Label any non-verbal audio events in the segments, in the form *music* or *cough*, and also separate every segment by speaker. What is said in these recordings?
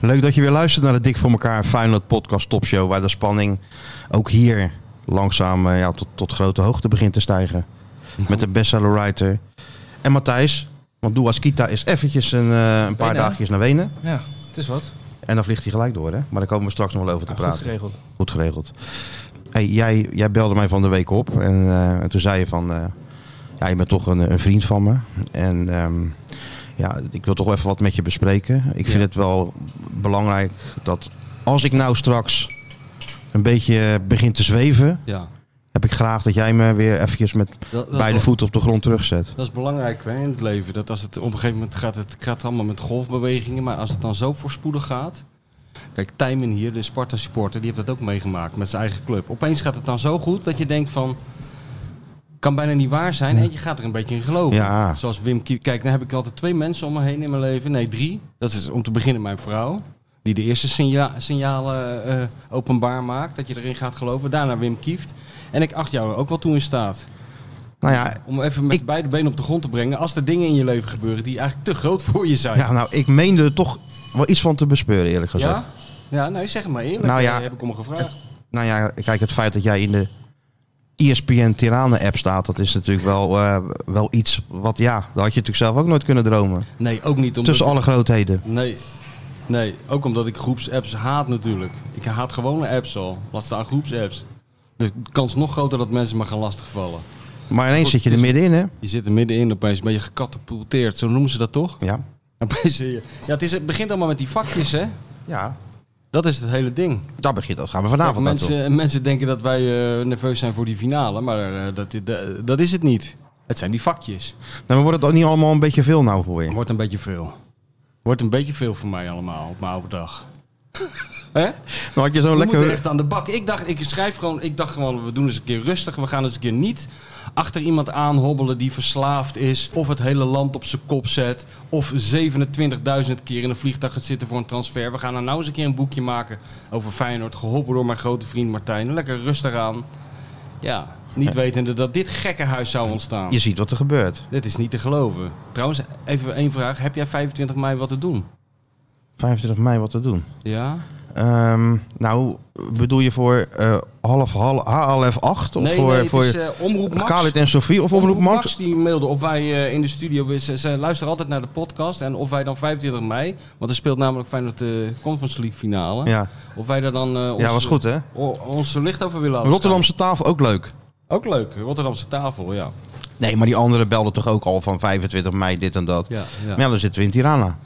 Speaker 1: Leuk dat je weer luistert naar de Dik voor elkaar Feyenoord podcast topshow. Waar de spanning ook hier langzaam eh, ja, tot, tot grote hoogte begint te stijgen. Met de bestseller writer en Matthijs. Want Douaskita is eventjes een, eh, een paar
Speaker 2: Wenen.
Speaker 1: dagjes naar Wenen.
Speaker 2: Ja, het is wat.
Speaker 1: En dan vliegt hij gelijk door hè. Maar daar komen we straks nog wel over te
Speaker 2: Ja, goed
Speaker 1: praten.
Speaker 2: geregeld.
Speaker 1: Goed geregeld. Hey, jij, jij belde mij van de week op en, eh, en toen zei je van, eh, ja, je bent toch een, een vriend van me. En ehm, ja, ik wil toch wel even wat met je bespreken. Ik vind
Speaker 2: Ja.
Speaker 1: het wel belangrijk dat als ik nou straks een beetje begin te zweven,
Speaker 3: Ja,
Speaker 1: heb ik graag dat jij me weer eventjes met
Speaker 3: dat, dat,
Speaker 1: beide
Speaker 3: dat,
Speaker 1: voeten op de grond terugzet.
Speaker 3: dat is belangrijk hè, in het leven. Dat als het op een gegeven moment gaat, het gaat allemaal met golfbewegingen, maar als het dan zo voorspoedig gaat. Kijk, Tijmen hier, de Sparta supporter, die heeft dat ook meegemaakt met zijn eigen club. Opeens gaat het dan zo goed dat je denkt van. Kan bijna niet waar zijn en je gaat er een beetje in geloven.
Speaker 1: Ja.
Speaker 3: Zoals Wim Kie- Kijk, dan heb ik altijd twee mensen om me heen in mijn leven. Nee, drie. Dat is om te beginnen mijn vrouw. Die de eerste signa- signalen eh, openbaar maakt. Dat je erin gaat geloven. Daarna Wim Kieft. En ik acht jou er ook wel toe in staat.
Speaker 1: Nou ja,
Speaker 3: Om even met
Speaker 1: Ik-
Speaker 3: beide benen op de grond te brengen. Als er dingen in je leven gebeuren die eigenlijk te groot voor je zijn.
Speaker 1: ja, nou, ik meende er toch wel iets van te bespeuren eerlijk gezegd.
Speaker 3: ja? Ja, nee, zeg het maar eerlijk.
Speaker 1: Nou
Speaker 3: Nou
Speaker 1: ja.
Speaker 3: heb ik om gevraagd.
Speaker 1: Nou ja, kijk, het feit dat jij in de E ESPN Tirana app staat, dat is natuurlijk wel, eh, wel iets wat, ja, dat had je natuurlijk zelf ook nooit kunnen dromen.
Speaker 3: Nee, ook niet omdat...
Speaker 1: Tussen alle grootheden.
Speaker 3: Nee. Nee, ook omdat ik groepsapps haat natuurlijk. Ik haat gewone apps al. Laat staan groepsapps. De kans nog groter dat mensen me gaan lastigvallen.
Speaker 1: Maar ineens
Speaker 3: Goed,
Speaker 1: zit je er
Speaker 3: het is-
Speaker 1: middenin, hè?
Speaker 3: Je zit er middenin opeens, ben je gecatapulteerd. Zo noemen ze dat toch? *laughs*
Speaker 1: Ja.
Speaker 3: Opeens zie je- Ja, het, is, het begint allemaal met die vakjes, hè?
Speaker 1: Ja,
Speaker 3: Dat is het hele ding.
Speaker 1: daar begint dat. Gaan we vanavond
Speaker 3: Kijk,
Speaker 1: naartoe.
Speaker 3: mensen, mensen denken dat wij eh, nerveus zijn voor die finale, maar eh, dat, dat, dat is het niet. Het zijn die vakjes.
Speaker 1: Nou, maar wordt het ook niet allemaal een beetje veel nou voor je?
Speaker 3: Wordt een beetje veel. Wordt een beetje veel voor mij allemaal op mijn oude dag. Hè?
Speaker 1: Nou had je zo'n
Speaker 3: We moeten
Speaker 1: lekker...
Speaker 3: echt aan de bak. Ik dacht, ik schrijf gewoon, ik dacht gewoon, we doen eens een keer rustig. We gaan eens een keer niet achter iemand aanhobbelen die verslaafd is. Of het hele land op zijn kop zet. Of 27.000 keer in een vliegtuig gaat zitten voor een transfer. We gaan er nou eens een keer een boekje maken over Feyenoord. Geholpen door mijn grote vriend Martijn. Lekker rustig aan. Ja, niet wetende dat dit gekke huis zou ontstaan.
Speaker 1: Je ziet wat er gebeurt.
Speaker 3: Dit is niet te geloven. Trouwens, even één vraag. Heb jij 25 mei wat te doen?
Speaker 1: 25 mei wat te doen.
Speaker 3: Ja?
Speaker 1: Ehm, nou, bedoel je voor eh, half, half, half acht? Of
Speaker 3: nee,
Speaker 1: voor,
Speaker 3: nee, het
Speaker 1: voor
Speaker 3: is eh, Omroep Max.
Speaker 1: Khalid en Sofie? Of Omroep Max?
Speaker 3: die mailde of wij eh, in de studio... we- Ze, ze luisteren altijd naar de podcast. En of wij dan 25 mei... Want er speelt namelijk Feyenoord de Conference League finale.
Speaker 1: Ja.
Speaker 3: Of wij daar dan eh, ons,
Speaker 1: ja, was goed, hè?
Speaker 3: o- ons licht over willen laten
Speaker 1: Rotterdamse tafel ook leuk.
Speaker 3: schijnen. Ook leuk. Rotterdamse tafel, ja.
Speaker 1: Nee, maar die anderen belden toch ook al van 25 mei dit en dat.
Speaker 3: ja,
Speaker 1: Maar ja, dan zitten we in Tirana.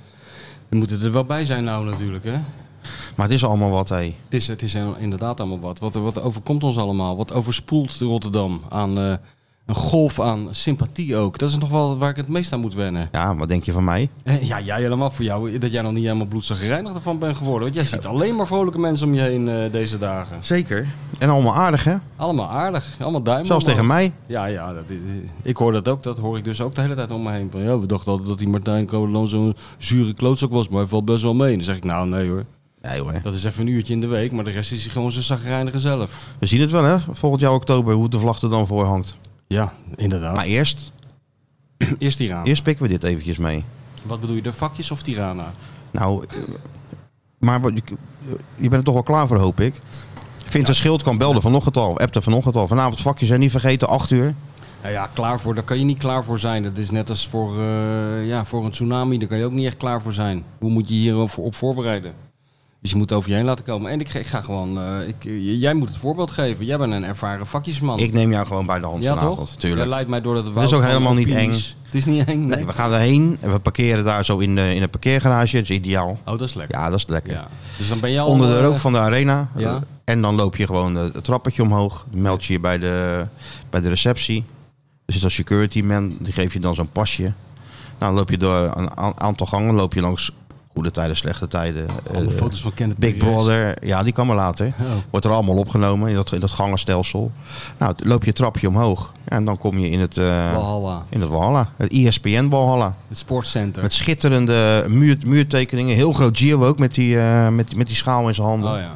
Speaker 3: We moeten er wel bij zijn nou natuurlijk, hè.
Speaker 1: Maar het is allemaal wat, hé.
Speaker 3: Het is, het is inderdaad allemaal wat. wat. Wat overkomt ons allemaal? Wat overspoelt de Rotterdam aan eh, een golf aan sympathie ook? Dat is nog wel waar ik het meest aan moet wennen.
Speaker 1: Ja, wat denk je van mij?
Speaker 3: Eh, Ja, jij helemaal voor jou. Dat jij nog niet helemaal bloedzagrijnig ervan bent geworden. Want jij ziet alleen maar vrolijke mensen om je heen eh, deze dagen.
Speaker 1: Zeker. En allemaal aardig, hè?
Speaker 3: Allemaal aardig. Allemaal duimen.
Speaker 1: Zelfs tegen mij.
Speaker 3: Ja, ja. Dat, i- ik hoor dat ook. Dat hoor ik dus ook de hele tijd om me heen. Van, Ja, we dachten altijd dat die Martijn Kolan zo'n zure klootzak was. Maar hij valt best wel mee. En dan zeg ik, nou nee hoor.
Speaker 1: Nee hoor.
Speaker 3: Dat is even een uurtje in de week. Maar de rest is hij gewoon zijn zagrijnige zelf.
Speaker 1: We zien het wel, hè? Volgend jaar oktober, hoe de vlag er dan voor hangt.
Speaker 3: Ja, inderdaad.
Speaker 1: Maar eerst,
Speaker 3: Eerst Tirana.
Speaker 1: eerst pikken we dit eventjes mee.
Speaker 3: Wat bedoel je, de vakjes of Tirana?
Speaker 1: Nou, eh, maar wat- je je bent er toch wel klaar voor, hoop ik. Vindt een schild kan belden vanochtend al, appte vanochtend al. Vanavond vakjes en niet vergeten, 8 uur.
Speaker 3: Nou ja, klaar voor, daar kan je niet klaar voor zijn. Dat is net als voor, eh, ja, voor een tsunami, daar kan je ook niet echt klaar voor zijn. Hoe moet je hier voor- op voorbereiden? Dus je moet het over je heen laten komen. En ik, ga- ik ga gewoon, eh, ik, eh, jij moet het voorbeeld geven. Jij bent een ervaren vakjesman.
Speaker 1: Ik neem jou gewoon bij de hand
Speaker 3: ja,
Speaker 1: vanavond.
Speaker 3: toch?
Speaker 1: Tuurlijk.
Speaker 3: Jij leidt mij door dat het
Speaker 1: is ook helemaal niet
Speaker 3: Het is niet eng. Nee.
Speaker 1: Nee, we gaan erheen en we parkeren daar zo in de, in de parkeergarage. Dat is ideaal.
Speaker 3: Oh, dat is lekker.
Speaker 1: Ja, dat is lekker.
Speaker 3: Ja. Dus dan ben je al...
Speaker 1: Onder de
Speaker 3: eh,
Speaker 1: rook van de arena.
Speaker 3: ja.
Speaker 1: En dan loop je gewoon eh, het trappetje omhoog. Dan meld je je bij de, bij de receptie. Dus Er zit een security man, die geeft je dan zo'n pasje. Nou, dan loop je door een a- aantal gangen, loop je langs Goede tijden, slechte tijden.
Speaker 3: Alle
Speaker 1: eh,
Speaker 3: foto's van Kenneth
Speaker 1: Big
Speaker 3: Perez.
Speaker 1: Brother, ja, die kan maar later.
Speaker 3: Oh.
Speaker 1: Wordt er allemaal opgenomen in dat, in dat gangenstelsel. Nou, t- loop je een trapje omhoog en dan kom je in het, eh,
Speaker 3: Walhalla.
Speaker 1: in het Walhalla. Het E ISPN Walhalla.
Speaker 3: Het sportcenter.
Speaker 1: Met schitterende muur, muurtekeningen. Heel groot Gio ook met die, eh, met, met die schaal in zijn handen.
Speaker 3: Oh ja.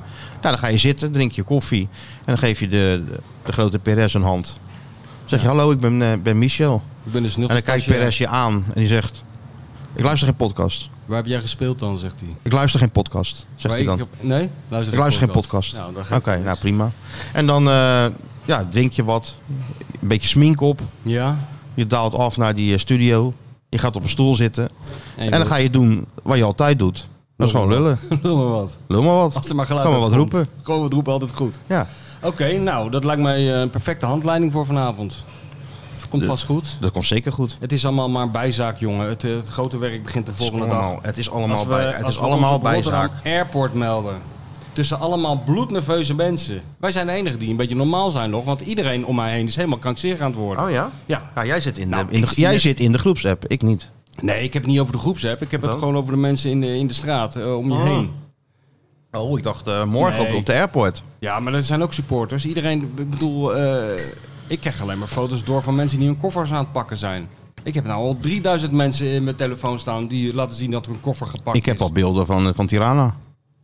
Speaker 1: Nou, dan ga je zitten, drink je koffie. En dan geef je de, de, de grote Perez een hand. Dan zeg je, hallo, ik ben, eh, ben Michel.
Speaker 3: Ik ben dus nog
Speaker 1: En dan kijkt
Speaker 3: als je-
Speaker 1: Perez je aan en die zegt... Ik luister geen podcast.
Speaker 3: Waar heb jij gespeeld dan, zegt hij.
Speaker 1: Ik luister geen podcast, zegt
Speaker 3: Maar
Speaker 1: hij
Speaker 3: ik
Speaker 1: dan.
Speaker 3: heb- nee? Luister
Speaker 1: Ik luister geen podcast.
Speaker 3: Nou, dan
Speaker 1: Oké,
Speaker 3: ga ik-
Speaker 1: nou prima. En dan eh, ja, drink je wat. Een beetje smink op.
Speaker 3: Ja?
Speaker 1: Je daalt af naar die eh, studio. Je gaat op een stoel zitten. En dan ga je doen wat je altijd doet. Dat is
Speaker 3: Oh,
Speaker 1: gewoon lullen.
Speaker 3: *laughs* Lul maar wat.
Speaker 1: Lul maar wat.
Speaker 3: Als er maar geluid
Speaker 1: Kan maar wat
Speaker 3: uitkomt.
Speaker 1: roepen.
Speaker 3: Gewoon wat roepen, altijd goed.
Speaker 1: Ja,
Speaker 3: Oké, nou, dat lijkt mij eh, een perfecte handleiding voor vanavond. Komt
Speaker 1: Ja.
Speaker 3: vast goed.
Speaker 1: dat komt zeker goed.
Speaker 3: Het is allemaal maar een bijzaak, jongen. Het, eh, het grote werk begint de
Speaker 1: Het is
Speaker 3: volgende dag.
Speaker 1: allemaal, het is allemaal,
Speaker 3: Als we-
Speaker 1: bij, het
Speaker 3: als
Speaker 1: is
Speaker 3: we ons
Speaker 1: allemaal
Speaker 3: op
Speaker 1: bijzaak.
Speaker 3: Rotterdam Airport melden. Tussen allemaal bloednerveuze mensen. Wij zijn de enigen die een beetje normaal zijn nog. Want iedereen om mij heen is helemaal krankzinnig aan het worden.
Speaker 1: Oh ja?
Speaker 3: Ja.
Speaker 1: Ja, jij zit in de,
Speaker 3: Nou,
Speaker 1: in de,
Speaker 3: ik zie
Speaker 1: jij
Speaker 3: het.
Speaker 1: zit in de groepsapp, ik niet.
Speaker 3: Nee, ik heb het niet over de groepsapp. Ik heb het
Speaker 1: Dan?
Speaker 3: gewoon over de mensen in de, in de straat eh, om je
Speaker 1: Oh.
Speaker 3: heen.
Speaker 1: Oh, ik dacht eh, morgen
Speaker 3: Nee.
Speaker 1: op, op de airport.
Speaker 3: Ja, maar er zijn ook supporters. Iedereen, ik bedoel, eh, ik krijg alleen maar foto's door van mensen die hun koffers aan het pakken zijn. Ik heb nou al 3000 mensen in mijn telefoon staan die laten zien dat hun koffer gepakt
Speaker 1: Ik heb
Speaker 3: is.
Speaker 1: al beelden van, eh, van Tirana.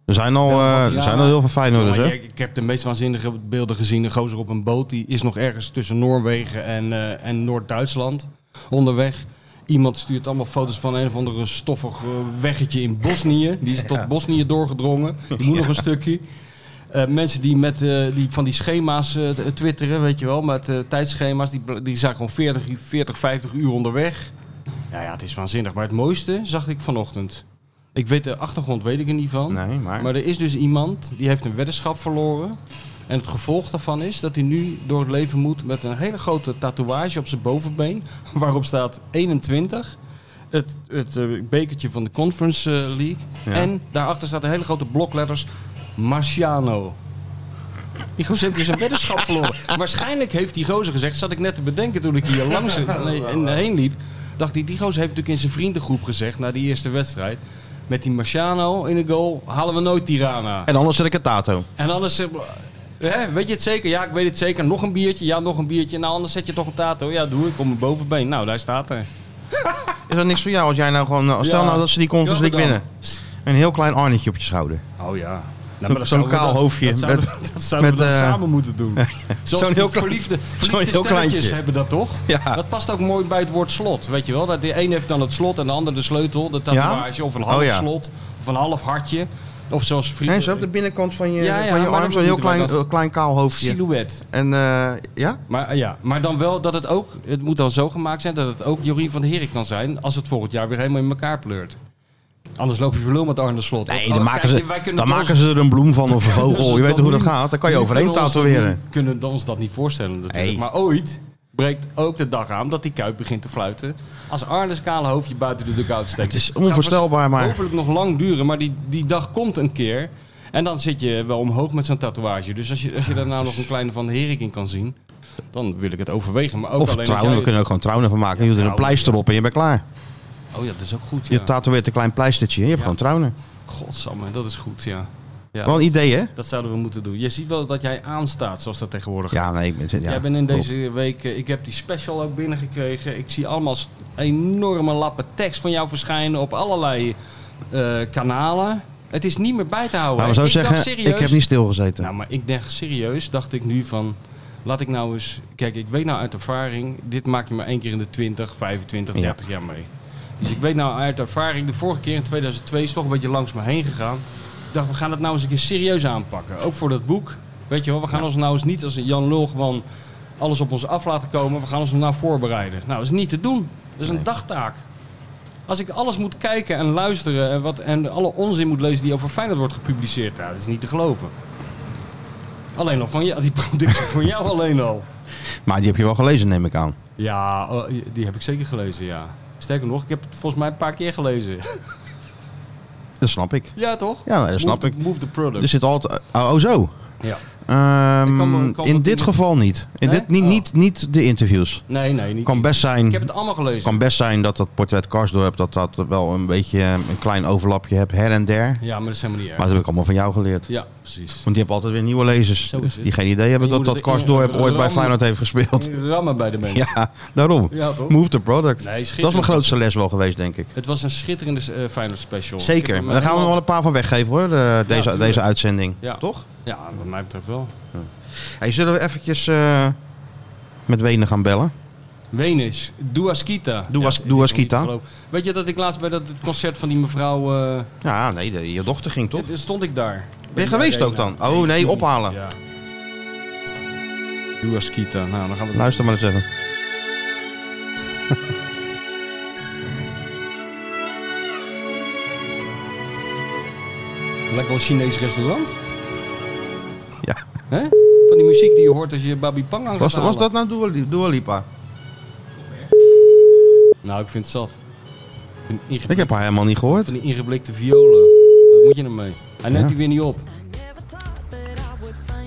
Speaker 1: Er zijn al,
Speaker 3: Beelden van
Speaker 1: eh, er
Speaker 3: Tirana.
Speaker 1: zijn al heel veel Feyenoorders,
Speaker 3: Ja, maar
Speaker 1: hè?
Speaker 3: ik, ik heb de meest waanzinnige beelden gezien. Een gozer op een boot, die is nog ergens tussen Noorwegen en, eh, en Noord-Duitsland onderweg. Iemand stuurt allemaal foto's van een of andere stoffig eh, weggetje in Bosnië. Die
Speaker 1: *laughs*
Speaker 3: is tot Bosnië doorgedrongen. Die moet nog een stukje. Eh, mensen die, met, eh, die van die schema's eh, t- twitteren, weet je wel, met eh, tijdschema's, die, bl- die zijn gewoon 40, 40, 50 uur onderweg. Ja, ja, het is waanzinnig. Maar het mooiste zag ik vanochtend. Ik weet de achtergrond, weet ik er niet van.
Speaker 1: Nee, maar...
Speaker 3: Maar er is dus iemand die heeft een weddenschap verloren. En het gevolg daarvan is dat hij nu door het leven moet met een hele grote tatoeage op zijn bovenbeen. *laughs* Waarop staat 21. Het, het eh, bekertje van de Conference eh, League.
Speaker 1: Ja.
Speaker 3: En daarachter staat een hele grote blokletters Marciano. Die gozer heeft dus een
Speaker 1: *laughs*
Speaker 3: weddenschap verloren. Waarschijnlijk heeft die gozer gezegd, zat ik net te bedenken toen
Speaker 1: *laughs*
Speaker 3: ik hier langs eh, nee, en heen liep. Dacht ik, die gozer heeft natuurlijk in zijn vriendengroep gezegd na die eerste wedstrijd. Met die Marciano in de goal halen we nooit Tirana.
Speaker 1: En anders zet ik het Tato.
Speaker 3: En anders, eh, hè, weet je het zeker? Ja, ik weet het zeker. Nog een biertje, ja, nog een biertje. Nou, anders zet je toch een tato. Ja, doe ik om mijn bovenbeen. Nou, daar staat er.
Speaker 1: Is dat niks voor jou als jij nou gewoon... nou, Stel
Speaker 3: Ja.
Speaker 1: nou dat ze die Conference
Speaker 3: Ja,
Speaker 1: League winnen.
Speaker 3: bedankt.
Speaker 1: Een heel klein arnetje op je schouder.
Speaker 3: Oh ja.
Speaker 1: Zo'n- zo'n kaal hoofdje
Speaker 3: Dat zouden,
Speaker 1: met-
Speaker 3: we- dat zouden we
Speaker 1: met,
Speaker 3: dan
Speaker 1: eh,
Speaker 3: samen moeten doen.
Speaker 1: *laughs*
Speaker 3: Zoals
Speaker 1: zo'n heel klein-
Speaker 3: verliefde,
Speaker 1: zo'n
Speaker 3: verliefde
Speaker 1: heel
Speaker 3: stelletjes
Speaker 1: kleintje.
Speaker 3: hebben dat toch?
Speaker 1: Ja.
Speaker 3: Dat past ook mooi bij het woord slot, weet je wel. Dat de een heeft dan het slot en de ander de sleutel, de tatoeage of een half
Speaker 1: Oh ja.
Speaker 3: slot of een half hartje. Of zoals
Speaker 1: Nee,
Speaker 3: vrienden,
Speaker 1: zo op de binnenkant van je,
Speaker 3: Ja, ja,
Speaker 1: van je
Speaker 3: maar
Speaker 1: arm
Speaker 3: dat
Speaker 1: zo'n heel
Speaker 3: moeten wij
Speaker 1: klein,
Speaker 3: dat-
Speaker 1: eh, klein kaal hoofdje.
Speaker 3: silhouet.
Speaker 1: En eh, ja?
Speaker 3: Maar, eh, ja. maar dan wel dat het ook, het moet dan zo gemaakt zijn dat het ook Jorien van de Heren kan zijn als het volgend jaar weer helemaal in elkaar pleurt. Anders loop je verloren met Arne Slot.
Speaker 1: Nee,
Speaker 3: Oh,
Speaker 1: dan,
Speaker 3: kijk,
Speaker 1: maken ze,
Speaker 3: wij kunnen
Speaker 1: dan
Speaker 3: het
Speaker 1: maken ze er een bloem
Speaker 3: *laughs*
Speaker 1: van of een vogel. Je weet
Speaker 3: dan
Speaker 1: hoe dat
Speaker 3: nu-
Speaker 1: gaat. Dan kan je
Speaker 3: nu
Speaker 1: overheen
Speaker 3: kunnen we ons dat
Speaker 1: tatoeëren.
Speaker 3: niet- kunnen we ons dat niet voorstellen natuurlijk.
Speaker 1: Nee.
Speaker 3: Maar ooit breekt ook de dag aan dat die Kuip begint te fluiten. Als Arne's kale hoofdje buiten de dugout steekt.
Speaker 1: Het is onvoorstelbaar,
Speaker 3: Het gaat
Speaker 1: maar...
Speaker 3: hopelijk nog lang duren, maar die, die dag komt een keer. En dan zit je wel omhoog met zo'n tatoeage. Dus als je, als je daar nou nog een kleine van de Herik in kan zien, dan wil ik het overwegen. Maar ook
Speaker 1: Of
Speaker 3: alleen als
Speaker 1: trouwen, we
Speaker 3: jij-
Speaker 1: kunnen ook gewoon trouwen van maken. Je doet er een
Speaker 3: trouwen,
Speaker 1: pleister op en je bent klaar.
Speaker 3: Oh ja, dat is ook goed.
Speaker 1: Je
Speaker 3: Ja.
Speaker 1: tatoeëert een klein pleistertje en je hebt
Speaker 3: Ja.
Speaker 1: gewoon trouwen.
Speaker 3: Godsamme, dat is goed, ja. ja
Speaker 1: Wel een idee, hè?
Speaker 3: Dat zouden we moeten doen. Je ziet wel dat jij aanstaat, zoals dat tegenwoordig
Speaker 1: Ja, nee, ik ben... Ja,
Speaker 3: Jij bent in
Speaker 1: klopt.
Speaker 3: deze week, eh, ik heb die special ook binnengekregen. Ik zie allemaal st- enorme lappen tekst van jou verschijnen op allerlei eh, kanalen. Het is niet meer bij te houden.
Speaker 1: Laten we zo
Speaker 3: ik dacht
Speaker 1: Nou, zeggen,
Speaker 3: serieus,
Speaker 1: ik heb niet stilgezeten.
Speaker 3: Nou, maar ik dacht serieus, dacht ik nu van... Laat ik nou eens... Kijk, ik weet nou uit ervaring... Dit maak je maar één keer in de 20, 25,
Speaker 1: Ja.
Speaker 3: 30 jaar mee. Dus ik weet nou uit ervaring... De vorige keer in 2002 is toch een beetje langs me heen gegaan. Ik dacht, we gaan het nou eens een keer serieus aanpakken. Ook voor dat boek. Weet je wel, we gaan ons nou eens niet als een Jan Lul gewoon... Alles op ons af laten komen. We gaan ons er nou voorbereiden. Nou, dat is niet te doen. Dat is een
Speaker 1: Nee.
Speaker 3: dagtaak. Als ik alles moet kijken en luisteren en, wat, en alle onzin moet lezen die over Feyenoord wordt gepubliceerd, nou, dat is niet te geloven. Alleen al van jou, die productie van jou alleen al.
Speaker 1: Maar die heb je wel gelezen, neem ik aan.
Speaker 3: Ja, eh, die heb ik zeker gelezen, ja. Sterker nog, ik heb het volgens mij een paar keer gelezen. *laughs*
Speaker 1: Dat snap ik.
Speaker 3: Ja, toch?
Speaker 1: Ja, dat snap
Speaker 3: move
Speaker 1: ik. Dus-
Speaker 3: The, move the product.
Speaker 1: Er zit altijd... Oh, oh, zo.
Speaker 3: Ja.
Speaker 1: Ehm,
Speaker 3: Ik kan me- kan
Speaker 1: in
Speaker 3: dat
Speaker 1: dit
Speaker 3: niet-
Speaker 1: geval niet. In
Speaker 3: Nee?
Speaker 1: dit, niet,
Speaker 3: Oh.
Speaker 1: niet, niet de interviews.
Speaker 3: Nee, nee, niet.
Speaker 1: kan best zijn,
Speaker 3: Ik heb het allemaal gelezen.
Speaker 1: kan best zijn dat dat portret Karsdorp hebt, dat dat wel een beetje eh, een klein overlapje hebt her en der. Maar
Speaker 3: Ja, maar dat is helemaal niet erg.
Speaker 1: dat heb ik allemaal van jou geleerd.
Speaker 3: Ja, precies.
Speaker 1: Want die hebben altijd weer nieuwe lezers.
Speaker 3: Zo is het.
Speaker 1: Die geen idee hebben
Speaker 3: Je
Speaker 1: dat
Speaker 3: moet
Speaker 1: dat
Speaker 3: het
Speaker 1: Karsdorp
Speaker 3: in-
Speaker 1: ooit bij
Speaker 3: rammen.
Speaker 1: Feyenoord heeft gespeeld.
Speaker 3: Rammen bij de mensen.
Speaker 1: *laughs* Ja, daarom.
Speaker 3: Ja, toch?
Speaker 1: Move the product.
Speaker 3: Nee, schitterend.
Speaker 1: dat is mijn grootste les wel geweest, denk ik.
Speaker 3: Het was een schitterende eh Feyenoord special. Ik heb
Speaker 1: Zeker.
Speaker 3: hem
Speaker 1: Maar daar gaan we nog wel
Speaker 3: helemaal-
Speaker 1: een paar van weggeven hoor, de- deze,
Speaker 3: tuurlijk.
Speaker 1: deze uitzending.
Speaker 3: Ja.
Speaker 1: Toch?
Speaker 3: Ja, wat mij betreft wel.
Speaker 1: Hey, zullen we eventjes eh, met Wenen gaan bellen?
Speaker 3: Wenis, Duaskita.
Speaker 1: Duas-
Speaker 3: het is
Speaker 1: Duaskita.
Speaker 3: nog niet te geloven. Weet je dat ik laatst bij dat concert van die mevrouw... eh,
Speaker 1: Ja, nee, de- je dochter ging toch?
Speaker 3: dit- stond ik daar.
Speaker 1: Ben je geweest
Speaker 3: Ja,
Speaker 1: ook dan?
Speaker 3: nou,
Speaker 1: Oh, nee,
Speaker 3: ik niet.
Speaker 1: ophalen.
Speaker 3: Ja. Duaskita. Nou, dan gaan we...
Speaker 1: Luister maar eens even.
Speaker 3: Lekker als Chinees restaurant.
Speaker 1: Ja.
Speaker 3: Hè? Van die muziek die je hoort als je Babi Pang aan gaat
Speaker 1: Was, was
Speaker 3: halen.
Speaker 1: dat nou Dua, Li- Dua Lipa?
Speaker 3: Nou, ik vind het zat. Een ingeblik-
Speaker 1: Ik heb haar helemaal niet gehoord.
Speaker 3: Van die ingeblikte violen. Wat moet je ermee? Hij neemt
Speaker 1: Ja.
Speaker 3: die weer niet op.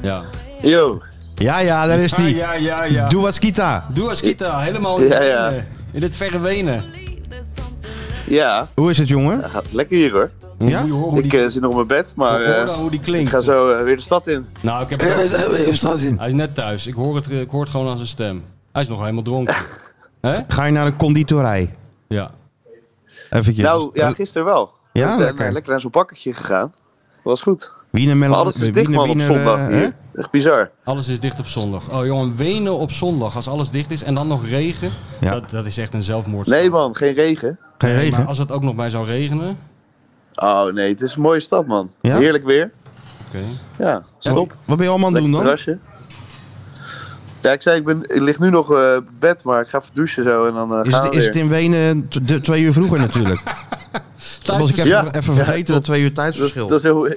Speaker 2: Ja.
Speaker 3: Ja.
Speaker 4: Yo,
Speaker 1: Ja, ja, daar is die.
Speaker 3: ja, ja, ja.
Speaker 1: Doe wat skita.
Speaker 3: Duaskita, helemaal in,
Speaker 4: Ja,
Speaker 3: het
Speaker 4: ja.
Speaker 3: Wenen. in het verre Wenen.
Speaker 4: ja,
Speaker 1: Hoe is het, jongen?
Speaker 4: dat gaat lekker hier hoor.
Speaker 1: Ja?
Speaker 3: Moet je horen hoe
Speaker 4: Ik
Speaker 3: die,
Speaker 4: eh, zit nog op mijn bed, maar
Speaker 3: hoor
Speaker 4: eh,
Speaker 3: nou hoe die
Speaker 4: ik
Speaker 3: klinkt.
Speaker 4: ga zo eh, weer de stad in.
Speaker 3: Nou, ik heb het- Hij is net thuis. Ik hoor, het, eh, ik hoor het gewoon aan zijn stem. Hij is nog helemaal
Speaker 1: *laughs*
Speaker 3: dronken. Hè?
Speaker 1: Ga je naar een conditorij?
Speaker 3: Ja.
Speaker 1: Eventjes.
Speaker 4: Nou, ja, gisteren wel.
Speaker 1: dus, eh, Ja,
Speaker 4: we zijn
Speaker 1: lekker.
Speaker 4: eh, lekker naar zo'n bakketje gegaan. Dat was goed.
Speaker 1: Wiener
Speaker 4: Maar
Speaker 1: Melon-
Speaker 4: alles is dicht
Speaker 1: Wiener-
Speaker 4: man op
Speaker 1: Wiener, eh,
Speaker 4: zondag
Speaker 1: hè?
Speaker 4: hier. Echt bizar.
Speaker 3: Alles is dicht op zondag. Oh jongen, Wenen op zondag. Als alles dicht is en dan nog regen.
Speaker 1: Ja.
Speaker 3: Dat, dat is echt een zelfmoord.
Speaker 4: Nee man, geen regen.
Speaker 1: Geen
Speaker 3: Maar
Speaker 1: regen?
Speaker 3: als het ook nog bij zou regenen.
Speaker 4: Oh nee, het is een mooie stad man.
Speaker 1: Ja?
Speaker 4: Heerlijk weer.
Speaker 3: Oké.
Speaker 4: Ja,
Speaker 1: Wat
Speaker 4: stop.
Speaker 1: ben je allemaal aan het
Speaker 4: Lekker
Speaker 1: doen dan?
Speaker 4: terrasje. Ja, ik zei, ik, ben, ik lig nu nog eh, op bed, maar ik ga even douchen zo en dan eh,
Speaker 1: Is
Speaker 4: gaan
Speaker 1: het,
Speaker 4: we
Speaker 1: is
Speaker 4: weer.
Speaker 1: het in Wenen t- de- twee uur vroeger natuurlijk? Dan was ik even,
Speaker 4: Ja.
Speaker 1: even vergeten dat twee uur
Speaker 4: dat, is-
Speaker 1: tijdsverschil.
Speaker 4: dat is heel,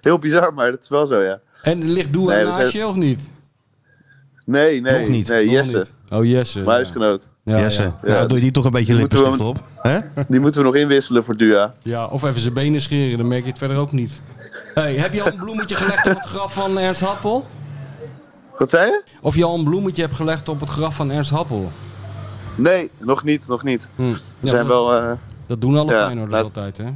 Speaker 4: heel *laughs* bizar, maar dat is wel zo ja.
Speaker 3: En ligt Doe
Speaker 4: Nee, we
Speaker 3: naast
Speaker 4: zijn-
Speaker 3: je of niet?
Speaker 4: Nee, nee,
Speaker 1: Nog niet,
Speaker 4: nee,
Speaker 3: Nog
Speaker 4: Jesse,
Speaker 3: niet. Oh, Jesse.
Speaker 4: mijn huisgenoot.
Speaker 3: Ja,
Speaker 1: Jesse,
Speaker 3: ja.
Speaker 1: nou,
Speaker 4: Ja,
Speaker 1: doe je die toch een beetje
Speaker 4: die moeten we-
Speaker 1: lippenstift op. hè?
Speaker 4: Die moeten we nog inwisselen voor Dua.
Speaker 3: Ja, of even zijn benen scheren, dan merk je het verder ook niet. Hey, heb je al een bloemetje gelegd op het graf van Ernst Happel?
Speaker 4: Wat zei je?
Speaker 3: Of je al een bloemetje hebt gelegd op het graf van Ernst Happel?
Speaker 4: Nee, nog niet, nog niet. We
Speaker 3: Hm. Ja,
Speaker 4: zijn
Speaker 3: dat,
Speaker 4: wel eh,
Speaker 3: dat doen alle
Speaker 4: Ja,
Speaker 3: Feyenoorders
Speaker 4: laat-
Speaker 3: altijd, hè?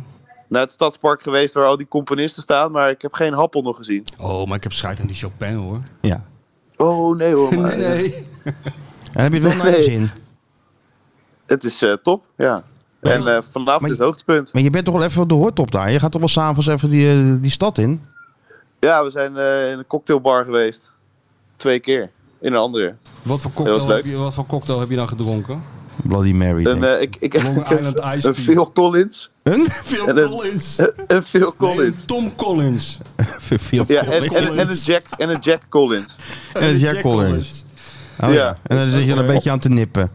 Speaker 4: naar het stadspark geweest waar al die componisten staan, maar ik heb geen happel nog gezien.
Speaker 3: Oh, maar ik heb schijt aan die Chopin, hoor.
Speaker 1: Ja.
Speaker 4: Oh
Speaker 3: *laughs*
Speaker 4: nee hoor, maar,
Speaker 3: Nee, nee.
Speaker 1: En heb je het wel naar je
Speaker 4: Nee.
Speaker 1: zin?
Speaker 4: het is eh, top, ja. En eh, vanavond
Speaker 1: maar-
Speaker 4: is het hoogtepunt.
Speaker 1: Maar je bent toch wel even op de hoortop daar? Je gaat toch wel s'avonds even die, eh, die stad in?
Speaker 4: Ja, we zijn eh, in een cocktailbar geweest. Twee keer. In een andere.
Speaker 3: Wat voor,
Speaker 4: Dat was
Speaker 3: cocktail
Speaker 4: leuk.
Speaker 3: heb je, wat voor cocktail heb je dan gedronken?
Speaker 1: Bloody Mary.
Speaker 4: Een,
Speaker 1: denk ik.
Speaker 4: eh, ik, ik,
Speaker 3: Long
Speaker 4: ik heb
Speaker 3: Island Iced
Speaker 4: een
Speaker 3: Tea.
Speaker 4: Phil Collins.
Speaker 1: Een?
Speaker 3: Phil
Speaker 4: En een-
Speaker 3: Collins.
Speaker 4: Een Phil
Speaker 3: Nee,
Speaker 4: Collins.
Speaker 3: een Tom
Speaker 1: *laughs*
Speaker 3: Collins.
Speaker 1: Veel- veel-
Speaker 4: ja, en, en, en, een
Speaker 3: Collins.
Speaker 4: Jack, en een Jack Collins.
Speaker 1: En het Jack Collins. Oh, ja.
Speaker 4: Ja.
Speaker 1: En dan zit je er een beetje aan te nippen.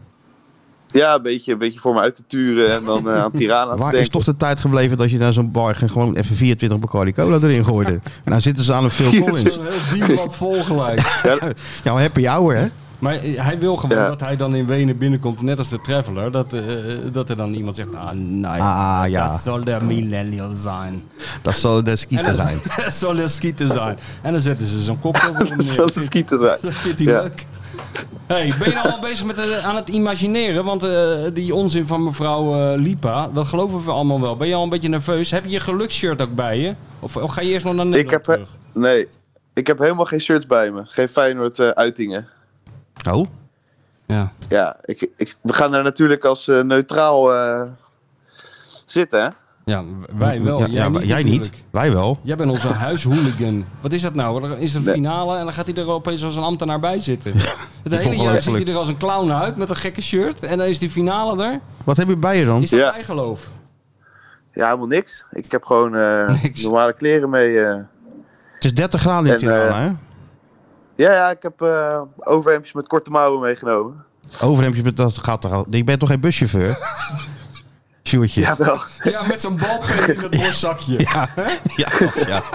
Speaker 4: Ja, een beetje, een beetje voor me uit te turen en dan eh, aan Tirana te
Speaker 1: Waar is
Speaker 4: denken.
Speaker 1: toch de tijd gebleven dat je naar zo'n bar ging gewoon even 24 Bacardi Cola erin gooide? nou zitten ze aan een Phil Collins.
Speaker 3: Een heel diep blad vol gelijk.
Speaker 4: Ja,
Speaker 1: Ja, maar happy hour hè?
Speaker 3: Maar eh, hij wil gewoon
Speaker 4: Ja.
Speaker 3: dat hij dan in Wenen binnenkomt, net als de Traveler. Dat, eh, dat er dan iemand zegt, ah, nou ja,
Speaker 1: Ah ja,
Speaker 3: dat zal de millennial zijn.
Speaker 1: dat zal de skieten zijn.
Speaker 3: Dat *laughs* zal de skieten zijn. En dan zetten ze zo'n cocktail
Speaker 4: *laughs*
Speaker 3: voor hem
Speaker 4: dat
Speaker 3: neer.
Speaker 4: zal de
Speaker 3: *laughs*
Speaker 4: skieten
Speaker 3: Dat
Speaker 4: zijn.
Speaker 3: vindt hij
Speaker 4: Ja.
Speaker 3: leuk. Hey, ben je nou al bezig met eh, aan het imagineren? Want eh, die onzin van mevrouw eh, Lipa, dat geloven we allemaal wel. Ben je al een beetje nerveus? Heb je je geluksshirt ook bij je? Of, of ga je eerst nog naar
Speaker 4: Ik
Speaker 3: Nederland
Speaker 4: heb, eh,
Speaker 3: terug?
Speaker 4: nee, ik heb helemaal geen shirts bij me. Geen Feyenoord eh, uitingen.
Speaker 1: Oh,
Speaker 3: Ja.
Speaker 4: Ja, ik, ik, we gaan daar natuurlijk als eh, neutraal eh, zitten, hè?
Speaker 3: ja, wij wel.
Speaker 1: Ja,
Speaker 3: jij
Speaker 1: ja,
Speaker 3: niet.
Speaker 1: jij
Speaker 3: natuurlijk.
Speaker 1: niet. Wij wel.
Speaker 3: Jij bent onze huishooligan. Wat is dat nou? Er is een
Speaker 4: Nee.
Speaker 3: finale en dan gaat hij er opeens als een ambtenaar bij zitten. Het hele jaar ziet
Speaker 1: ongelooflijk.
Speaker 3: hij er als een clown uit met een gekke shirt. En dan is die finale er.
Speaker 1: Wat heb je bij je dan?
Speaker 3: Is dat
Speaker 4: Ja.
Speaker 3: bijgeloof?
Speaker 4: Ja, helemaal niks. Ik heb gewoon
Speaker 3: *laughs*
Speaker 4: eh,
Speaker 3: Niks.
Speaker 4: normale kleren mee. eh.
Speaker 1: Het is 30 graden in
Speaker 4: En,
Speaker 1: Tirana, hè?
Speaker 4: Ja, ja, ik heb eh overhemdjes met korte mouwen meegenomen.
Speaker 1: Overhemdje, met- dat gaat toch al. Ik ben toch geen buschauffeur? Sjoerdje.
Speaker 4: Ja,
Speaker 1: Ja,
Speaker 4: *laughs* wel.
Speaker 3: Ja, met zo'n balpen
Speaker 1: *laughs*
Speaker 3: in het borstzakje.
Speaker 1: ja, ja.
Speaker 3: *laughs*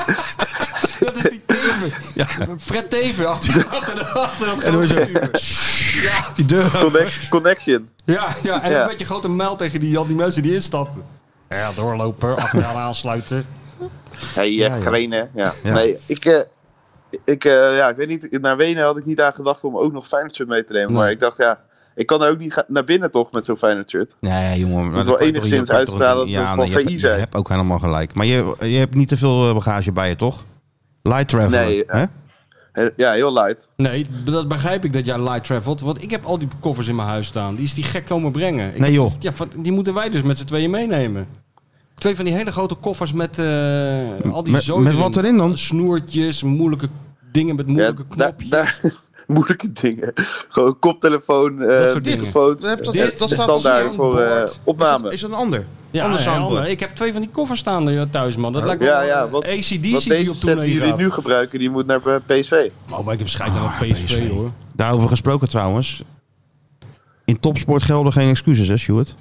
Speaker 3: Dat is die Teven. Fred Teven achter, achter, de- achter dat
Speaker 1: En dan is
Speaker 3: grote stuur.
Speaker 1: Die deur.
Speaker 4: Connect- connection.
Speaker 3: Ja, ja, en
Speaker 4: Ja.
Speaker 3: een beetje grote muil tegen die, al die mensen die instappen. *laughs* Ja, doorlopen, achteraan aansluiten.
Speaker 4: Hey, eh
Speaker 1: ja.
Speaker 4: Grenen. Ja.
Speaker 1: Ja.
Speaker 4: Nee, ik, eh, ik, eh, ja, ik weet niet, naar Wenen had ik niet aan gedacht om ook nog Feyenoord shirt mee te nemen.
Speaker 3: Nee.
Speaker 4: Maar ik dacht, ja, ik kan ook niet ga- naar binnen toch met zo'n Feyenoord shirt.
Speaker 1: Nee, jongen. maar dat
Speaker 4: wel
Speaker 1: kan je toch- je
Speaker 4: enigszins
Speaker 1: kan toch-
Speaker 4: uitstralen dat we van
Speaker 1: nee, je hebt-
Speaker 4: VI zijn.
Speaker 1: Je hebt ook helemaal gelijk. Maar je, je hebt niet te veel eh, bagage bij je, toch? Light travel.
Speaker 4: Nee,
Speaker 1: hè?
Speaker 4: Eh, Ja, heel light.
Speaker 3: Nee, b- dat begrijp ik dat jij light travelt. Want ik heb al die koffers in mijn huis staan. Die is die gek komen brengen. Ik
Speaker 1: Nee, joh.
Speaker 3: Ja, van- die moeten wij dus met z'n tweeën meenemen. Twee van die hele grote koffers met eh, al die
Speaker 1: Met-
Speaker 3: zoden
Speaker 1: met
Speaker 3: erin.
Speaker 1: wat erin dan?
Speaker 3: Snoertjes, moeilijke dingen met
Speaker 4: Ja,
Speaker 3: moeilijke
Speaker 4: daar,
Speaker 3: knopjes.
Speaker 4: daar, *laughs* moeilijke dingen. Gewoon koptelefoon,
Speaker 3: Dat
Speaker 4: eh
Speaker 3: soort dingen.
Speaker 4: microfoons.
Speaker 1: Dat- dat-
Speaker 4: eh,
Speaker 1: dat
Speaker 4: de
Speaker 1: staat op
Speaker 4: standaard voor eh,
Speaker 3: soundboard.
Speaker 1: Is dat-
Speaker 4: opname.
Speaker 1: Is dat een ander?
Speaker 3: ja,
Speaker 1: ander
Speaker 3: nee,
Speaker 1: soundboard.
Speaker 3: ander. Ik heb twee van die koffers staan eh, thuis, man. Dat
Speaker 1: Oh.
Speaker 3: lijkt
Speaker 4: Ja,
Speaker 3: wel eh,
Speaker 4: ja, want-
Speaker 3: ACDC
Speaker 4: Want
Speaker 3: die
Speaker 4: deze
Speaker 3: op
Speaker 4: set
Speaker 3: tournee
Speaker 4: die jullie
Speaker 3: gaat.
Speaker 4: nu gebruiken, die moet naar eh, PSV.
Speaker 3: Oh, maar ik heb scheid aan
Speaker 1: Ah,
Speaker 3: een PSV,
Speaker 1: PSV.
Speaker 3: hoor.
Speaker 1: Daarover gesproken trouwens. In topsport gelden geen excuses, hè, Stuart?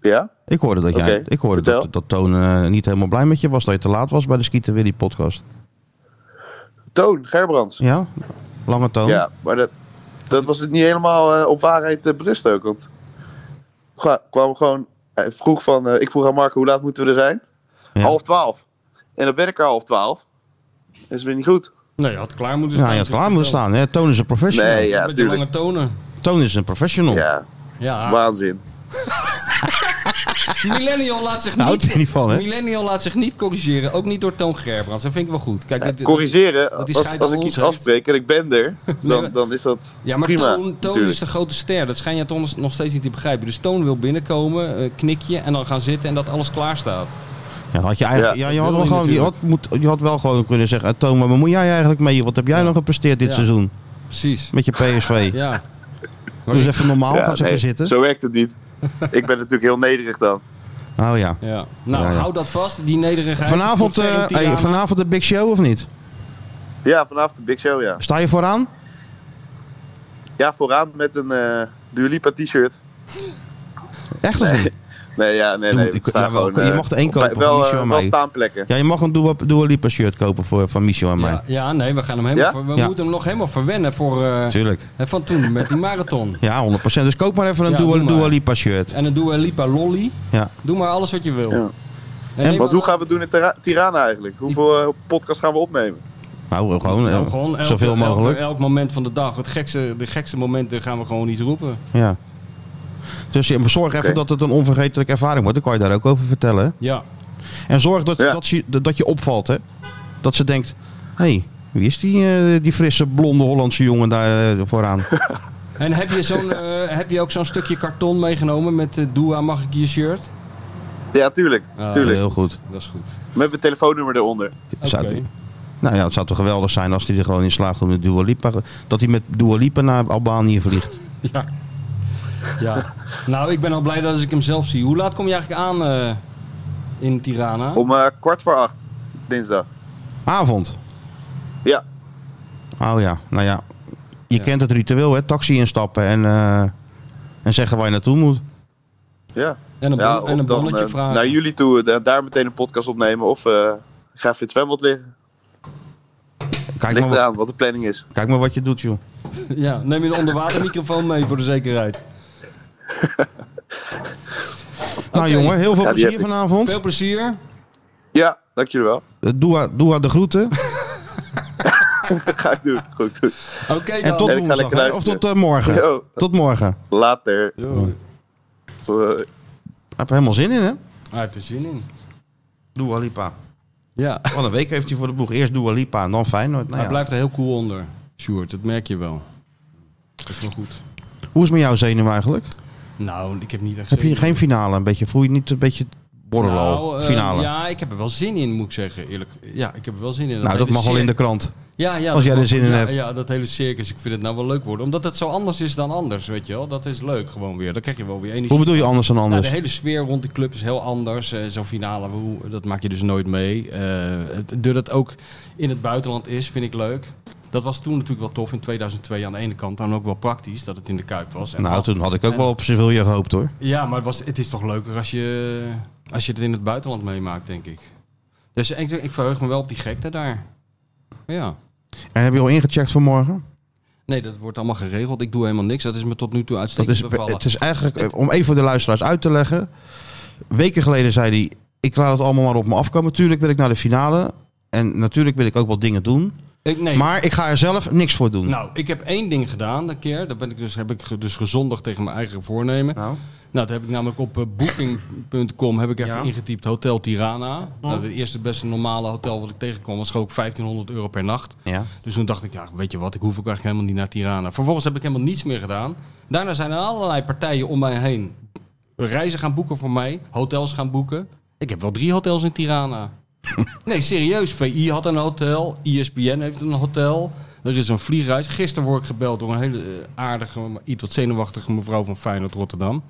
Speaker 4: Ja?
Speaker 1: Ik hoorde dat jij.
Speaker 4: Oké,
Speaker 1: ik hoorde dat,
Speaker 4: vertel.
Speaker 1: dat Toon eh, niet helemaal blij met je was. Dat je te laat was bij de Skieten Willy podcast.
Speaker 4: Toon Gerbrands.
Speaker 1: Ja? Lange Toon.
Speaker 4: Ja, maar dat, dat was het niet helemaal eh, op waarheid eh, berust ook. Want kwa- kwam gewoon, hij vroeg van, eh, ik vroeg aan Marco hoe laat moeten we er zijn?
Speaker 1: Ja.
Speaker 4: Half twaalf. En dan ben ik er half twaalf. Dat is weer niet goed.
Speaker 3: Nee, je had klaar moeten
Speaker 1: Nou,
Speaker 3: staan.
Speaker 1: je had klaar moeten staan. Hè? Toon is een professional.
Speaker 4: Nee, ja,
Speaker 3: Met die
Speaker 4: tuurlijk.
Speaker 3: lange tonen.
Speaker 1: Toon is een professional.
Speaker 4: Ja,
Speaker 1: Ah.
Speaker 3: Ja,
Speaker 4: waanzin.
Speaker 3: Millennial laat zich
Speaker 1: Nou,
Speaker 3: niet...
Speaker 1: in ieder geval, hè?
Speaker 3: Millennial laat zich niet corrigeren. Ook niet door Toon Gerbrands. Dat vind ik wel goed. Kijk, dit- dit-
Speaker 4: Corrigeren,
Speaker 3: dat die
Speaker 4: als,
Speaker 3: scheid
Speaker 4: als
Speaker 3: aan
Speaker 4: ik
Speaker 3: ons
Speaker 4: iets
Speaker 3: heeft.
Speaker 4: afspreek en ik ben
Speaker 1: *laughs*
Speaker 4: er,
Speaker 3: maar-
Speaker 4: dan, dan is dat
Speaker 3: ja, maar
Speaker 4: prima.
Speaker 3: Toon, Toon
Speaker 4: natuurlijk.
Speaker 3: is de grote ster. Dat schijn je toch nog steeds niet te begrijpen. Dus Toon wil binnenkomen, eh, knik je en dan gaan zitten en dat alles klaar staat.
Speaker 1: Ja, had je, eigenlijk,
Speaker 4: Ja,
Speaker 1: ja, je, had
Speaker 3: dat
Speaker 1: wel
Speaker 3: wil je
Speaker 1: gewoon, je, had, moet, je had wel gewoon kunnen zeggen... eh, Toon, maar waar moet jij eigenlijk mee? Wat heb jij
Speaker 3: Ja.
Speaker 1: nog gepresteerd dit
Speaker 3: Ja.
Speaker 1: seizoen?
Speaker 3: Precies.
Speaker 1: Met je PSV.
Speaker 3: Ja.
Speaker 1: Doe eens Dus even normaal.
Speaker 4: Ja,
Speaker 1: Ga eens
Speaker 4: nee,
Speaker 1: even zitten.
Speaker 4: Zo werkt het niet. *laughs* ik ben natuurlijk heel nederig dan.
Speaker 1: Oh ja.
Speaker 3: ja. Nou,
Speaker 1: Ja, ja.
Speaker 3: hou dat vast. Die nederigheid.
Speaker 1: Vanavond,
Speaker 3: Tot ver in
Speaker 1: eh,
Speaker 3: Tirana.
Speaker 1: hey, vanavond de Big Show of niet?
Speaker 4: Ja, vanavond de Big Show, ja.
Speaker 1: Sta je vooraan?
Speaker 4: Ja, vooraan met een eh Dua Lipa t-shirt.
Speaker 1: Echt of niet?
Speaker 4: Nee, ja, nee,
Speaker 1: Doe-
Speaker 4: nee.
Speaker 1: ik-
Speaker 4: we staan
Speaker 1: ja, wel,
Speaker 4: gewoon,
Speaker 1: je
Speaker 4: eh,
Speaker 1: mag er één
Speaker 4: op-
Speaker 1: kopen,
Speaker 4: Wel,
Speaker 1: Michel
Speaker 4: eh,
Speaker 1: en
Speaker 4: wel
Speaker 1: mij.
Speaker 4: staanplekken.
Speaker 1: Ja, je mag een Dua, Dua Lipa shirt kopen voor, van Michel en mij.
Speaker 3: Ja, ja, nee, we gaan hem helemaal.
Speaker 4: Ja?
Speaker 3: ver- we
Speaker 1: Ja.
Speaker 3: moeten hem nog helemaal verwennen voor eh,
Speaker 1: Tuurlijk.
Speaker 3: hè, van toen met die marathon.
Speaker 1: Ja, 100%. Dus koop maar even een
Speaker 3: Ja,
Speaker 1: Dua,
Speaker 3: doe maar.
Speaker 1: Dua Lipa shirt.
Speaker 3: En dan doen we Lipa Lolly.
Speaker 1: Ja.
Speaker 3: Doe maar alles wat je wil.
Speaker 4: Ja.
Speaker 3: En,
Speaker 4: Want hoe gaan we het doen in Tira- Tirana eigenlijk? Hoeveel eh, podcast gaan we opnemen?
Speaker 1: Nou, eh, gewoon, eh,
Speaker 3: Nou, gewoon elke-
Speaker 1: zoveel
Speaker 3: elke-
Speaker 1: mogelijk.
Speaker 3: Elk, moment van de dag. Het gekste, de gekste momenten gaan we gewoon iets roepen.
Speaker 1: Ja. Dus je- zorg even
Speaker 4: Oké.
Speaker 1: dat het een onvergetelijke ervaring wordt. Dan kan je daar ook over vertellen. hè.
Speaker 3: Ja.
Speaker 1: En zorg dat,
Speaker 4: Ja.
Speaker 1: dat, ze, dat je opvalt. Hè? Dat ze denkt, hé, hey, wie is die, eh, die frisse blonde Hollandse jongen daar eh,
Speaker 4: *laughs*
Speaker 1: vooraan?
Speaker 3: En heb je,
Speaker 1: *laughs*
Speaker 3: zo'n, eh, heb je ook zo'n stukje karton meegenomen met eh Doa, mag ik je shirt?
Speaker 4: Ja, tuurlijk.
Speaker 3: Ah,
Speaker 4: tuurlijk.
Speaker 1: Heel goed.
Speaker 3: Dat is goed.
Speaker 4: Met mijn telefoonnummer eronder.
Speaker 1: Zou-
Speaker 3: Oké.
Speaker 1: nou ja, het zou toch geweldig zijn als hij er gewoon in slaagt om de Dua Lipa, dat hij met Dua Lipa naar Albanië
Speaker 3: *laughs*
Speaker 1: vliegt.
Speaker 3: *laughs* Ja. ja. Nou, ik ben al blij dat als ik hem zelf zie. Hoe laat kom je eigenlijk aan eh, in Tirana?
Speaker 4: Om eh, kwart voor acht, dinsdag.
Speaker 1: Avond.
Speaker 4: Ja,
Speaker 1: Oh ja, nou ja. Je
Speaker 3: Ja.
Speaker 1: kent het ritueel, hè? Taxi instappen en, eh, en zeggen waar je naartoe moet.
Speaker 4: ja.
Speaker 3: En een, bon-
Speaker 4: ja
Speaker 3: en een bonnetje
Speaker 4: eh,
Speaker 3: vragen.
Speaker 4: naar jullie toe, eh, daar meteen een podcast opnemen. Of eh, ik ga even in het zwembad liggen.
Speaker 1: Kijk maar,
Speaker 4: Ligt
Speaker 1: wat,
Speaker 4: eraan wat de planning is.
Speaker 1: kijk maar wat je doet, joh.
Speaker 3: *laughs* Ja, neem je de onderwatermicrofoon mee voor de zekerheid. Oké,
Speaker 1: Nou jongen, heel veel
Speaker 4: Ja, die
Speaker 1: plezier
Speaker 4: heb ik.
Speaker 1: vanavond.
Speaker 3: Veel plezier.
Speaker 4: Ja, dank jullie wel. *laughs*
Speaker 1: Eh, Doe, doe haar de groeten.
Speaker 4: ga ik doen. Goed doen.
Speaker 3: Oké
Speaker 1: En
Speaker 3: dan.
Speaker 1: tot
Speaker 4: En ik ga
Speaker 1: woensdag,
Speaker 4: lekker
Speaker 1: hè? of
Speaker 4: luisteren.
Speaker 1: tot eh, morgen.
Speaker 4: Yo.
Speaker 1: Tot morgen.
Speaker 4: Later.
Speaker 3: Yo.
Speaker 4: Eh,
Speaker 1: Ik heb er helemaal zin in, hè?
Speaker 3: Hij heeft er zin in.
Speaker 1: Dua Lipa.
Speaker 3: Ja.
Speaker 1: Wat een week heeft hij voor de boeg. Eerst Dua Lipa en dan Feyenoord. Nou
Speaker 3: Hij
Speaker 1: ja.
Speaker 3: blijft er heel cool onder, Sjoerd. Dat merk je wel. Dat is wel goed.
Speaker 1: Hoe is het met jouw zenuw eigenlijk?
Speaker 3: Nou, ik heb niet echt
Speaker 1: Heb je
Speaker 3: zin in.
Speaker 1: geen finale? Een beetje, voel je niet een beetje borrelen al?
Speaker 3: Nou, eh,
Speaker 1: finale.
Speaker 3: ja, ik heb er wel zin in, moet ik zeggen. Eerlijk. Ja, ik heb er wel zin in.
Speaker 1: nou, dat
Speaker 3: hele
Speaker 1: mag al in de
Speaker 3: cir-
Speaker 1: krant.
Speaker 3: Ja, ja,
Speaker 1: als
Speaker 3: dat
Speaker 1: jij er
Speaker 3: mag-
Speaker 1: zin in
Speaker 3: ja,
Speaker 1: hebt.
Speaker 3: Ja, dat hele circus. Ik vind het nou wel leuk worden. Omdat het zo anders is dan anders, weet je wel. Dat is leuk gewoon weer. Dan krijg je wel weer energie.
Speaker 1: Hoe bedoel je anders dan
Speaker 3: Nou,
Speaker 1: anders?
Speaker 3: de hele sfeer rond de club is heel anders. Eh, Zo'n finale, hoe- dat maak je dus nooit mee. Eh, het- doordat het ook in het buitenland is, vind ik leuk. Dat was toen natuurlijk wel tof in 2002 aan de ene kant. Dan ook wel praktisch dat het in de Kuip was. En
Speaker 1: nou,
Speaker 3: al-
Speaker 1: toen had ik ook
Speaker 3: en-
Speaker 1: wel op Sevilla gehoopt, hoor.
Speaker 3: Ja, maar het, was, het is toch leuker als je, als je het in het buitenland meemaakt, denk ik. Dus ik, ik verheug me wel op die gekte daar. Ja.
Speaker 1: En heb je al ingecheckt voor morgen?
Speaker 3: Nee, dat wordt allemaal geregeld. Ik doe helemaal niks. Dat is me tot nu toe
Speaker 1: Dat
Speaker 3: uitstekend
Speaker 1: is,
Speaker 3: bevallen.
Speaker 1: het is eigenlijk, eh, om even voor de luisteraars uit te leggen. Weken geleden zei hij, ik laat het allemaal maar op me afkomen. Tuurlijk wil ik naar de finale. En natuurlijk wil ik ook wel dingen doen.
Speaker 3: Ik, nee,
Speaker 1: Maar ik ga er zelf niks voor doen.
Speaker 3: nou, ik heb één ding gedaan een keer. Daar ben ik dus, heb ik ge- dus gezondigd tegen mijn eigen voornemen.
Speaker 1: Nou,
Speaker 3: Nou, dat heb ik namelijk op eh, booking.com heb ik even
Speaker 1: Ja.
Speaker 3: ingetypt Hotel Tirana. Nou, het eerste beste normale hotel wat ik tegenkwam was gewoon 1500 euro per nacht.
Speaker 1: ja.
Speaker 3: Dus toen dacht ik, ja, weet je wat, ik hoef ook eigenlijk helemaal niet naar Tirana. Vervolgens heb ik helemaal niets meer gedaan. Daarna zijn er allerlei partijen om mij heen reizen gaan boeken voor mij, hotels gaan boeken. Ik heb wel drie hotels in
Speaker 1: *laughs*
Speaker 3: Tirana. nee, serieus. VI had een hotel, E ISBN heeft een hotel. Er is een vliegreis. Gisteren word ik gebeld door een hele eh, aardige, maar iets wat zenuwachtige mevrouw van Feyenoord Rotterdam.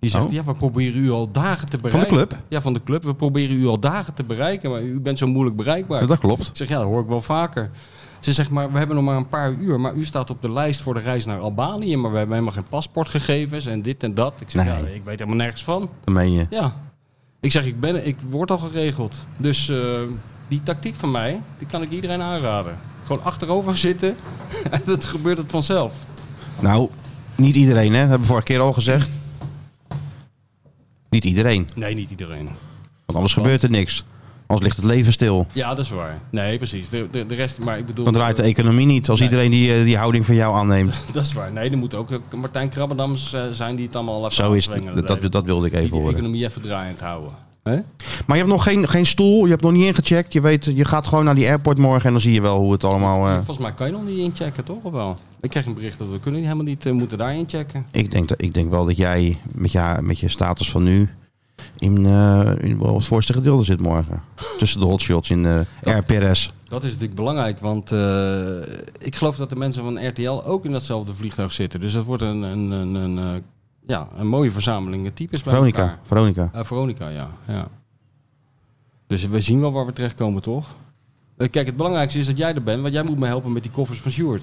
Speaker 3: Die zegt,
Speaker 1: Oh.
Speaker 3: ja, we proberen u al dagen te bereiken.
Speaker 1: Van de club?
Speaker 3: Ja, van de club. We proberen u al dagen te bereiken, maar u bent zo moeilijk bereikbaar.
Speaker 1: Ja, dat klopt.
Speaker 3: Ik zeg, ja, dat hoor ik wel vaker. Ze zegt, maar we hebben nog maar een paar uur. Maar u staat op de lijst voor de reis naar Albanië. Maar we hebben helemaal geen paspoortgegevens en dit en dat. Ik zeg,
Speaker 1: Nee.
Speaker 3: ja, ik weet helemaal nergens van.
Speaker 1: Dat meen je.
Speaker 3: Ja. Ik zeg, ik, ben, ik word al geregeld. Dus eh, die tactiek van mij, die kan ik iedereen aanraden. Gewoon achterover zitten *laughs* en dat gebeurt het vanzelf.
Speaker 1: Nou, niet iedereen, hè? Dat hebben we vorige keer al gezegd. Niet iedereen,
Speaker 3: Nee, niet iedereen.
Speaker 1: want anders gebeurt er niks. Anders ligt het leven stil.
Speaker 3: Ja, dat is waar. Nee, precies. De, de, de rest, maar ik bedoel...
Speaker 1: Dan draait de economie niet als
Speaker 3: Nee.
Speaker 1: iedereen die, eh, die houding van jou
Speaker 3: *laughs*
Speaker 1: aannemt.
Speaker 3: eh, Dat is waar. Nee, er moet ook eh, Martijn Krabbendams eh, zijn die het allemaal al even
Speaker 1: Zo is
Speaker 3: aanzwengelen,
Speaker 1: het. Dat,
Speaker 3: David.
Speaker 1: dat wilde ik even
Speaker 3: Die de
Speaker 1: horen.
Speaker 3: economie even draaiend houden. Hè?
Speaker 1: Maar je hebt nog geen, geen stoel, je hebt nog niet ingecheckt. Je, weet, je gaat gewoon naar die airport morgen en dan zie je wel hoe het allemaal... eh,
Speaker 3: Volgens mij kan je nog niet inchecken, toch? Of wel? Ik kreeg een bericht dat we kunnen helemaal niet eh, moeten daar inchecken.
Speaker 1: ik, denk dat, ik denk wel dat jij met je, met je status van nu in, eh, in wel het voorste gedeelte zit
Speaker 3: *laughs*
Speaker 1: morgen. Tussen de hotshots in eh RPRS.
Speaker 3: Dat is natuurlijk belangrijk, want eh, ik geloof dat de mensen van RTL ook in datzelfde vliegtuig zitten. Dus dat wordt een, een, een, een, eh, ja, een mooie verzameling eh, types bij
Speaker 1: Veronica,
Speaker 3: elkaar.
Speaker 1: Veronica.
Speaker 3: Eh, Veronica, ja. ja. Dus we zien wel waar we terechtkomen, toch? Eh, Kijk, het belangrijkste is dat jij er bent, want jij moet me helpen met die koffers van Sjoerd.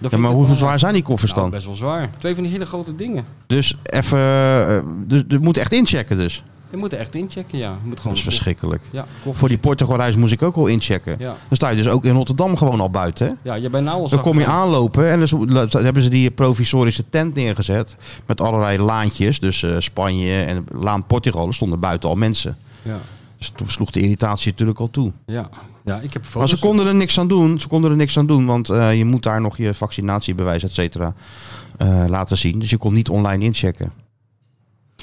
Speaker 3: Dat vind
Speaker 1: Ja,
Speaker 3: ik
Speaker 1: maar
Speaker 3: het
Speaker 1: hoe
Speaker 3: belangrijkste.
Speaker 1: zwaar zijn die koffers
Speaker 3: Nou,
Speaker 1: dan?
Speaker 3: best wel zwaar. Twee van die hele grote dingen.
Speaker 1: Dus even. eh, Dus je moet echt inchecken, dus.
Speaker 3: Je moet er echt inchecken, ja. Je moet
Speaker 1: Dat
Speaker 3: gewoon
Speaker 1: is verschrikkelijk.
Speaker 3: Ja, koffers.
Speaker 1: Voor die Portugal-reis moest ik ook al inchecken.
Speaker 3: Ja.
Speaker 1: Dan sta je dus ook in Rotterdam gewoon al buiten. hè?
Speaker 3: Ja, je bent nou al
Speaker 1: Dan kom je aanlopen en dus hebben ze die provisorische tent neergezet. Met allerlei laantjes. Dus eh, Spanje en Laan Portugal. Er stonden buiten al mensen.
Speaker 3: Ja,
Speaker 1: Dus toen sloeg de irritatie natuurlijk al toe.
Speaker 3: ja. ja ik heb foto's.
Speaker 1: Maar ze konden er niks aan doen. Ze konden er niks aan doen. Want eh, je moet daar nog je vaccinatiebewijs, et cetera, eh, laten zien. Dus je kon niet online inchecken.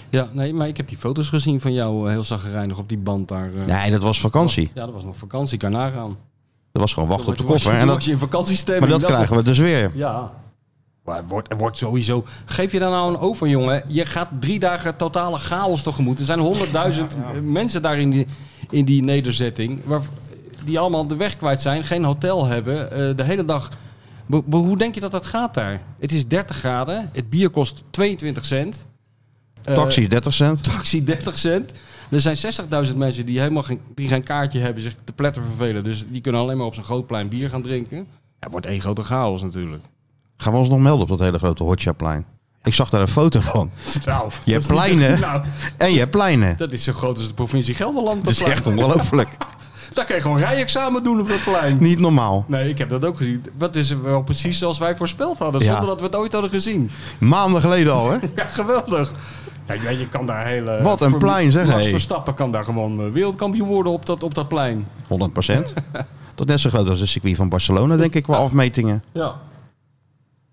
Speaker 3: Ja, nee, maar ik heb die foto's gezien van jou eh, heel zagrijnig op die band daar. eh.
Speaker 1: Nee, dat was vakantie.
Speaker 3: Ja, dat was nog vakantie, kan nagaan.
Speaker 1: Dat was gewoon wachten op de
Speaker 3: Toen was je-
Speaker 1: koffer. En
Speaker 3: toen
Speaker 1: dat,
Speaker 3: was je in vakantiestemming.
Speaker 1: maar dat krijgen we dus weer.
Speaker 3: Ja. Maar het wordt, het wordt sowieso... Geef je daar nou een over, jongen. Je gaat drie dagen totale chaos tegemoet. Er zijn honderdduizend mensen daar in die, in die nederzetting... Waar, die allemaal de weg kwijt zijn, geen hotel hebben. eh, de hele dag... Bo- bo- hoe denk je dat dat gaat daar? Het is 30 graden. Het bier kost 22 cent. Eh,
Speaker 1: Taxi 30 cent.
Speaker 3: taxi 30 cent. Er zijn 60.000 mensen die helemaal geen, die geen kaartje hebben, zich te pletter vervelen. Dus die kunnen alleen maar op zo'n groot plein bier gaan drinken. Ja, het wordt één grote chaos natuurlijk.
Speaker 1: Gaan we ons nog melden op dat hele grote Hotjaplein? Ik zag daar een foto van.
Speaker 3: Nou,
Speaker 1: Je hebt pleinen en je hebt pleinen.
Speaker 3: dat is zo groot als de provincie Gelderland.
Speaker 1: Het is
Speaker 3: plein.
Speaker 1: echt ongelooflijk.
Speaker 3: Daar kan je gewoon rijexamen doen op dat plein.
Speaker 1: Niet normaal.
Speaker 3: Nee, ik heb dat ook gezien. Dat is wel precies zoals wij voorspeld hadden,
Speaker 1: Ja.
Speaker 3: zonder dat we het ooit hadden gezien.
Speaker 1: Maanden geleden al, hè?
Speaker 3: Ja, geweldig. Ja, je, je kan daar hele...
Speaker 1: Wat een
Speaker 3: Verm-
Speaker 1: plein, zeg,
Speaker 3: Max
Speaker 1: hé.
Speaker 3: Verstappen kan daar gewoon eh, wereldkampioen worden op dat, op dat plein.
Speaker 1: 100
Speaker 3: *laughs*
Speaker 1: procent. Tot net zo groot als de circuit van Barcelona, denk ik, qua afmetingen.
Speaker 3: Ja.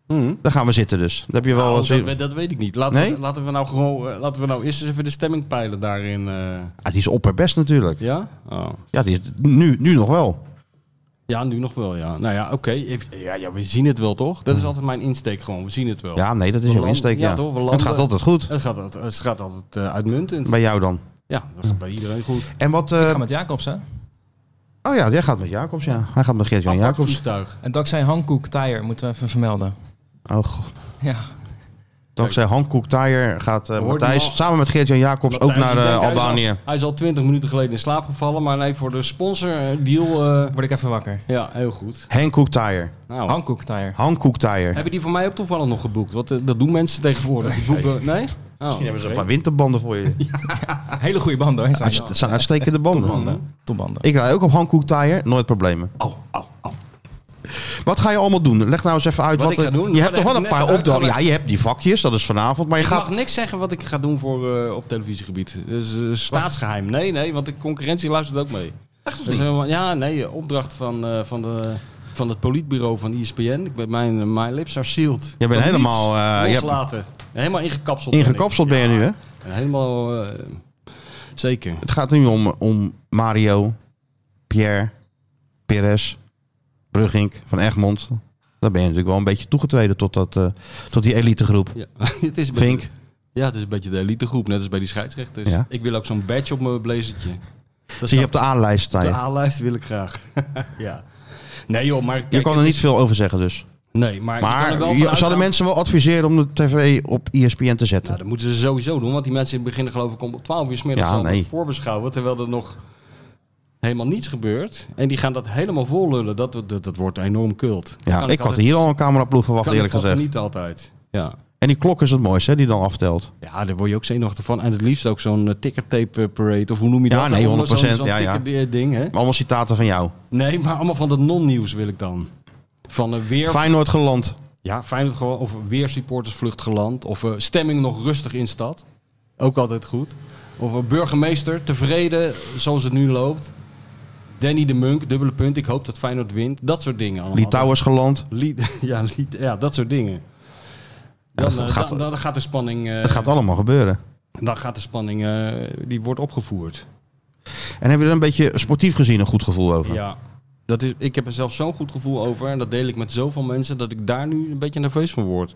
Speaker 3: Hm.
Speaker 1: Daar gaan we zitten dus. Dat heb je wel...
Speaker 3: Nou,
Speaker 1: eens-
Speaker 3: dat, we- dat weet ik niet. Laten,
Speaker 1: Nee?
Speaker 3: we, laten, we nou gewoon, eh, laten we nou eerst eens even de stemming peilen daarin. eh.
Speaker 1: Ah, het is opperbest natuurlijk.
Speaker 3: ja? Oh.
Speaker 1: Ja, die is nu, nu nog wel.
Speaker 3: Ja, nu nog wel, ja. Nou ja, oké. Ik- Ja, ja, we zien het wel, toch? Dat is altijd mijn insteek gewoon. We zien het wel.
Speaker 1: Hmm. Ja, nee, dat is
Speaker 3: We
Speaker 1: jouw
Speaker 3: landen-
Speaker 1: insteek,
Speaker 3: ja,
Speaker 1: ja.
Speaker 3: toch, we landen-
Speaker 1: Het gaat altijd goed.
Speaker 3: Het gaat, altijd- het gaat altijd eh, uitmuntend.
Speaker 1: Bij jou dan.
Speaker 3: Ja, dat gaat bij iedereen goed.
Speaker 1: En wat...
Speaker 2: Ik
Speaker 1: eh,
Speaker 2: ga met Jacobs, hè?
Speaker 1: oh ja, jij gaat met Jacobs, ja. Hij gaat met Geert-Jan
Speaker 3: Apart
Speaker 1: Jacobs.
Speaker 3: vliegtuig.
Speaker 2: En dankzij Hankook Tire moeten we even vermelden.
Speaker 1: Oh, god.
Speaker 2: Ja.
Speaker 1: dankzij Hankook Tire gaat eh,
Speaker 3: hoorden hem
Speaker 1: Matthijs
Speaker 3: al.
Speaker 1: samen met Geert-Jan Jacobs ook
Speaker 3: Matthijs,
Speaker 1: naar
Speaker 3: ik
Speaker 1: eh,
Speaker 3: denk, hij is al-
Speaker 1: Albanië.
Speaker 3: Hij is al twintig minuten geleden in slaap gevallen, maar nee, voor de sponsordeal... eh
Speaker 2: Word ik even wakker.
Speaker 1: Oh.
Speaker 3: ja, heel goed.
Speaker 1: Hankook Tire.
Speaker 3: Nou,
Speaker 2: Hankook Tire.
Speaker 1: Hankook Tire.
Speaker 3: hebben die voor mij ook toevallig nog geboekt? Want eh, dat doen mensen tegenwoordig. Die boeken... Nee? Oh,
Speaker 1: Misschien hebben ze een
Speaker 3: oké.
Speaker 1: paar winterbanden voor
Speaker 3: *laughs*
Speaker 1: je.
Speaker 2: Hele goede band hoor. Zijn
Speaker 1: Uit- Het zijn uitstekende banden.
Speaker 2: banden. Topbanden.
Speaker 1: Ik rij ook op Hankook Tire, nooit problemen.
Speaker 3: Oh, oh, oh.
Speaker 1: Wat ga je allemaal doen? Leg nou eens even uit.
Speaker 3: Wat ik
Speaker 1: eh,
Speaker 3: ga doen?
Speaker 1: Je
Speaker 3: Wat
Speaker 1: hebt nog wel
Speaker 3: heb ik
Speaker 1: een
Speaker 3: net
Speaker 1: paar opdrachten. Ja,
Speaker 3: uitgelegd?
Speaker 1: je hebt die vakjes, dat is vanavond. Maar je
Speaker 3: Ik
Speaker 1: gaat...
Speaker 3: mag niks zeggen wat ik ga doen voor, eh, op televisiegebied. Dus eh, staatsgeheim. Nee, nee, want de concurrentie luistert ook mee.
Speaker 1: Echt of
Speaker 3: Dat is
Speaker 1: niet?
Speaker 3: helemaal- ja, nee, opdracht van, eh, van, de, van het politbureau van E ESPN. Ik ben, mijn, eh, mijn lips are sealed.
Speaker 1: Jij bent
Speaker 3: Kan
Speaker 1: helemaal, eh,
Speaker 3: niets
Speaker 1: je hebt-
Speaker 3: loslaten. Helemaal ingekapseld. ben ik.
Speaker 1: Ingekapseld ben je nu, hè?
Speaker 3: Helemaal... eh, zeker.
Speaker 1: Het gaat nu om, om Mario, Pierre, Perez, Brugink van Egmond. Daar ben je natuurlijk wel een beetje toegetreden tot, dat, eh, tot die elitegroep.
Speaker 3: Ja. *laughs* het is een beetje-
Speaker 1: Vink,
Speaker 3: Ja, het is een beetje de elitegroep, net als bij die scheidsrechters.
Speaker 1: Ja.
Speaker 3: Ik wil ook zo'n badge op mijn blazertje. Dat
Speaker 1: zie je
Speaker 3: staat
Speaker 1: op de A-lijst
Speaker 3: op
Speaker 1: staan.
Speaker 3: de
Speaker 1: je.
Speaker 3: A-lijst wil ik graag. *laughs* ja. Nee joh, maar...
Speaker 1: Je
Speaker 3: kijk,
Speaker 1: kan er
Speaker 3: het
Speaker 1: niet veel over zeggen dus.
Speaker 3: is- Nee, maar... je kan er wel
Speaker 1: Maar
Speaker 3: van
Speaker 1: je,
Speaker 3: uitgaan-
Speaker 1: zouden mensen wel adviseren om de tv op E ESPN te zetten?
Speaker 3: Nou, dat moeten ze sowieso doen, want die mensen beginnen geloof ik om 12 uur 's middags
Speaker 1: Ja,
Speaker 3: al
Speaker 1: nee.
Speaker 3: met voorbeschouwen, terwijl er nog helemaal niets gebeurt. En die gaan dat helemaal vol lullen. Dat, dat, dat wordt enorm kult.
Speaker 1: ja, ik had hier al een cameraploeg verwacht
Speaker 3: kan
Speaker 1: eerlijk
Speaker 3: ik altijd
Speaker 1: gezegd.
Speaker 3: niet altijd. Ja.
Speaker 1: En die klok is het mooiste hè, die dan aftelt.
Speaker 3: Ja, daar word je ook zenuwachtig van. En het liefst ook zo'n eh, ticker tape parade, of hoe noem je
Speaker 1: Ja,
Speaker 3: dat?
Speaker 1: nee,
Speaker 3: Zo'n-
Speaker 1: 100%,
Speaker 3: Zo'n
Speaker 1: ja, ja.
Speaker 3: ticker eh, ding, hè?
Speaker 1: Maar allemaal citaten van jou.
Speaker 3: Nee, maar allemaal van dat non-nieuws wil ik dan. Van een weer...
Speaker 1: Feyenoord geland.
Speaker 3: Ja, Feyenoord gewoon of weer supportersvlucht geland. Of eh, stemming nog rustig in stad. Ook altijd goed. Of een burgemeester tevreden zoals het nu loopt. Danny de Munk, dubbele punt. Ik hoop dat Feyenoord wint. Dat soort dingen allemaal.
Speaker 1: Litouwers geland.
Speaker 3: Lied- *laughs* ja, lied- ja, dat soort dingen.
Speaker 1: Ja,
Speaker 3: Dan,
Speaker 1: dat
Speaker 3: eh,
Speaker 1: gaat-
Speaker 3: dan, dan gaat de spanning, eh,
Speaker 1: Het gaat allemaal gebeuren.
Speaker 3: dan gaat de spanning eh, die wordt opgevoerd.
Speaker 1: En hebben we er een beetje sportief gezien een goed gevoel over?
Speaker 3: Ja. Dat is, ik heb er zelf zo'n goed gevoel over. En dat deel ik met zoveel mensen dat ik daar nu een beetje nerveus van word.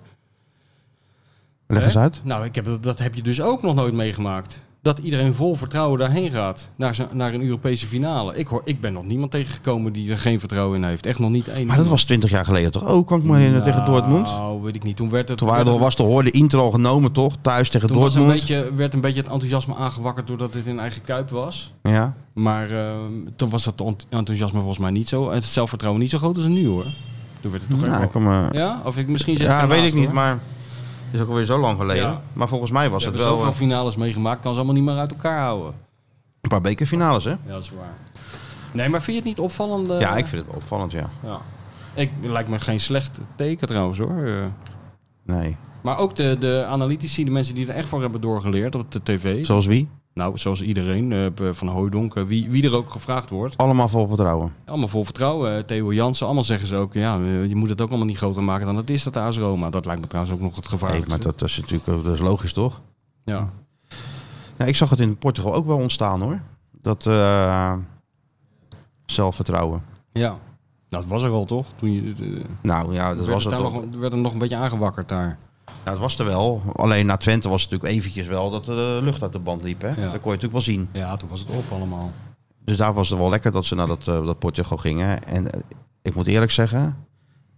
Speaker 1: Leg
Speaker 3: Hè?
Speaker 1: eens uit.
Speaker 3: Nou, ik heb, dat- dat heb je dus ook nog nooit meegemaakt. Dat iedereen vol vertrouwen daarheen gaat. Naar, zo- naar een Europese finale. Ik, hoor, ik ben nog niemand tegengekomen die er geen vertrouwen in heeft. Echt nog niet één.
Speaker 1: Maar dat was 20 jaar geleden toch ook, kan ik me herinneren, tegen Dortmund?
Speaker 3: Nou, weet ik niet. Toen werd het...
Speaker 1: Toen waren
Speaker 3: werd
Speaker 1: er,
Speaker 3: het-
Speaker 1: was de hoorde intro al genomen toch, thuis tegen
Speaker 3: toen was een
Speaker 1: Dortmund.
Speaker 3: beetje, werd een beetje het enthousiasme aangewakkerd doordat dit in eigen kuip was.
Speaker 1: Ja.
Speaker 3: Maar ehm, toen was dat ont- enthousiasme volgens mij niet zo. Het zelfvertrouwen niet zo groot als nu hoor. Toen werd het toch
Speaker 1: Nou,
Speaker 3: echt
Speaker 1: ik
Speaker 3: wel-
Speaker 1: kom, eh,
Speaker 3: Ja? Of ik misschien zeg
Speaker 1: ja,
Speaker 3: ernaast,
Speaker 1: weet ik niet,
Speaker 3: hoor.
Speaker 1: maar het is ook alweer zo lang geleden.
Speaker 3: Ja.
Speaker 1: Maar volgens mij was
Speaker 3: We
Speaker 1: het
Speaker 3: hebben
Speaker 1: wel
Speaker 3: zoveel
Speaker 1: eh,
Speaker 3: finales meegemaakt. Kan ze allemaal niet meer uit elkaar houden.
Speaker 1: een paar bekerfinales hè?
Speaker 3: Ja, dat is waar. Nee, maar vind je het niet opvallend? eh?
Speaker 1: Ja, ik vind het wel opvallend ja.
Speaker 3: Ja. Ik lijkt me geen slecht teken trouwens hoor. Eh,
Speaker 1: Nee.
Speaker 3: Maar ook de, de analytici, de mensen die er echt voor hebben doorgeleerd op de tv.
Speaker 1: Zoals wie?
Speaker 3: Nou, zoals iedereen, eh, van Hooydonk, eh, wie, wie er ook gevraagd wordt.
Speaker 1: Allemaal vol vertrouwen.
Speaker 3: Allemaal vol vertrouwen. Eh, Theo Jansen, allemaal zeggen ze ook, ja, eh, je moet het ook allemaal niet groter maken dan het is, dat AS Roma. Dat lijkt me trouwens ook nog het
Speaker 1: Nee,
Speaker 3: gevaarlijkste.
Speaker 1: maar dat is natuurlijk eh, dat is logisch toch?
Speaker 3: ja.
Speaker 1: Ja, ik zag het in Portugal ook wel ontstaan hoor. Dat eh, zelfvertrouwen.
Speaker 3: ja. Nou, dat was er al toch? Toen je, eh,
Speaker 1: Nou ja, dat
Speaker 3: werd
Speaker 1: was
Speaker 3: het
Speaker 1: het
Speaker 3: daar
Speaker 1: toch.
Speaker 3: nog, werd er nog een beetje aangewakkerd daar.
Speaker 1: Ja, het was er wel. Alleen na Twente was het natuurlijk eventjes wel dat de lucht uit de band liep. Hè?
Speaker 3: Ja.
Speaker 1: Dat kon je natuurlijk wel zien.
Speaker 3: Ja, toen was het op allemaal.
Speaker 1: Dus daar was het wel lekker dat ze naar dat, eh, dat Portugal gingen. En eh, ik moet eerlijk zeggen,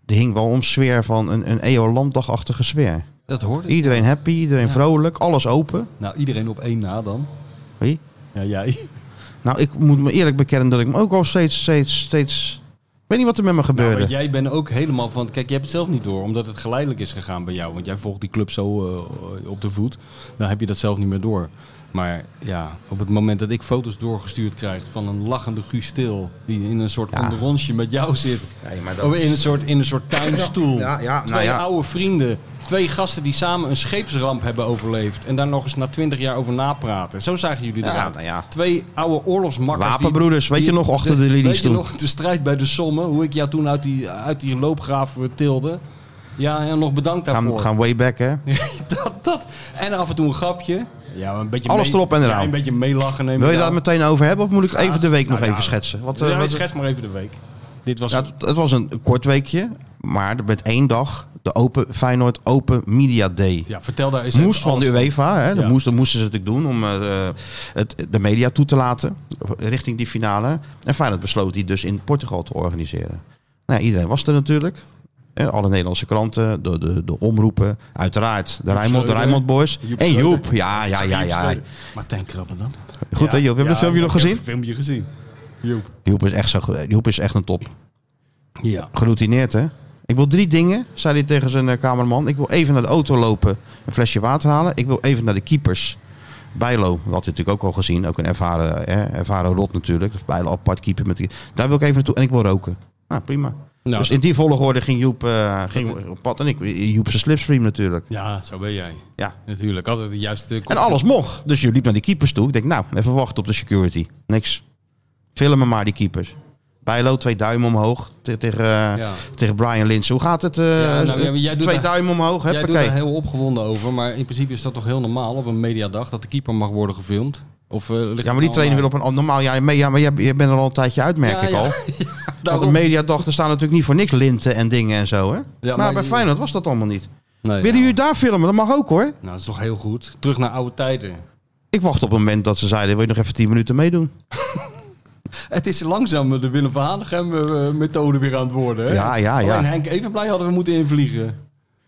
Speaker 1: er hing wel een sfeer van een, een EO-landdagachtige sfeer.
Speaker 3: Dat hoorde ik.
Speaker 1: Iedereen happy, iedereen
Speaker 3: Ja.
Speaker 1: vrolijk, alles open.
Speaker 3: Nou, iedereen op één na dan.
Speaker 1: Wie?
Speaker 3: Ja, jij.
Speaker 1: Nou, ik moet me eerlijk bekennen dat ik me ook al steeds, steeds, steeds... Ik weet niet wat er met me
Speaker 3: Nou,
Speaker 1: gebeurde.
Speaker 3: maar jij bent ook helemaal van. Kijk, je hebt het zelf niet door, omdat het geleidelijk is gegaan bij jou. Want jij volgt die club zo eh, op de voet. Dan heb je dat zelf niet meer door. Maar ja, op het moment dat ik foto's doorgestuurd krijg van een lachende Guus Stil. die in een soort
Speaker 1: Ja.
Speaker 3: onderonsje met jou zit.
Speaker 1: Nee, maar dat-
Speaker 3: Of in een soort, in een soort tuinstoel.
Speaker 1: Ja, ja, nou
Speaker 3: Twee
Speaker 1: ja.
Speaker 3: oude vrienden. Twee gasten die samen een scheepsramp hebben overleefd. En daar nog eens na twintig jaar over napraten. Zo zagen jullie
Speaker 1: Ja,
Speaker 3: eruit.
Speaker 1: nou ja.
Speaker 3: Twee oude oorlogsmakkers. die-
Speaker 1: Wapenbroeders, weet je
Speaker 3: die-
Speaker 1: nog, achter de linies
Speaker 3: Weet je
Speaker 1: toen.
Speaker 3: nog de strijd bij de sommen? Hoe ik jou toen uit die, uit die loopgraaf eh, tilde? Ja, en nog bedankt daarvoor.
Speaker 1: Gaan, gaan way back, hè?
Speaker 3: *laughs* dat, dat. En af en toe een grapje. Ja, maar een beetje
Speaker 1: Alles
Speaker 3: mee-
Speaker 1: erop en eraan.
Speaker 3: Ja, een beetje meelachen. neem
Speaker 1: Wil je
Speaker 3: ik
Speaker 1: daar
Speaker 3: aan.
Speaker 1: meteen over hebben of moet ik even de week nog
Speaker 3: nou ja.
Speaker 1: even schetsen? Wat, eh,
Speaker 3: Ja,
Speaker 1: wat-
Speaker 3: schets maar even de week. Dit was...
Speaker 1: Ja, het- het was een kort weekje, maar met één dag de open, Feyenoord Open Media Day.
Speaker 3: ja, vertel daar eens
Speaker 1: moest
Speaker 3: even
Speaker 1: van de
Speaker 3: alles
Speaker 1: UEFA, hè, dat,
Speaker 3: Ja.
Speaker 1: moest, dat moesten ze natuurlijk doen om eh, het, de media toe te laten richting die finale. En Feyenoord besloot die dus in Portugal te organiseren. Nou ja, iedereen was er natuurlijk. Hè, Alle Nederlandse kranten, de, de, de omroepen, uiteraard de Rijnmond, de
Speaker 3: Schreuder.
Speaker 1: Rijnmond Boys.
Speaker 3: Joep
Speaker 1: en
Speaker 3: Schreuder.
Speaker 1: Joep, ja, ja, ja, ja.
Speaker 3: Martijn Krabben dan.
Speaker 1: Goed hè Joep, heb je dat filmpje nog gezien?
Speaker 3: Heb het filmpje gezien. Joep.
Speaker 1: Joep is echt, zo, goed. Joep is echt een top.
Speaker 3: Ja.
Speaker 1: geroutineerd, hè? Ik wil drie dingen, zei hij tegen zijn eh, cameraman. Ik wil even naar de auto lopen, een flesje water halen. Ik wil even naar de keepers. Bijlo, dat had hij natuurlijk ook al gezien. Ook een ervaren, hè, ervaren rot natuurlijk. Of Bijlo apart keeper. Met die- Daar wil ik even naartoe. En ik wil roken. Nou, prima.
Speaker 3: Nou,
Speaker 1: dus in die volgorde ging Joep eh, ging op pad. En ik, Joep zijn slipstream natuurlijk.
Speaker 3: ja, zo ben jij.
Speaker 1: Ja.
Speaker 3: Natuurlijk, altijd de juiste...
Speaker 1: En alles mocht. Dus je liep naar die keepers toe. Ik denk, nou, even wachten op de security. Niks. Film hem maar, die keepers. Bijlo, twee duimen omhoog te- tegen, eh,
Speaker 3: Ja.
Speaker 1: tegen Brian Linsen. Hoe gaat het? eh,
Speaker 3: Ja, nou, ja, maar jij doet
Speaker 1: twee
Speaker 3: daar-
Speaker 1: duimen omhoog,
Speaker 3: Jij doet
Speaker 1: huppakee.
Speaker 3: er heel opgewonden over, maar in principe is dat toch heel normaal op een mediadag dat de keeper mag worden gefilmd? Of, eh, ligt het
Speaker 1: Ja, maar die
Speaker 3: allemaal-
Speaker 1: trainer wil op een... Normaal, ja, maar- ja maar jij, jij bent er al een tijdje uit, merk
Speaker 3: Ja,
Speaker 1: ik
Speaker 3: *laughs* ja.
Speaker 1: al. Want de
Speaker 3: Daarom.
Speaker 1: mediadag, daar staan natuurlijk niet voor niks linten en dingen en zo, hè? maar,
Speaker 3: maar
Speaker 1: bij
Speaker 3: je-
Speaker 1: Feyenoord was dat allemaal niet.
Speaker 3: Nee,
Speaker 1: Willen
Speaker 3: ja.
Speaker 1: jullie daar filmen? Dat mag ook, hoor.
Speaker 3: Nou, dat is toch heel goed. Terug naar oude tijden.
Speaker 1: Ik wacht op het moment dat ze zeiden, wil je nog even 10 minuten meedoen?
Speaker 3: Het is langzaam de Willem van Hanegem eh, methode weer aan het worden. Hè?
Speaker 1: Ja, ja, ja.
Speaker 3: Alleen Henk Evenblij hadden we moeten invliegen.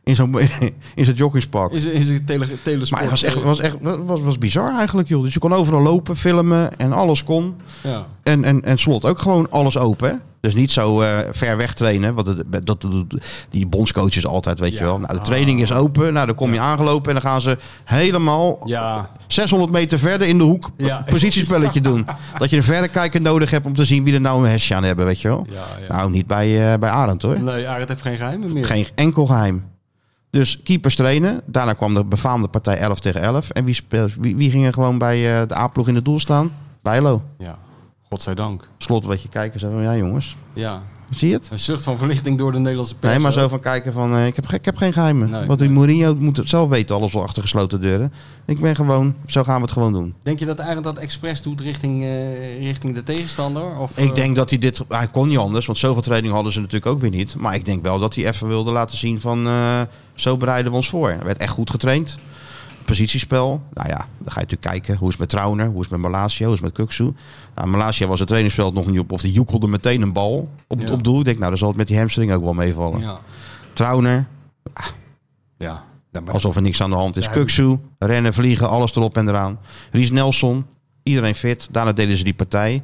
Speaker 1: In zo'n *laughs* in zo'n joggingspak.
Speaker 3: Is, is een tele, telesport.
Speaker 1: Maar het was echt, was echt was, was bizar eigenlijk, joh. Dus je kon overal lopen, filmen en alles kon.
Speaker 3: Ja.
Speaker 1: En, en, en slot ook gewoon alles open. hè. Dus niet zo eh, ver weg trainen. Want dat, dat doet die bondscoaches altijd, weet je
Speaker 3: Ja. Ah.
Speaker 1: wel. Nou, de training is open. Nou, dan kom je aangelopen en dan gaan ze helemaal
Speaker 3: Ja.
Speaker 1: 600 meter verder in de hoek
Speaker 3: Ja.
Speaker 1: positiespelletje doen. Dat je een verrekijker nodig hebt om te zien wie er nou een hesje aan hebben, weet je wel.
Speaker 3: ja, ja.
Speaker 1: Nou, niet bij, eh, bij Arend hoor.
Speaker 3: Nee, Arend heeft geen geheimen meer.
Speaker 1: Geen enkel geheim. Dus keepers trainen. Daarna kwam de befaamde partij 11 tegen 11. En wie, speel, wie, wie ging er gewoon bij eh, de A-ploeg in het doel staan? Bijlo.
Speaker 3: Ja. Godzijdank.
Speaker 1: Slot een beetje kijken. Zo van, ja jongens,
Speaker 3: Ja.
Speaker 1: zie je het?
Speaker 3: Een zucht van verlichting door de Nederlandse pers.
Speaker 1: Nee, maar
Speaker 3: hè?
Speaker 1: zo van kijken van, eh, ik, heb, ge- ik heb geen geheimen.
Speaker 3: Nee,
Speaker 1: Want die Mourinho moet het zelf weten, alles wel achter gesloten deuren. Ik ben gewoon, zo gaan we het gewoon doen.
Speaker 3: Denk je dat Arend dat expres doet richting, eh, richting de tegenstander? Of, eh,
Speaker 1: Ik denk dat hij dit, hij kon niet anders, want zoveel training hadden ze natuurlijk ook weer niet. Maar ik denk wel dat hij even wilde laten zien van, eh, zo bereiden we ons voor. Er werd echt goed getraind. Positiespel, nou ja, dan ga je natuurlijk kijken. Hoe is het met Trauner, hoe is het met Malaysia, hoe is het met Kuksu. Nou, Malaysia was het trainingsveld nog niet op, of die joekelde meteen een bal op,
Speaker 3: Ja.
Speaker 1: op doel. Ik denk, nou, dan zal het met die hamstring ook wel meevallen.
Speaker 3: Ja.
Speaker 1: Trauner,
Speaker 3: Ja. Ja, maar-
Speaker 1: alsof er niks aan de hand is.
Speaker 3: Ja.
Speaker 1: Kuksu, rennen, vliegen, alles erop en eraan. Ries Nelson, iedereen fit. Daarna deden ze die partij.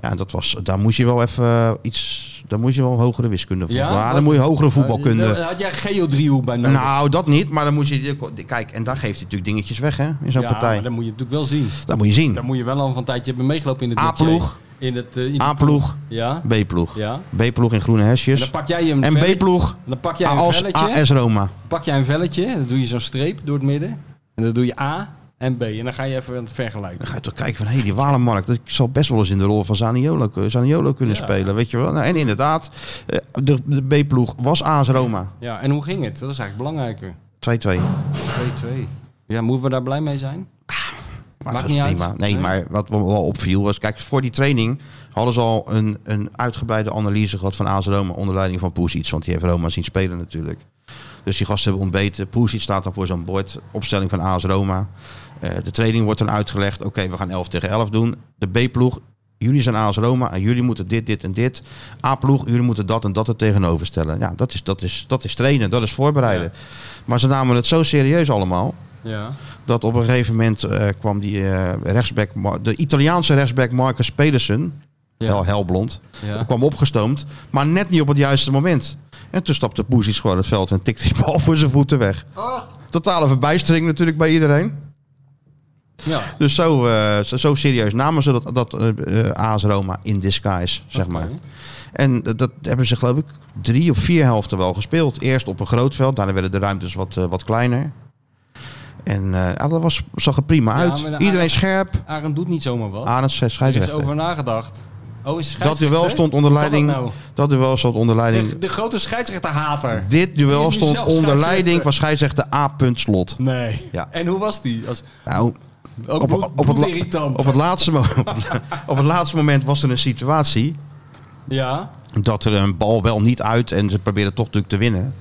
Speaker 1: Ja, dat was, daar moest je wel even eh, iets... Daar moest je wel hogere wiskunde voor.
Speaker 3: Ja?
Speaker 1: Ja, daar
Speaker 3: Was-
Speaker 1: moet je hogere
Speaker 3: Eh,
Speaker 1: voetbalkunde...
Speaker 3: dan Had jij geodriehoek bij nodig?
Speaker 1: nou, dat niet, maar dan moet je... Kijk, en daar geeft hij natuurlijk dingetjes weg, hè, in zo'n
Speaker 3: ja,
Speaker 1: partij.
Speaker 3: maar
Speaker 1: Dat...
Speaker 3: dat moet je natuurlijk wel zien.
Speaker 1: moet je
Speaker 3: Daar
Speaker 1: zien.
Speaker 3: moet je wel al van een tijdje hebben meegelopen in het
Speaker 1: A-ploeg.
Speaker 3: dossier. In het... eh, in de-
Speaker 1: A-ploeg,
Speaker 3: Ja.
Speaker 1: B-ploeg.
Speaker 3: Ja.
Speaker 1: B-ploeg in groene
Speaker 3: En dan
Speaker 1: hesjes.
Speaker 3: pak jij een
Speaker 1: En
Speaker 3: velletje-
Speaker 1: B-ploeg,
Speaker 3: Dan pak jij een
Speaker 1: AS,
Speaker 3: velletje.
Speaker 1: AS Roma.
Speaker 3: pak jij een velletje. Dan doe je zo'n streep door het midden. En dan doe je A en B. En dan ga je even aan het vergelijken.
Speaker 1: Dan ga je toch kijken van, hé, die Walenmarkt, dat zal best wel eens in de rol van Zaniolo, eh, Zaniolo kunnen
Speaker 3: Ja.
Speaker 1: spelen, weet je wel. Nou, en inderdaad, eh, de, de B-ploeg was AS Roma, 2-2.
Speaker 3: Ja, en hoe ging het? Dat is eigenlijk belangrijker. 2-2. Ja, moeten we daar blij mee zijn?
Speaker 1: Maar
Speaker 3: Maakt
Speaker 1: dat is
Speaker 3: niet uit.
Speaker 1: prima. Nee,
Speaker 3: Nee.
Speaker 1: maar wat me wel opviel was, kijk, voor die training hadden ze al een, een uitgebreide analyse gehad van AS Roma onder leiding van Poesiets, want die heeft Roma zien spelen natuurlijk. Dus die gasten hebben ontbeten. Poesiets staat dan voor zo'n bord, opstelling van AS Roma. Eh, de training wordt dan uitgelegd, oké, we gaan 11 tegen 11 doen. De B-ploeg, jullie zijn AS Roma en jullie moeten dit, dit en dit. A-ploeg, jullie moeten dat en dat er tegenover stellen. Ja, dat is, dat is, dat is trainen, dat is voorbereiden. Maar ze namen het zo serieus allemaal
Speaker 3: Ja.
Speaker 1: dat op een gegeven moment eh, kwam die eh, rechtsback, Mar- de Italiaanse rechtsback Marcus Pedersen,
Speaker 3: Ja.
Speaker 1: wel helblond,
Speaker 3: Ja.
Speaker 1: kwam opgestoomd, maar net niet op het juiste moment. En toen stapte Poesies gewoon het veld en tikte die bal voor zijn voeten weg.
Speaker 3: Oh.
Speaker 1: Totale verbijstering natuurlijk bij iedereen.
Speaker 3: Ja.
Speaker 1: Dus zo, eh, zo, zo serieus namen ze dat, dat eh, eh, AS Roma in disguise, zeg maar. En dat, dat hebben ze geloof ik drie of vier helften wel gespeeld. Eerst op een groot veld, daarna werden de ruimtes wat, eh, wat kleiner. En eh, ja, dat was, zag er prima
Speaker 3: Ja,
Speaker 1: uit.
Speaker 3: maar de
Speaker 1: Iedereen
Speaker 3: Ajax-
Speaker 1: scherp.
Speaker 3: Arend doet niet zomaar wat.
Speaker 1: Aan het
Speaker 3: er is
Speaker 1: scheidsrechter.
Speaker 3: over nagedacht. Oh, is
Speaker 1: eh, Dat duel stond onder
Speaker 3: Hoe kan dat
Speaker 1: leiding.
Speaker 3: nou?
Speaker 1: Dat duel stond onder
Speaker 3: De,
Speaker 1: leiding.
Speaker 3: de grote scheidsrechterhater.
Speaker 1: Dit
Speaker 3: Die
Speaker 1: duel
Speaker 3: is nu
Speaker 1: stond
Speaker 3: zelf
Speaker 1: onder
Speaker 3: scheidsrechter.
Speaker 1: leiding van scheidsrechter A. punt Slot.
Speaker 3: Nee.
Speaker 1: Ja.
Speaker 3: En hoe was die? Als,
Speaker 1: Nou,
Speaker 3: ook
Speaker 1: Op-
Speaker 3: bloed-
Speaker 1: op het la-
Speaker 3: bloedirritant.
Speaker 1: op het, laatste, mo- *laughs* op het laatste moment was er een situatie.
Speaker 3: Ja.
Speaker 1: dat er een bal wel niet uit en ze probeerden toch natuurlijk te winnen.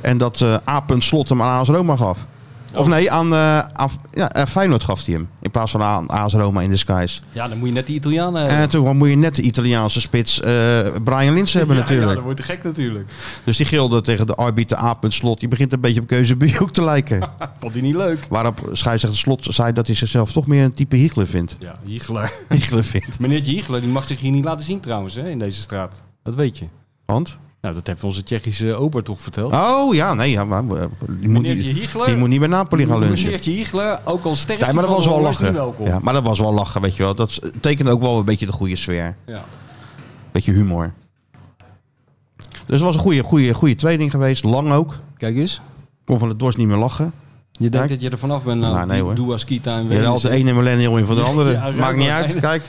Speaker 1: En dat eh A. Slot hem aan AS Roma gaf. Of nee, aan, eh, aan ja, eh, Feyenoord gaf hij hem. In plaats van aan AS Roma in disguise.
Speaker 3: ja, dan moet je net die eh, Italianen hebben.
Speaker 1: En toen moet je net de Italiaanse spits eh, Brian Linsen hebben
Speaker 3: Ja, Ja,
Speaker 1: natuurlijk.
Speaker 3: dat wordt te gek natuurlijk.
Speaker 1: Dus die gilde tegen de arbiter A. Slot. Die begint een beetje op Keuze Bioek te
Speaker 3: *laughs*
Speaker 1: lijken.
Speaker 3: Vond die niet leuk?
Speaker 1: Waarop scheidsrechter Slot zei dat hij zichzelf toch meer een type Hiegler vindt. *laughs*
Speaker 3: Ja, Hiegler.
Speaker 1: Hiegler vindt.
Speaker 3: *laughs* Meneertje Hiegler, die mag zich hier niet laten zien trouwens, hè, in deze straat. Dat weet je.
Speaker 1: Want?
Speaker 3: Nou, dat heeft onze Tsjechische ober toch verteld.
Speaker 1: Oh ja, nee. Ja, maar, eh, die, moet
Speaker 3: Meneertje
Speaker 1: niet,
Speaker 3: Hiegler.
Speaker 1: die moet niet bij Napoli gaan lunchen.
Speaker 3: Meneertje Hiegler, ook al sterk.
Speaker 1: Ja, maar dat was wel lachen.
Speaker 3: Welkom.
Speaker 1: Ja, maar dat was wel lachen, weet je wel. Dat tekende ook wel een beetje de goede sfeer.
Speaker 3: Ja.
Speaker 1: Beetje humor. Dus het was een goede, goede, goede training geweest. Lang ook.
Speaker 3: Kijk eens.
Speaker 1: Kon van het dorst niet meer lachen.
Speaker 3: Je denkt
Speaker 1: Kijk.
Speaker 3: dat je er vanaf bent. Nou,
Speaker 1: Nou, nee,
Speaker 3: die
Speaker 1: hoor.
Speaker 3: Dua Skita en
Speaker 1: Je had de
Speaker 3: Wenen.
Speaker 1: ene millennial in van de andere.
Speaker 3: *laughs* Ja,
Speaker 1: Maakt niet
Speaker 3: ja,
Speaker 1: uit.
Speaker 3: ja.
Speaker 1: Kijk,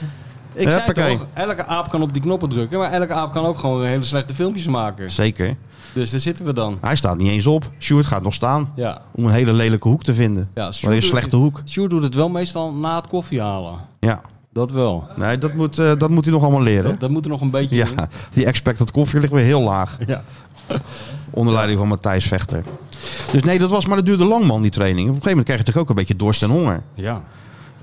Speaker 3: Ik zei
Speaker 1: Huppakee.
Speaker 3: toch, elke aap kan op die knoppen drukken, maar elke aap kan ook gewoon hele slechte filmpjes maken.
Speaker 1: Zeker.
Speaker 3: Dus daar zitten we dan.
Speaker 1: Hij staat niet eens op. Sjoerd gaat nog staan.
Speaker 3: Ja.
Speaker 1: Om een hele lelijke hoek te vinden.
Speaker 3: Ja,
Speaker 1: Maar een slechte hoek.
Speaker 3: Sjoerd doet het wel meestal na het koffie halen.
Speaker 1: Ja.
Speaker 3: Dat wel.
Speaker 1: Nee, dat moet, eh, dat moet hij nog allemaal leren.
Speaker 3: Dat, dat moet er nog een beetje in.
Speaker 1: Ja, die expected koffie ligt weer heel laag.
Speaker 3: Ja.
Speaker 1: Onder leiding van Matthijs Vechter. Dus nee, dat was, maar dat duurde lang man, die training. Op een gegeven moment krijg je natuurlijk ook een beetje dorst en honger.
Speaker 3: ja.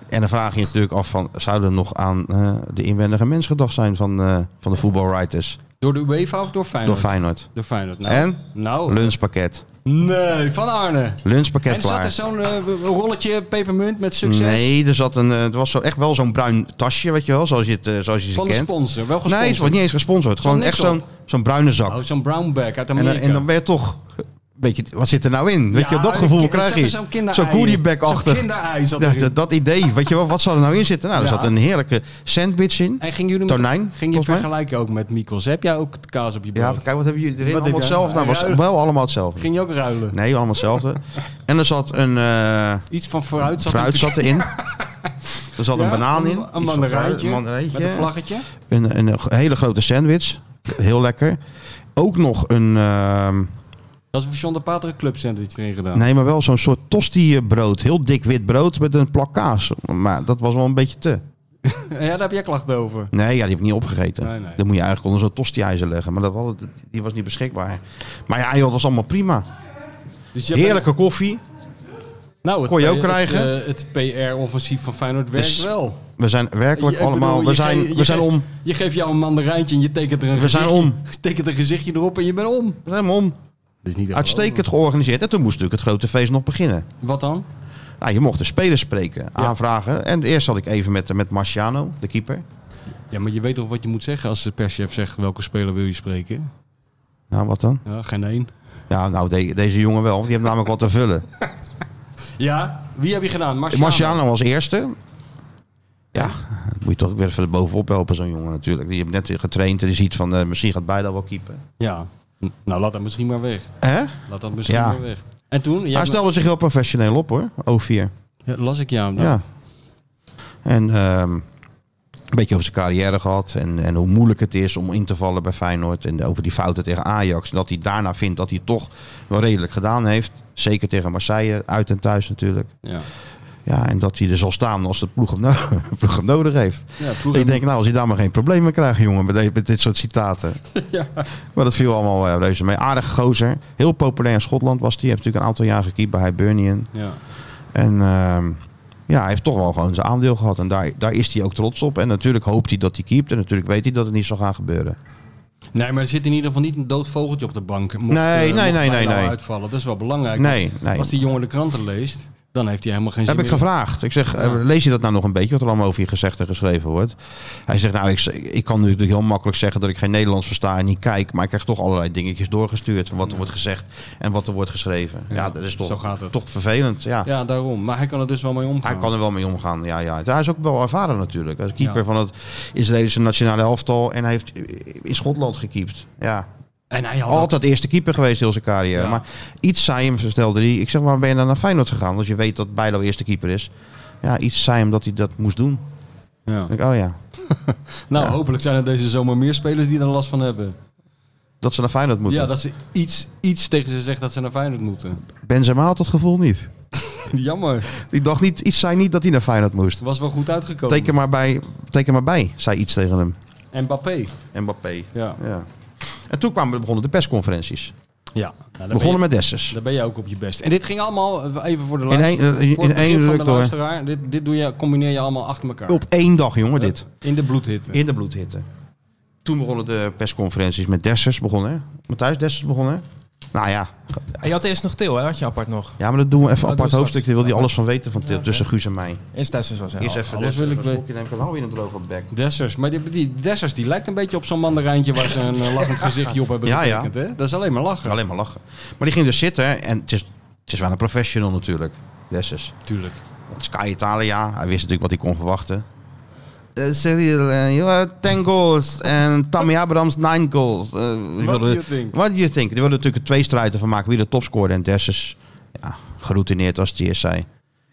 Speaker 1: En dan vraag je je natuurlijk af van, zou er nog aan eh, de inwendige mens gedacht zijn van, eh, van de voetbalwriters
Speaker 3: Door de UEFA of door
Speaker 1: door
Speaker 3: Feyenoord?
Speaker 1: Feyenoord?
Speaker 3: Door Feyenoord. Nou.
Speaker 1: En?
Speaker 3: Nou.
Speaker 1: Lunchpakket.
Speaker 3: Nee, van Arne.
Speaker 1: Lunchpakket
Speaker 3: En zat er
Speaker 1: klaar.
Speaker 3: zo'n eh, rolletje pepermunt met succes?
Speaker 1: Nee, er zat een, eh, het was zo, echt wel zo'n bruin tasje, weet je wel, zoals je, het, eh, zoals je ze
Speaker 3: Van de
Speaker 1: kent.
Speaker 3: sponsor. Wel
Speaker 1: Nee,
Speaker 3: gesponsord.
Speaker 1: het was niet eens gesponsord. Gewoon
Speaker 3: niks
Speaker 1: echt zo'n zo'n bruine zak.
Speaker 3: Oh, zo'n brown bag uit
Speaker 1: En,
Speaker 3: Amerika.
Speaker 1: dan- en dan ben je toch een beetje, wat zit er nou in? Weet
Speaker 3: Ja,
Speaker 1: je, dat
Speaker 3: er-
Speaker 1: gevoel
Speaker 3: er
Speaker 1: krijg
Speaker 3: zat er
Speaker 1: je.
Speaker 3: Zo'n kinderei
Speaker 1: Zo'n
Speaker 3: in.
Speaker 1: goodiebag-achtig.
Speaker 3: Zo'n kinderei zat
Speaker 1: Ja,
Speaker 3: erin.
Speaker 1: dat, dat idee, weet je wel, wat zou er nou in zitten? Nou, er
Speaker 3: Ja.
Speaker 1: zat een heerlijke sandwich in.
Speaker 3: En gingen jullie met-
Speaker 1: Tonijn,
Speaker 3: ging je
Speaker 1: volgens mij.
Speaker 3: vergelijken ook met Mikos? Heb jij ook kaas op je
Speaker 1: Ja,
Speaker 3: brood?
Speaker 1: kijk, wat hebben jullie erin?
Speaker 3: Wat heb
Speaker 1: allemaal
Speaker 3: jij?
Speaker 1: hetzelfde? Nou, was
Speaker 3: Ruilen.
Speaker 1: wel allemaal hetzelfde.
Speaker 3: Ging je ook ruilen?
Speaker 1: Nee, allemaal hetzelfde. en er zat een eh
Speaker 3: Iets van vooruit zat
Speaker 1: fruit zat
Speaker 3: *laughs*
Speaker 1: erin. Er zat een
Speaker 3: Ja,
Speaker 1: banaan
Speaker 3: een-
Speaker 1: in.
Speaker 3: een
Speaker 1: Iets van
Speaker 3: mandarijntje
Speaker 1: fruit, een mandarijntje.
Speaker 3: Met een vlaggetje?
Speaker 1: Een, een hele grote sandwich. Heel lekker. Ook nog een, ehm,
Speaker 3: Dat is voor John de Pater een club sandwich erin gedaan.
Speaker 1: nee, maar wel zo'n soort tosti-brood. Heel dik wit brood met een plak kaas. Maar dat was wel een beetje te.
Speaker 3: Ja, daar heb jij klachten over.
Speaker 1: Nee, ja, die heb ik niet opgegeten.
Speaker 3: Nee, nee.
Speaker 1: Dat moet je eigenlijk onder zo'n tosti-ijzer leggen. Maar dat was, het- die was niet beschikbaar. Maar ja, joh, dat was allemaal prima.
Speaker 3: Dus je hebt-
Speaker 1: Heerlijke koffie.
Speaker 3: Nou, het,
Speaker 1: Kon je ook
Speaker 3: eh,
Speaker 1: krijgen?
Speaker 3: Het, PR-offensief van Feyenoord werkt
Speaker 1: Dus-
Speaker 3: wel.
Speaker 1: We zijn werkelijk
Speaker 3: Je- ik
Speaker 1: allemaal...
Speaker 3: bedoel,
Speaker 1: we,
Speaker 3: je
Speaker 1: zijn,
Speaker 3: ge- je
Speaker 1: we zijn
Speaker 3: ge-
Speaker 1: om.
Speaker 3: Je geeft jou een mandarijntje en je tekent er een
Speaker 1: We zijn
Speaker 3: gezichtje,
Speaker 1: om.
Speaker 3: je *laughs* tekent een gezichtje erop en je bent om.
Speaker 1: We zijn hem om.
Speaker 3: Dat is niet
Speaker 1: Uitstekend georganiseerd. En toen moest natuurlijk het grote feest nog beginnen.
Speaker 3: Wat dan?
Speaker 1: Nou, je mocht de spelers spreken, aanvragen. En eerst zat ik even met, met Marciano, de keeper.
Speaker 3: Ja, maar je weet toch wat je moet zeggen als de perschef zegt welke speler wil je spreken?
Speaker 1: Nou, wat dan?
Speaker 3: Ja, geen één.
Speaker 1: Ja, nou, de- deze jongen wel. want Die hebben namelijk wat te
Speaker 3: *laughs*
Speaker 1: vullen.
Speaker 3: Ja, wie heb je gedaan? Marciano.
Speaker 1: Marciano was eerste. Ja, dat moet je toch ook weer verder bovenop helpen, zo'n jongen natuurlijk. Die heeft net getraind en die ziet van, eh, misschien gaat beide wel keepen.
Speaker 3: Ja. N- Nou, laat dat misschien maar weg.
Speaker 1: Hè?
Speaker 3: Laat dat misschien
Speaker 1: Ja.
Speaker 3: maar weg. En toen? Jij
Speaker 1: Hij stelde zich heel professioneel op, hoor. O4.
Speaker 3: Ja, las ik jou.
Speaker 1: Ja. En ehm, een beetje over zijn carrière gehad. En, en hoe moeilijk het is om in te vallen bij Feyenoord. En over die fouten tegen Ajax. En dat hij daarna vindt dat hij het toch wel redelijk gedaan heeft. Zeker tegen Marseille, uit en thuis natuurlijk.
Speaker 3: Ja.
Speaker 1: Ja, en dat hij er zal staan als de ploeg hem, no- *laughs* ploeg hem nodig heeft.
Speaker 3: Ja, ploeg
Speaker 1: ik denk, nou, als hij daar maar geen problemen krijgt, jongen, met, de- met dit soort citaten. Maar dat viel allemaal eh, reuze mee. Aardige gozer. Heel populair in Schotland was hij. Hij heeft natuurlijk een aantal jaar gekiept bij Hibernian.
Speaker 3: Ja.
Speaker 1: En ehm, ja, hij heeft toch wel gewoon zijn aandeel gehad. En daar, daar is hij ook trots op. En natuurlijk hoopt hij dat hij keept. En natuurlijk weet hij dat het niet zal gaan gebeuren.
Speaker 3: Nee, maar er zit in ieder geval niet een dood vogeltje op de bank. Mocht,
Speaker 1: Nee,
Speaker 3: eh,
Speaker 1: nee,
Speaker 3: mocht
Speaker 1: nee,
Speaker 3: Bijlo
Speaker 1: nee, nee.
Speaker 3: uitvallen. Dat is wel belangrijk.
Speaker 1: Nee, nee.
Speaker 3: Als die jongen de kranten leest, dan heeft hij helemaal geen zin
Speaker 1: Heb ik
Speaker 3: meer.
Speaker 1: gevraagd. Ik zeg, eh, lees je dat nou nog een beetje? Wat er allemaal over je gezegd en geschreven wordt. Hij zegt, nou, ik, ik kan natuurlijk heel makkelijk zeggen dat ik geen Nederlands versta en niet kijk. Maar ik krijg toch allerlei dingetjes doorgestuurd. Wat er wordt gezegd en wat er wordt geschreven. Ja,
Speaker 3: Ja,
Speaker 1: dat is
Speaker 3: zo
Speaker 1: toch,
Speaker 3: gaat het.
Speaker 1: toch vervelend. Ja.
Speaker 3: Ja, daarom. Maar hij kan er dus wel mee omgaan.
Speaker 1: Hij kan er wel mee omgaan. Ja, ja. Hij is ook wel ervaren natuurlijk. Als keeper
Speaker 3: Ja.
Speaker 1: van het Israëlische nationale elftal. En hij heeft in Schotland gekiept. Ja.
Speaker 3: En hij had
Speaker 1: Altijd eerste keeper geweest heel zijn carrière.
Speaker 3: Ja.
Speaker 1: Maar iets zei hem, vertelde hij. Ik zeg, waarom ben je dan naar Feyenoord gegaan? Als je weet dat Bijlo eerste keeper is. Ja, iets zei hem dat hij dat moest doen.
Speaker 3: Ja.
Speaker 1: Ik, oh ja,
Speaker 3: Nou,
Speaker 1: Ja.
Speaker 3: hopelijk zijn er deze zomer meer spelers die er last van hebben.
Speaker 1: dat ze naar Feyenoord moeten.
Speaker 3: Ja, dat ze iets, iets tegen ze zegt dat ze naar Feyenoord moeten. *laughs*
Speaker 1: Benzema had dat gevoel niet.
Speaker 3: Jammer.
Speaker 1: Die dacht niet, iets zei niet dat hij naar Feyenoord moest.
Speaker 3: Was wel goed uitgekomen.
Speaker 1: Teken maar bij, teken maar bij zei iets tegen hem.
Speaker 3: Mbappé.
Speaker 1: Mbappé.
Speaker 3: Ja.
Speaker 1: Ja. En toen kwamen, begonnen de persconferenties.
Speaker 3: Ja. Nou, daar, ben je,
Speaker 1: Begonnen met Dessers.
Speaker 3: daar ben je ook op je best. En dit ging allemaal, eh, even voor de
Speaker 1: In één,
Speaker 3: luisteraar.
Speaker 1: eh, in
Speaker 3: voor het
Speaker 1: één
Speaker 3: begrip van
Speaker 1: druk
Speaker 3: de
Speaker 1: door.
Speaker 3: luisteraar. Dit, dit doe je, combineer je allemaal achter elkaar.
Speaker 1: Op één dag, jongen, dit.
Speaker 3: In de bloedhitte.
Speaker 1: In de bloedhitte. Toen begonnen de persconferenties met Dessers begonnen. hè? Matthijs Dessers begonnen. Nou ja.
Speaker 2: En je had eerst nog Til, hè? had je apart nog.
Speaker 1: Ja, maar dat doen we even
Speaker 2: we
Speaker 1: apart
Speaker 2: straks.
Speaker 1: hoofdstuk. Daar wil hij alles van weten van Til-
Speaker 2: oké.
Speaker 1: tussen Guus en mij.
Speaker 2: Eerst thuis was hij
Speaker 1: Eerst
Speaker 2: al.
Speaker 1: even
Speaker 3: alles wil ik
Speaker 1: Als
Speaker 3: weten.
Speaker 1: kopje neem, kan hou je een droge bek.
Speaker 3: Dessers. Maar die, die Dessers die lijkt een beetje op zo'n mandarijntje waar ze een eh, lachend gezichtje op hebben
Speaker 1: Ja, ja.
Speaker 3: getekend. Hè? Dat is alleen maar lachen.
Speaker 1: Alleen maar lachen. Maar die ging dus zitten. En het is, het is wel een professional natuurlijk. Dessers.
Speaker 3: Natuurlijk.
Speaker 1: Want Sky Italia. Hij wist natuurlijk wat hij kon verwachten. Eh, Cyril, eh, you had 10 goals. En Tammy Abrams 9 goals. Eh, die
Speaker 3: What do
Speaker 1: wilde-
Speaker 3: you think?
Speaker 1: What do you think? Die wilden natuurlijk twee strijden van maken. Wie de topscorer en Dessers. Ja, geroutineerd als het eerst zei.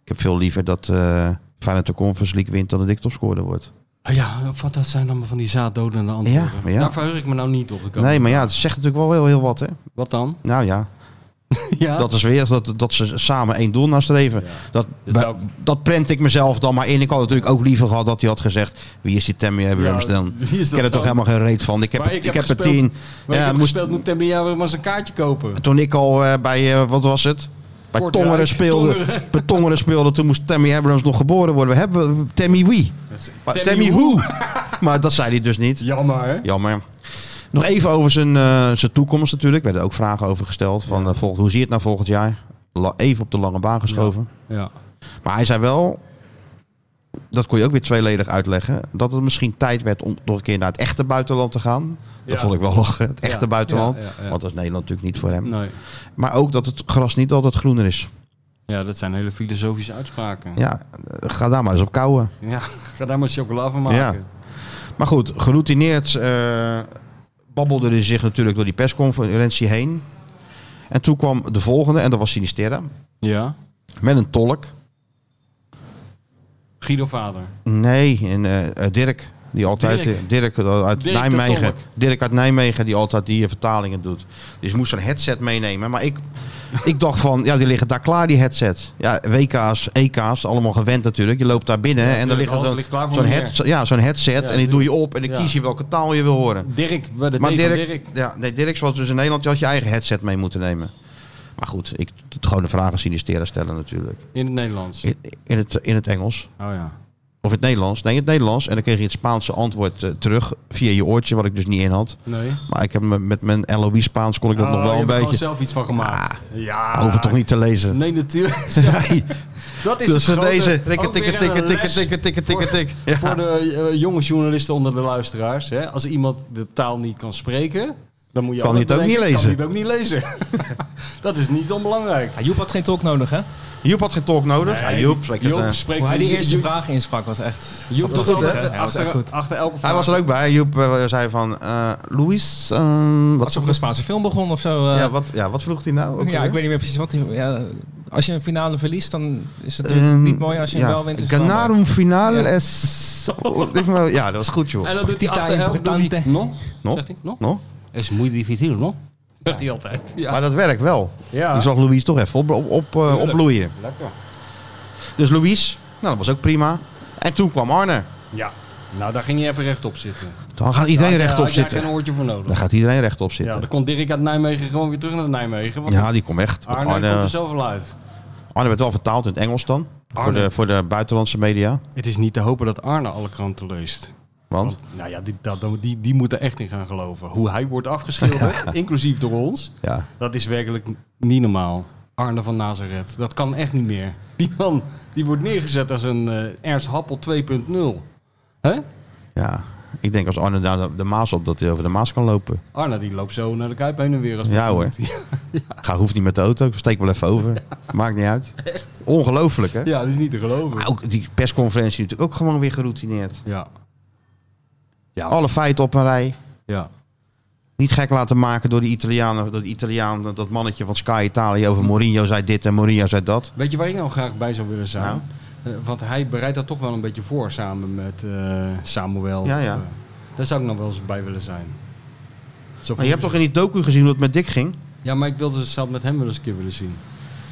Speaker 1: Ik heb veel liever dat eh Feyenoord de Conference League wint dan dat ik topscorer word.
Speaker 3: Ah, Ja, wat dat zijn allemaal van die zaaddodende antwoorden.
Speaker 1: Ja, ja.
Speaker 3: Daar verheug ik me nou niet op. de komende
Speaker 1: Nee, maar ja, het zegt natuurlijk wel heel, heel wat, hè?
Speaker 3: Wat
Speaker 1: *laughs*
Speaker 3: dan?
Speaker 1: Nou ja,
Speaker 3: ja.
Speaker 1: dat is weer dat, dat ze samen één doel nastreven.
Speaker 3: Ja.
Speaker 1: Dat,
Speaker 3: Dat
Speaker 1: dat,
Speaker 3: zou
Speaker 1: prent ik mezelf dan maar in. Ik had natuurlijk ook liever gehad dat hij had gezegd... Wie is die Tammy Abrams dan?
Speaker 3: wie is
Speaker 1: Ik ken er
Speaker 3: dat
Speaker 1: toch
Speaker 3: dan?
Speaker 1: helemaal geen reet van. Ik heb,
Speaker 3: Maar
Speaker 1: er-
Speaker 3: ik
Speaker 1: ik
Speaker 3: heb
Speaker 1: heb er
Speaker 3: gespeeld-
Speaker 1: tien.
Speaker 3: Maar
Speaker 1: Ja,
Speaker 3: ik heb
Speaker 1: moest-
Speaker 3: gespeeld, moet Tammy Jaren maar eens een kaartje kopen.
Speaker 1: Toen ik al eh, bij, eh, wat was het? Bij
Speaker 3: Kortrijk.
Speaker 1: Tongeren speelde,
Speaker 3: Tongeren.
Speaker 1: *laughs* bij Tongeren speelde, toen moest Tammy Abrams nog geboren worden. We hebben Tammy wie? Maar
Speaker 3: Tammy
Speaker 1: Tammy hoe? maar dat zei hij dus niet.
Speaker 3: Jammer, hè?
Speaker 1: Jammer. Nog even over zijn, eh, zijn toekomst natuurlijk. Werden ook vragen over gesteld. Van, eh, volgend, hoe zie je het nou volgend jaar? La- even op de lange baan geschoven.
Speaker 3: Ja.
Speaker 1: Maar hij zei wel, dat kon je ook weer tweeledig uitleggen, dat het misschien tijd werd om nog een keer naar het echte buitenland te gaan. Dat
Speaker 3: Ja.
Speaker 1: vond ik wel lachen, het echte
Speaker 3: Ja,
Speaker 1: buitenland.
Speaker 3: ja, ja, ja.
Speaker 1: Want dat is Nederland natuurlijk niet voor hem.
Speaker 3: Nee.
Speaker 1: Maar ook dat het gras niet altijd groener is.
Speaker 3: Ja, dat zijn hele filosofische uitspraken.
Speaker 1: Ja, eh, ga daar maar eens op kouwen.
Speaker 3: Ja, ga daar maar chocola van maken.
Speaker 1: Maar goed, geroutineerd eh, babbelde hij zich natuurlijk door die persconferentie heen. En toen kwam de volgende, en dat was Sinisterra,
Speaker 3: Ja.
Speaker 1: met een tolk.
Speaker 3: Guido Vader.
Speaker 1: Nee, en, eh, eh, Dirk. Die altijd, eh,
Speaker 3: Dirk.
Speaker 1: Dirk, eh, uit
Speaker 3: Dirk de
Speaker 1: Nijmegen.
Speaker 3: Tolk.
Speaker 1: Dirk uit Nijmegen, die altijd die eh, vertalingen doet. Dus ik moest zo'n headset meenemen. Maar
Speaker 3: *laughs*
Speaker 1: ik, ik dacht van, ja, die liggen daar klaar, die headsets. Ja, WK's, EK's, allemaal gewend natuurlijk. Je loopt daar binnen en
Speaker 3: tuurlijk,
Speaker 1: dan ligt er
Speaker 3: alles
Speaker 1: zo'n-
Speaker 3: ligt klaar voor
Speaker 1: zo'n
Speaker 3: meneer.
Speaker 1: head, ja, zo'n headset. en die doe je op en dan
Speaker 3: Ja.
Speaker 1: kies je welke taal je wil horen.
Speaker 3: Dirk, bij de
Speaker 1: Maar
Speaker 3: maar
Speaker 1: Dirk,
Speaker 3: Dirk.
Speaker 1: Ja, nee, Dirk was dus in Nederland, je had je eigen headset mee moeten nemen. Maar goed, ik t- gewoon de vragen sinisteren stellen natuurlijk.
Speaker 3: In het Nederlands. Oh
Speaker 1: In, in, het, in het Engels.
Speaker 3: ja.
Speaker 1: Of in het Nederlands. Nee, in het Nederlands. En dan kreeg je het Spaanse antwoord eh, terug via je oortje, wat ik dus niet in had.
Speaker 3: Nee.
Speaker 1: Maar ik heb me- met mijn LOE Spaans kon ik dat
Speaker 3: Oh,
Speaker 1: nog
Speaker 3: je
Speaker 1: wel een
Speaker 3: hebt er gewoon
Speaker 1: beetje.
Speaker 3: zelf iets van gemaakt. ja.
Speaker 1: Hoef het toch niet te lezen.
Speaker 3: Nee, natuurlijk.
Speaker 1: *laughs*
Speaker 3: *laughs*
Speaker 1: Nee.
Speaker 3: Dat is
Speaker 1: Dus
Speaker 3: het grote-
Speaker 1: deze. Tikken,
Speaker 3: ook weer
Speaker 1: tikken, tikken,
Speaker 3: een
Speaker 1: tikken,
Speaker 3: les
Speaker 1: tikken, tikken, tikken,
Speaker 3: voor-
Speaker 1: tikken. Ja.
Speaker 3: Voor de eh, jonge journalisten onder de luisteraars. Hè? Als iemand de taal niet kan spreken, dan moet je
Speaker 1: Kan hij het ook
Speaker 3: bedenken,
Speaker 1: niet lezen.
Speaker 3: Kan hij het ook niet lezen. *laughs* dat is niet onbelangrijk.
Speaker 2: Ja, Joep had geen tolk nodig, hè?
Speaker 1: Joep had geen talk nodig. Ja, Joep, spreek het, eh.
Speaker 3: spreekt
Speaker 2: Hoe hij die
Speaker 3: Joep-
Speaker 2: eerste
Speaker 3: Joep-
Speaker 2: vraag insprak was echt...
Speaker 3: Joep
Speaker 1: Dat
Speaker 3: doet
Speaker 1: was goed,
Speaker 3: altijd
Speaker 2: hè? Ja, dat was echt
Speaker 3: achter,
Speaker 2: goed.
Speaker 3: achter elke vraag.
Speaker 1: Hij was er ook bij. Joep eh, zei van, eh Luis, ehm, wat,
Speaker 2: Alsof er een Spaanse film begon of zo. eh.
Speaker 1: ja, wat, ja, wat vroeg hij nou? Ook
Speaker 2: *laughs* ja,
Speaker 1: weer?
Speaker 2: ik weet niet meer precies wat. die- Ja, als je een finale verliest, dan is het natuurlijk
Speaker 1: Ehm,
Speaker 2: niet mooi als je hem wel wint. is het wel mooi.
Speaker 1: Ganarum finale Oh,
Speaker 2: Ja.
Speaker 1: es... Ja, dat was goed, joh.
Speaker 3: En dat doet hij achter elke doet hij,
Speaker 2: Importante.
Speaker 3: No?
Speaker 1: No?
Speaker 3: Zegt hij, no?
Speaker 1: No?
Speaker 3: Is muy difícil, no? Zegt hij altijd. Ja.
Speaker 1: Maar dat werkt wel.
Speaker 3: Ja.
Speaker 1: Ik zag Louis toch even op, op, op, eh,
Speaker 3: Tuurlijk.
Speaker 1: opbloeien.
Speaker 3: Lekker.
Speaker 1: Dus Louis, nou, dat was ook prima. En toen kwam Arne.
Speaker 3: Ja. Nou, daar ging hij even rechtop zitten.
Speaker 1: Dan gaat iedereen
Speaker 3: Daar had-
Speaker 1: rechtop
Speaker 3: had jij
Speaker 1: zitten.
Speaker 3: geen oortje voor
Speaker 1: Dan
Speaker 3: nodig.
Speaker 1: gaat iedereen rechtop
Speaker 3: Ja, dan
Speaker 1: zitten.
Speaker 3: kon Dirk uit Nijmegen gewoon weer terug naar Nijmegen. Want
Speaker 1: Ja, die komt echt.
Speaker 3: Arne, komt dus- er
Speaker 1: Arne,
Speaker 3: zelf wel uit.
Speaker 1: Arne werd wel vertaald in het Engels dan. Voor
Speaker 3: Arne.
Speaker 1: de, voor de buitenlandse media.
Speaker 3: Het is niet te hopen dat Arne alle kranten leest.
Speaker 1: Want
Speaker 3: Nou ja, die, dat, die, die moeten echt in gaan geloven. Hoe hij wordt *laughs* afgeschilderd, inclusief door ons,
Speaker 1: ja,
Speaker 3: dat is werkelijk niet normaal. Arne van Nazareth, dat kan echt niet meer. Die man die wordt neergezet als een eh, Ernst Happel 2.0. Hè?
Speaker 1: ja. Ik denk als Arne daar de, de Maas op, dat hij over de Maas kan lopen.
Speaker 3: Arne die loopt zo naar de Kuip heen en weer.
Speaker 1: *laughs*
Speaker 3: Als
Speaker 1: Ja,
Speaker 3: die
Speaker 1: hoor.
Speaker 3: moet.
Speaker 1: Ga, hoeft niet met de auto. Ik Steek wel even over. Maakt niet uit. Ongelooflijk, hè?
Speaker 3: Ja, dat is niet te geloven.
Speaker 1: Maar ook die persconferentie natuurlijk ook gewoon weer geroutineerd.
Speaker 3: Ja,
Speaker 1: Alle feiten op een rij.
Speaker 3: ja.
Speaker 1: Niet gek laten maken door die Italianen, door die Italiaan, dat mannetje van Sky Italië over Mourinho zei dit en Mourinho zei dat.
Speaker 3: Weet je waar ik nou graag bij zou willen zijn?
Speaker 1: Nou?
Speaker 3: Eh, want hij bereidt dat toch wel een beetje voor samen met eh, Samuel.
Speaker 1: Ja,
Speaker 3: Of,
Speaker 1: ja.
Speaker 3: eh, daar zou ik nog wel eens bij willen zijn. Zo
Speaker 1: Maar je hebt toch in die docu gezien hoe het met Dick ging?
Speaker 3: Ja, maar ik wilde het zelf met hem wel eens een keer willen zien.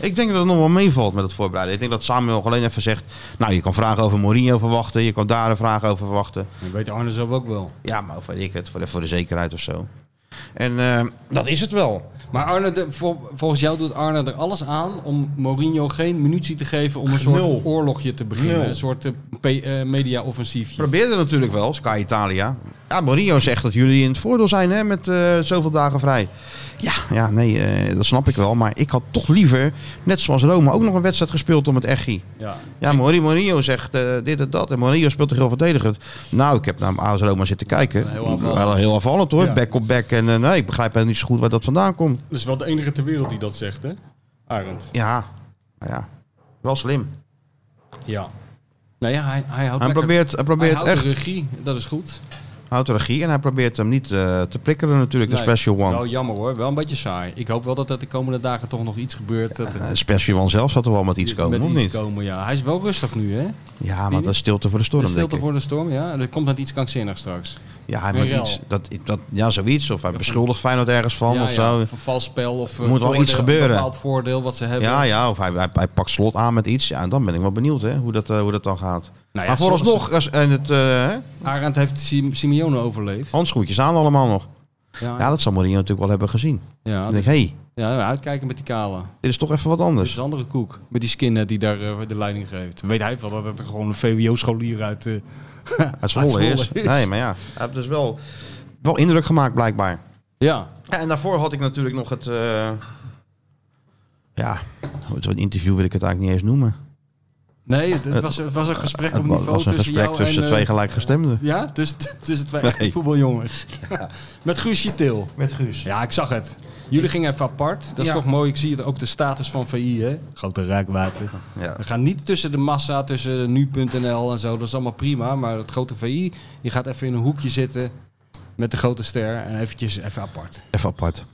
Speaker 1: Ik denk dat het nog wel meevalt met het voorbereiden. Ik denk dat Samuel alleen even zegt, nou je kan vragen over Mourinho verwachten, je kan daar een vraag over verwachten.
Speaker 3: Dat weet Arne zelf ook wel.
Speaker 1: Ja, maar of weet ik het, voor de, voor de zekerheid of zo. En eh, dat is het wel.
Speaker 3: Maar Arne, de- vol- volgens jou doet Arne er alles aan om Mourinho geen munitie te geven om een soort
Speaker 1: Nul.
Speaker 3: oorlogje te beginnen.
Speaker 1: Nul.
Speaker 3: Een soort eh, P- eh, media-offensiefje.
Speaker 1: Probeerde natuurlijk wel, Sky Italia. Ja, Mourinho zegt dat jullie in het voordeel zijn hè, met eh, zoveel dagen vrij. Ja, ja nee, eh, dat snap ik wel. Maar ik had toch liever, net zoals Roma, ook nog een wedstrijd gespeeld om het Echi.
Speaker 3: Ja.
Speaker 1: Ja, Mourinho, Mourinho zegt eh, dit en dat. En Mourinho speelt toch heel verdedigend. Nou, ik heb naar AS Roma zitten kijken.
Speaker 3: Heel aanvallend.
Speaker 1: Wel heel aanvallend hoor.
Speaker 3: Ja.
Speaker 1: Back op back. En eh, nee, ik begrijp helemaal niet zo goed waar dat vandaan komt.
Speaker 3: Dat is wel de enige ter wereld die dat zegt, hè? Arend.
Speaker 1: Ja, maar ja. Wel slim.
Speaker 3: Ja. Nou ja, hij, hij houdt
Speaker 1: Hij
Speaker 3: lekker-
Speaker 1: probeert, hij probeert
Speaker 3: hij houdt
Speaker 1: echt.
Speaker 3: de regie, dat is goed.
Speaker 1: houdt de regie en hij probeert hem niet eh, te prikkelen natuurlijk, de
Speaker 3: Nee,
Speaker 1: Special One.
Speaker 3: Wel jammer hoor, wel een beetje saai. Ik hoop wel dat er de komende dagen toch nog iets gebeurt. Dat er
Speaker 1: Eh, Special One zelf zal er wel met iets komen,
Speaker 3: met
Speaker 1: of
Speaker 3: iets
Speaker 1: niet?
Speaker 3: komen, ja. Hij is wel rustig nu, hè?
Speaker 1: Ja, maar dat is stilte voor de storm,
Speaker 3: De stilte
Speaker 1: denk ik.
Speaker 3: voor de storm, ja. Er komt net iets krankzinnigs straks.
Speaker 1: Ja, hij
Speaker 3: Weer
Speaker 1: moet
Speaker 3: rel.
Speaker 1: iets, dat, dat, ja, zoiets. Of hij beschuldigt Feyenoord ergens van
Speaker 3: ja,
Speaker 1: of
Speaker 3: ja,
Speaker 1: zo.
Speaker 3: of een vals spel of eh,
Speaker 1: Moet wel iets
Speaker 3: voordeel-
Speaker 1: gebeuren.
Speaker 3: Een bepaald voordeel wat ze hebben. Nou
Speaker 1: Ja, ja, of hij, hij, hij pakt slot aan met iets. Ja, en dan ben ik wel benieuwd hè, hoe, dat, eh, hoe dat dan gaat.
Speaker 3: ja,
Speaker 1: maar vooralsnog, als, en het, eh, hè,
Speaker 3: Arend heeft Sim- Simeone overleefd.
Speaker 1: handschoentjes aan allemaal nog.
Speaker 3: Ja,
Speaker 1: Ja, dat zal Mourinho natuurlijk wel hebben gezien.
Speaker 3: ja,
Speaker 1: Dan denk ik, hé, hey,
Speaker 3: ja, uitkijken met die kale.
Speaker 1: dit is toch even wat
Speaker 3: Dus
Speaker 1: anders.
Speaker 3: is een andere koek. Met die skinhead die daar eh, de leiding geeft. Weet hij wel dat het er gewoon een VWO-scholier *laughs*
Speaker 1: *laughs*
Speaker 3: uit... eh,
Speaker 1: Het Zwolle
Speaker 3: Zwolle
Speaker 1: is.
Speaker 3: is.
Speaker 1: Nee, maar ja, hij heeft dus wel, wel indruk gemaakt blijkbaar.
Speaker 3: Ja,
Speaker 1: Ja, en daarvoor had ik natuurlijk nog het... eh, ja, zo'n interview wil ik het eigenlijk niet eens noemen.
Speaker 3: nee, het, het was, het was een gesprek op
Speaker 1: het wa-
Speaker 3: niveau
Speaker 1: was een
Speaker 3: tussen
Speaker 1: gesprek
Speaker 3: jou
Speaker 1: tussen
Speaker 3: en... eh,
Speaker 1: twee gelijkgestemden.
Speaker 3: ja, tussen, *laughs* tussen twee echte
Speaker 1: Nee.
Speaker 3: voetbaljongens. *laughs* Met Guus Chitil.
Speaker 1: Met Guus.
Speaker 3: Ja, ik zag het. Jullie gingen even apart. Dat is
Speaker 1: Ja.
Speaker 3: toch mooi. Ik zie het ook de status van VI, hè? Grote rijkwater.
Speaker 1: Ja.
Speaker 3: We gaan niet tussen de massa, tussen nu.nl en zo. Dat is allemaal prima. Maar het grote VI, je gaat even in een hoekje zitten met de grote ster en eventjes even apart.
Speaker 1: Even apart.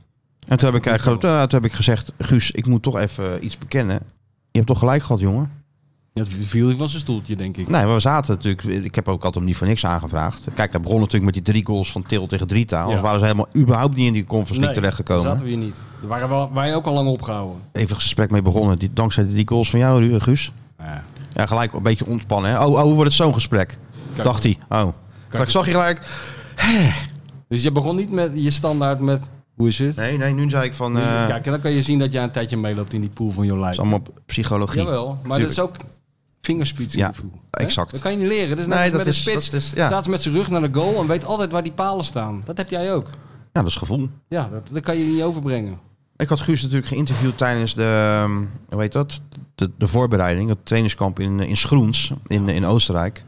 Speaker 1: En toen heb, ik eigenlijk, eh, toen heb ik gezegd, Guus, ik moet toch even iets bekennen. Je hebt toch gelijk gehad, jongen?
Speaker 3: Ja, het viel van zijn stoeltje, denk ik.
Speaker 1: Nee, maar we zaten natuurlijk... Ik heb ook altijd om niet voor niks aangevraagd. Kijk, hij begon natuurlijk met die drie goals van Til tegen Drita. Anders
Speaker 3: Ja.
Speaker 1: waren ze helemaal überhaupt niet in die conference
Speaker 3: Nee,
Speaker 1: League terechtgekomen.
Speaker 3: daar zaten we hier niet. Daar waren we, wij ook al lang opgehouden.
Speaker 1: Even een gesprek mee begonnen. Die, dankzij die goals van jou, Ru- Guus.
Speaker 3: Ja.
Speaker 1: Ja, gelijk een beetje ontspannen. Hè? Oh, oh, hoe wordt het zo'n gesprek?
Speaker 3: Kijk,
Speaker 1: Dacht hij. Oh. Maar ik zag je gelijk...
Speaker 3: Dus je begon niet met je standaard met hoe is het? Dus,
Speaker 1: Nee, nee, nu zei ik van... eh, het
Speaker 3: Kijk, en dan kan je zien dat jij een tijdje meeloopt in die pool van jouw
Speaker 1: is
Speaker 3: lijf.
Speaker 1: allemaal psychologie.
Speaker 3: Jawel, maar
Speaker 1: Tuurlijk.
Speaker 3: dat is ook vingerspitsengevoel.
Speaker 1: Ja,
Speaker 3: hè?
Speaker 1: exact.
Speaker 3: Dat kan je niet leren. Dat is net
Speaker 1: Nee,
Speaker 3: als
Speaker 1: dat
Speaker 3: met
Speaker 1: is-
Speaker 3: een spits.
Speaker 1: dat is- ja.
Speaker 3: Staat met zijn rug naar de goal en weet altijd waar die palen staan. Dat heb jij ook.
Speaker 1: Ja, dat is gevoel.
Speaker 3: Ja, dat, dat kan je niet overbrengen.
Speaker 1: Ik had Guus natuurlijk geïnterviewd tijdens de, ehm, hoe heet dat? De, de voorbereiding, het trainingskamp in, in Schroens in, in Oostenrijk.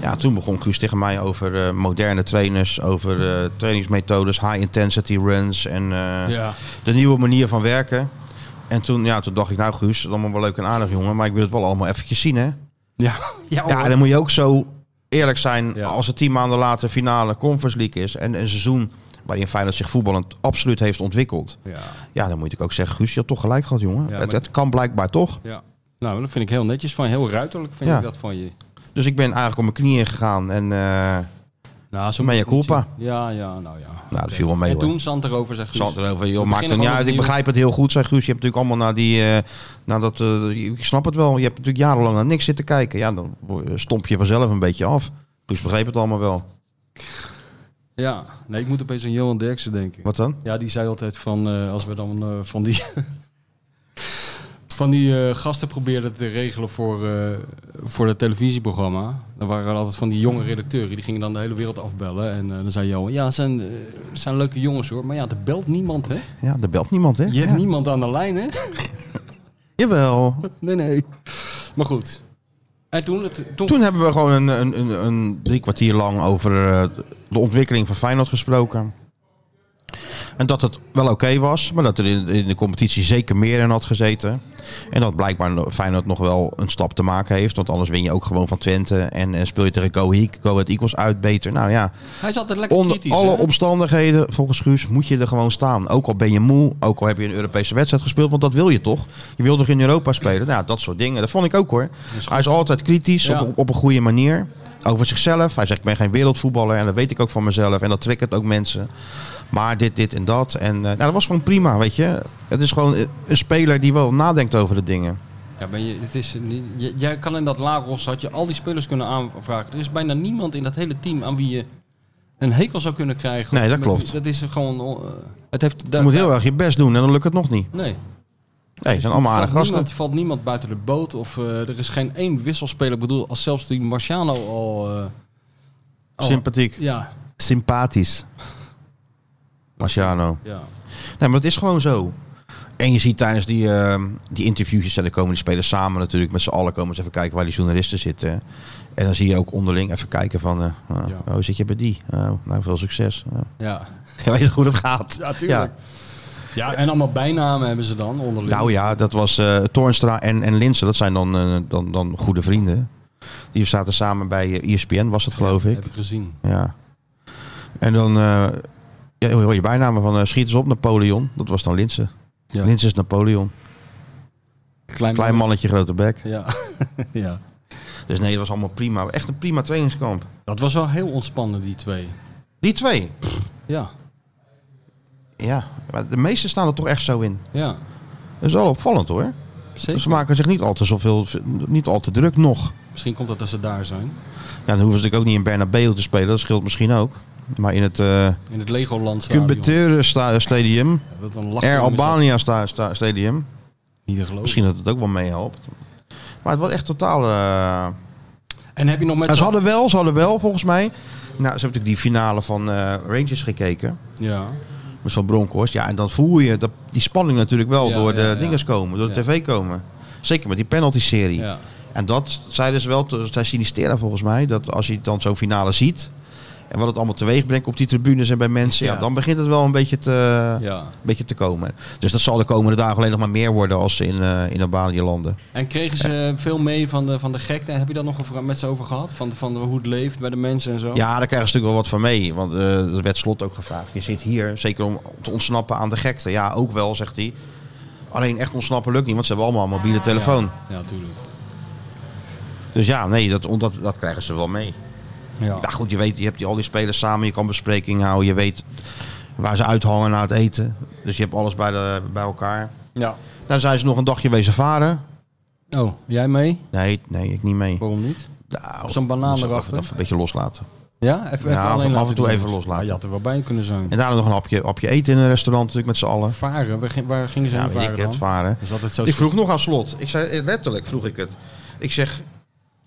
Speaker 1: Ja, toen begon Guus tegen mij over eh, moderne trainers, over eh, trainingsmethodes, high intensity runs en eh,
Speaker 3: Ja.
Speaker 1: de nieuwe manier van werken. En toen, ja, toen dacht ik, nou Guus, dat is allemaal wel leuk en aardig jongen, maar ik wil het wel allemaal eventjes zien hè.
Speaker 3: Ja, *laughs* ja,
Speaker 1: Ja, en dan moet je ook zo eerlijk zijn
Speaker 3: Ja.
Speaker 1: als het tien maanden later finale Conference League is en een seizoen waarin Feyenoord zich voetballend absoluut heeft ontwikkeld.
Speaker 3: ja.
Speaker 1: Ja, dan moet ik ook zeggen, Guus, je had toch gelijk gehad, jongen.
Speaker 3: Ja,
Speaker 1: het,
Speaker 3: maar-
Speaker 1: het kan blijkbaar toch.
Speaker 3: ja. Nou, dat vind ik heel netjes van je. Heel ruiterlijk vind
Speaker 1: Ja.
Speaker 3: ik dat van je.
Speaker 1: Dus ik ben eigenlijk op mijn knieën gegaan en eh
Speaker 3: Nou, zo
Speaker 1: Mea
Speaker 3: moet je het
Speaker 1: culpa.
Speaker 3: zien. Ja, ja, nou ja.
Speaker 1: nou, dat viel wel mee
Speaker 3: en
Speaker 1: hoor.
Speaker 3: toen zand erover, zegt Guus.
Speaker 1: Zand erover, joh,
Speaker 3: We
Speaker 1: maakt er niet
Speaker 3: beginnen gewoon
Speaker 1: uit. Ik
Speaker 3: opnieuw.
Speaker 1: begrijp het heel goed, zei Guus. Je hebt natuurlijk allemaal naar die, eh, naar dat, eh, ik snap het wel. Je hebt natuurlijk jarenlang naar niks zitten kijken. Ja, dan stomp je vanzelf een beetje af. Guus begreep het allemaal wel.
Speaker 3: Ja, nee, ik moet opeens aan Johan Derksen denken.
Speaker 1: Wat dan?
Speaker 3: Ja, die zei altijd van eh, als we dan eh, van die. *laughs* Van die eh, gasten probeerden te regelen voor, eh, voor het televisieprogramma. Dan waren er altijd van die jonge redacteuren. Die gingen dan de hele wereld afbellen. En eh, dan zei Johan, ja, het zijn, eh, het zijn leuke jongens hoor. Maar ja, er belt niemand, hè?
Speaker 1: Ja, er belt niemand, hè?
Speaker 3: Je hebt
Speaker 1: Ja.
Speaker 3: niemand aan de lijn, hè? *laughs*
Speaker 1: Jawel.
Speaker 3: Nee, nee. Maar goed. En toen... Het, toen,
Speaker 1: Toen hebben we gewoon een, een, een, een drie kwartier lang over eh, de ontwikkeling van Feyenoord gesproken. En dat het wel oké was, maar dat er in, in de competitie zeker meer in had gezeten. En dat blijkbaar no- Feyenoord nog wel een stap te maken heeft. Want anders win je ook gewoon van Twente en, eh, speel je tegen Go Ahead- Go Ahead Eagles uit beter. Nou ja,
Speaker 3: hij zat er lekker
Speaker 1: onder
Speaker 3: kritisch,
Speaker 1: alle
Speaker 3: hè?
Speaker 1: omstandigheden, volgens Guus, moet je er gewoon staan. Ook al ben je moe, ook al heb je een Europese wedstrijd gespeeld, want dat wil je toch? Je wil toch in Europa spelen? Nou, dat soort dingen. Dat vond ik ook hoor. Hij is altijd kritisch,
Speaker 3: Ja.
Speaker 1: op, op een goede manier. Over zichzelf. Hij zegt, ik ben geen wereldvoetballer en dat weet ik ook van mezelf. En dat triggert ook mensen. Maar dit, dit en dat. En eh, nou, dat was gewoon prima, weet je. Het is gewoon eh, een speler die wel nadenkt over de dingen.
Speaker 3: Ja, maar je, het is niet, j- jij kan in dat Lagos had je al die spelers kunnen aanvragen. Er is bijna niemand in dat hele team aan wie je een hekel zou kunnen krijgen.
Speaker 1: Nee, dat
Speaker 3: Met-
Speaker 1: klopt.
Speaker 3: Dat is gewoon. oh, eh, het heeft.
Speaker 1: Je
Speaker 3: daar-
Speaker 1: moet heel
Speaker 3: daar-
Speaker 1: erg je best doen en dan lukt het nog niet.
Speaker 3: Nee.
Speaker 1: Nee, het zijn allemaal
Speaker 3: Er
Speaker 1: aardige
Speaker 3: valt
Speaker 1: gasten.
Speaker 3: niemand, valt niemand buiten de boot of eh, er is geen één wisselspeler. Ik bedoel, als zelfs die Marciano al. eh, al-
Speaker 1: Sympathiek.
Speaker 3: Ja,
Speaker 1: Oh. Sympathisch. Marciano.
Speaker 3: ja.
Speaker 1: Nee, maar het is gewoon zo. En je ziet tijdens die, ehm die interviewjes, en dan komen die spelers samen natuurlijk met z'n allen komen eens even kijken waar die journalisten zitten. En dan zie je ook onderling even kijken van, eh, ah,
Speaker 3: Ja.
Speaker 1: oh zit je bij die? Oh, nou, veel succes. Ja.
Speaker 3: Ja.
Speaker 1: *laughs* Je weet hoe dat gaat.
Speaker 3: ja, tuurlijk. Ja. en allemaal bijnamen hebben ze dan onderling.
Speaker 1: Nou ja, dat was eh Toornstra en, en Linsen, dat zijn dan, eh, dan, dan goede E vrienden. Die zaten samen bij eh, ESPN was het geloof ik.
Speaker 3: Heb ik gezien.
Speaker 1: Ja. En dan eh ja, hoor je bijnamen van eh, schiet eens op Napoleon. Dat was dan Linse.
Speaker 3: Ja.
Speaker 1: Linse is Napoleon. Klein mannetje, grote bek.
Speaker 3: Ja. *laughs* ja.
Speaker 1: Dus nee, dat was allemaal prima. Echt een prima trainingskamp.
Speaker 3: Dat was wel heel ontspannen, die twee.
Speaker 1: Die twee.
Speaker 3: Ja,
Speaker 1: Ja, maar de meeste staan er toch echt zo in.
Speaker 3: ja.
Speaker 1: Dat is wel opvallend hoor.
Speaker 3: Zeker.
Speaker 1: Ze maken zich niet al te zoveel, niet al te druk nog.
Speaker 3: Misschien komt dat als ze daar zijn.
Speaker 1: Ja, dan hoeven ze natuurlijk ook niet in Bernabeu te spelen. Dat scheelt misschien ook. Maar in het eh
Speaker 3: In het Legoland stadion.
Speaker 1: Cumbetere sta- Stadium,
Speaker 3: Ja, dat Oh. dan lachen
Speaker 1: Air
Speaker 3: mensen
Speaker 1: Albania sta- sta- Stadium.
Speaker 3: Niet te geloven.
Speaker 1: Misschien dat het ook wel meehelpt. Maar het was echt totaal... eh,
Speaker 3: En heb je nog met
Speaker 1: Ja, ze
Speaker 3: z'n-
Speaker 1: hadden wel, ze hadden wel volgens mij. Nou, ze hebben natuurlijk die finale van eh, Rangers gekeken.
Speaker 3: Ja.
Speaker 1: Met zo'n Bronkhorst. Ja, en dan voel je dat, die spanning natuurlijk wel
Speaker 3: Ja,
Speaker 1: door de
Speaker 3: ja, ja.
Speaker 1: dinges komen. Door de
Speaker 3: Ja.
Speaker 1: tv komen. Zeker met die penalty-serie.
Speaker 3: ja.
Speaker 1: En dat zeiden ze wel, te- zij sinisteren volgens mij. Dat als je dan zo'n finale ziet. En wat het allemaal teweeg brengt op die tribunes en bij mensen. Ja,
Speaker 3: Ja.
Speaker 1: dan begint het wel een beetje te,
Speaker 3: ja.
Speaker 1: een beetje te komen. Dus dat zal de komende dagen alleen nog maar meer worden als ze in, eh in Albanië landen.
Speaker 3: En kregen ze veel mee van de, van de gekte? Heb je daar nog over- met ze over gehad? Van, van hoe het leeft bij de mensen en zo?
Speaker 1: Ja, daar krijgen ze natuurlijk wel wat van mee. Want eh er werd slot ook gevraagd. Je zit hier, zeker om te ontsnappen aan de gekte. Ja, ook wel, zegt hij. Alleen echt ontsnappen lukt niet, want ze hebben allemaal een mobiele telefoon.
Speaker 3: Ah, Ja, tuurlijk.
Speaker 1: Dus ja, nee, dat, on- dat, dat krijgen ze wel mee.
Speaker 3: Ja.
Speaker 1: Ja, goed, je weet, je hebt die- al die spelers samen, je kan besprekingen houden, je weet waar ze uithangen na het eten. Dus je hebt alles bij, de, bij elkaar.
Speaker 3: ja.
Speaker 1: Dan zijn ze nog een dagje wezen varen.
Speaker 3: Oh, jij mee?
Speaker 1: Nee, nee, ik niet mee.
Speaker 3: Waarom niet?
Speaker 1: Nou,
Speaker 3: Op zo'n banaan
Speaker 1: moet ze
Speaker 3: erachter?
Speaker 1: Even, even een beetje loslaten.
Speaker 3: Ja, even,
Speaker 1: Ja,
Speaker 3: even alleen
Speaker 1: af en
Speaker 3: laten
Speaker 1: toe
Speaker 3: doen.
Speaker 1: even loslaten.
Speaker 3: Ja, je had er wel bij kunnen zijn.
Speaker 1: En daarna nog een hapje, hapje eten in een restaurant natuurlijk met z'n allen.
Speaker 3: Varen, waar, ging- waar gingen ze
Speaker 1: Ja,
Speaker 3: heen
Speaker 1: weet
Speaker 3: varen
Speaker 1: ik het,
Speaker 3: dan?
Speaker 1: varen.
Speaker 3: Dat is altijd zo
Speaker 1: Ik vroeg nog aan slot. Ik zei eh, letterlijk vroeg ik het. Ik zeg,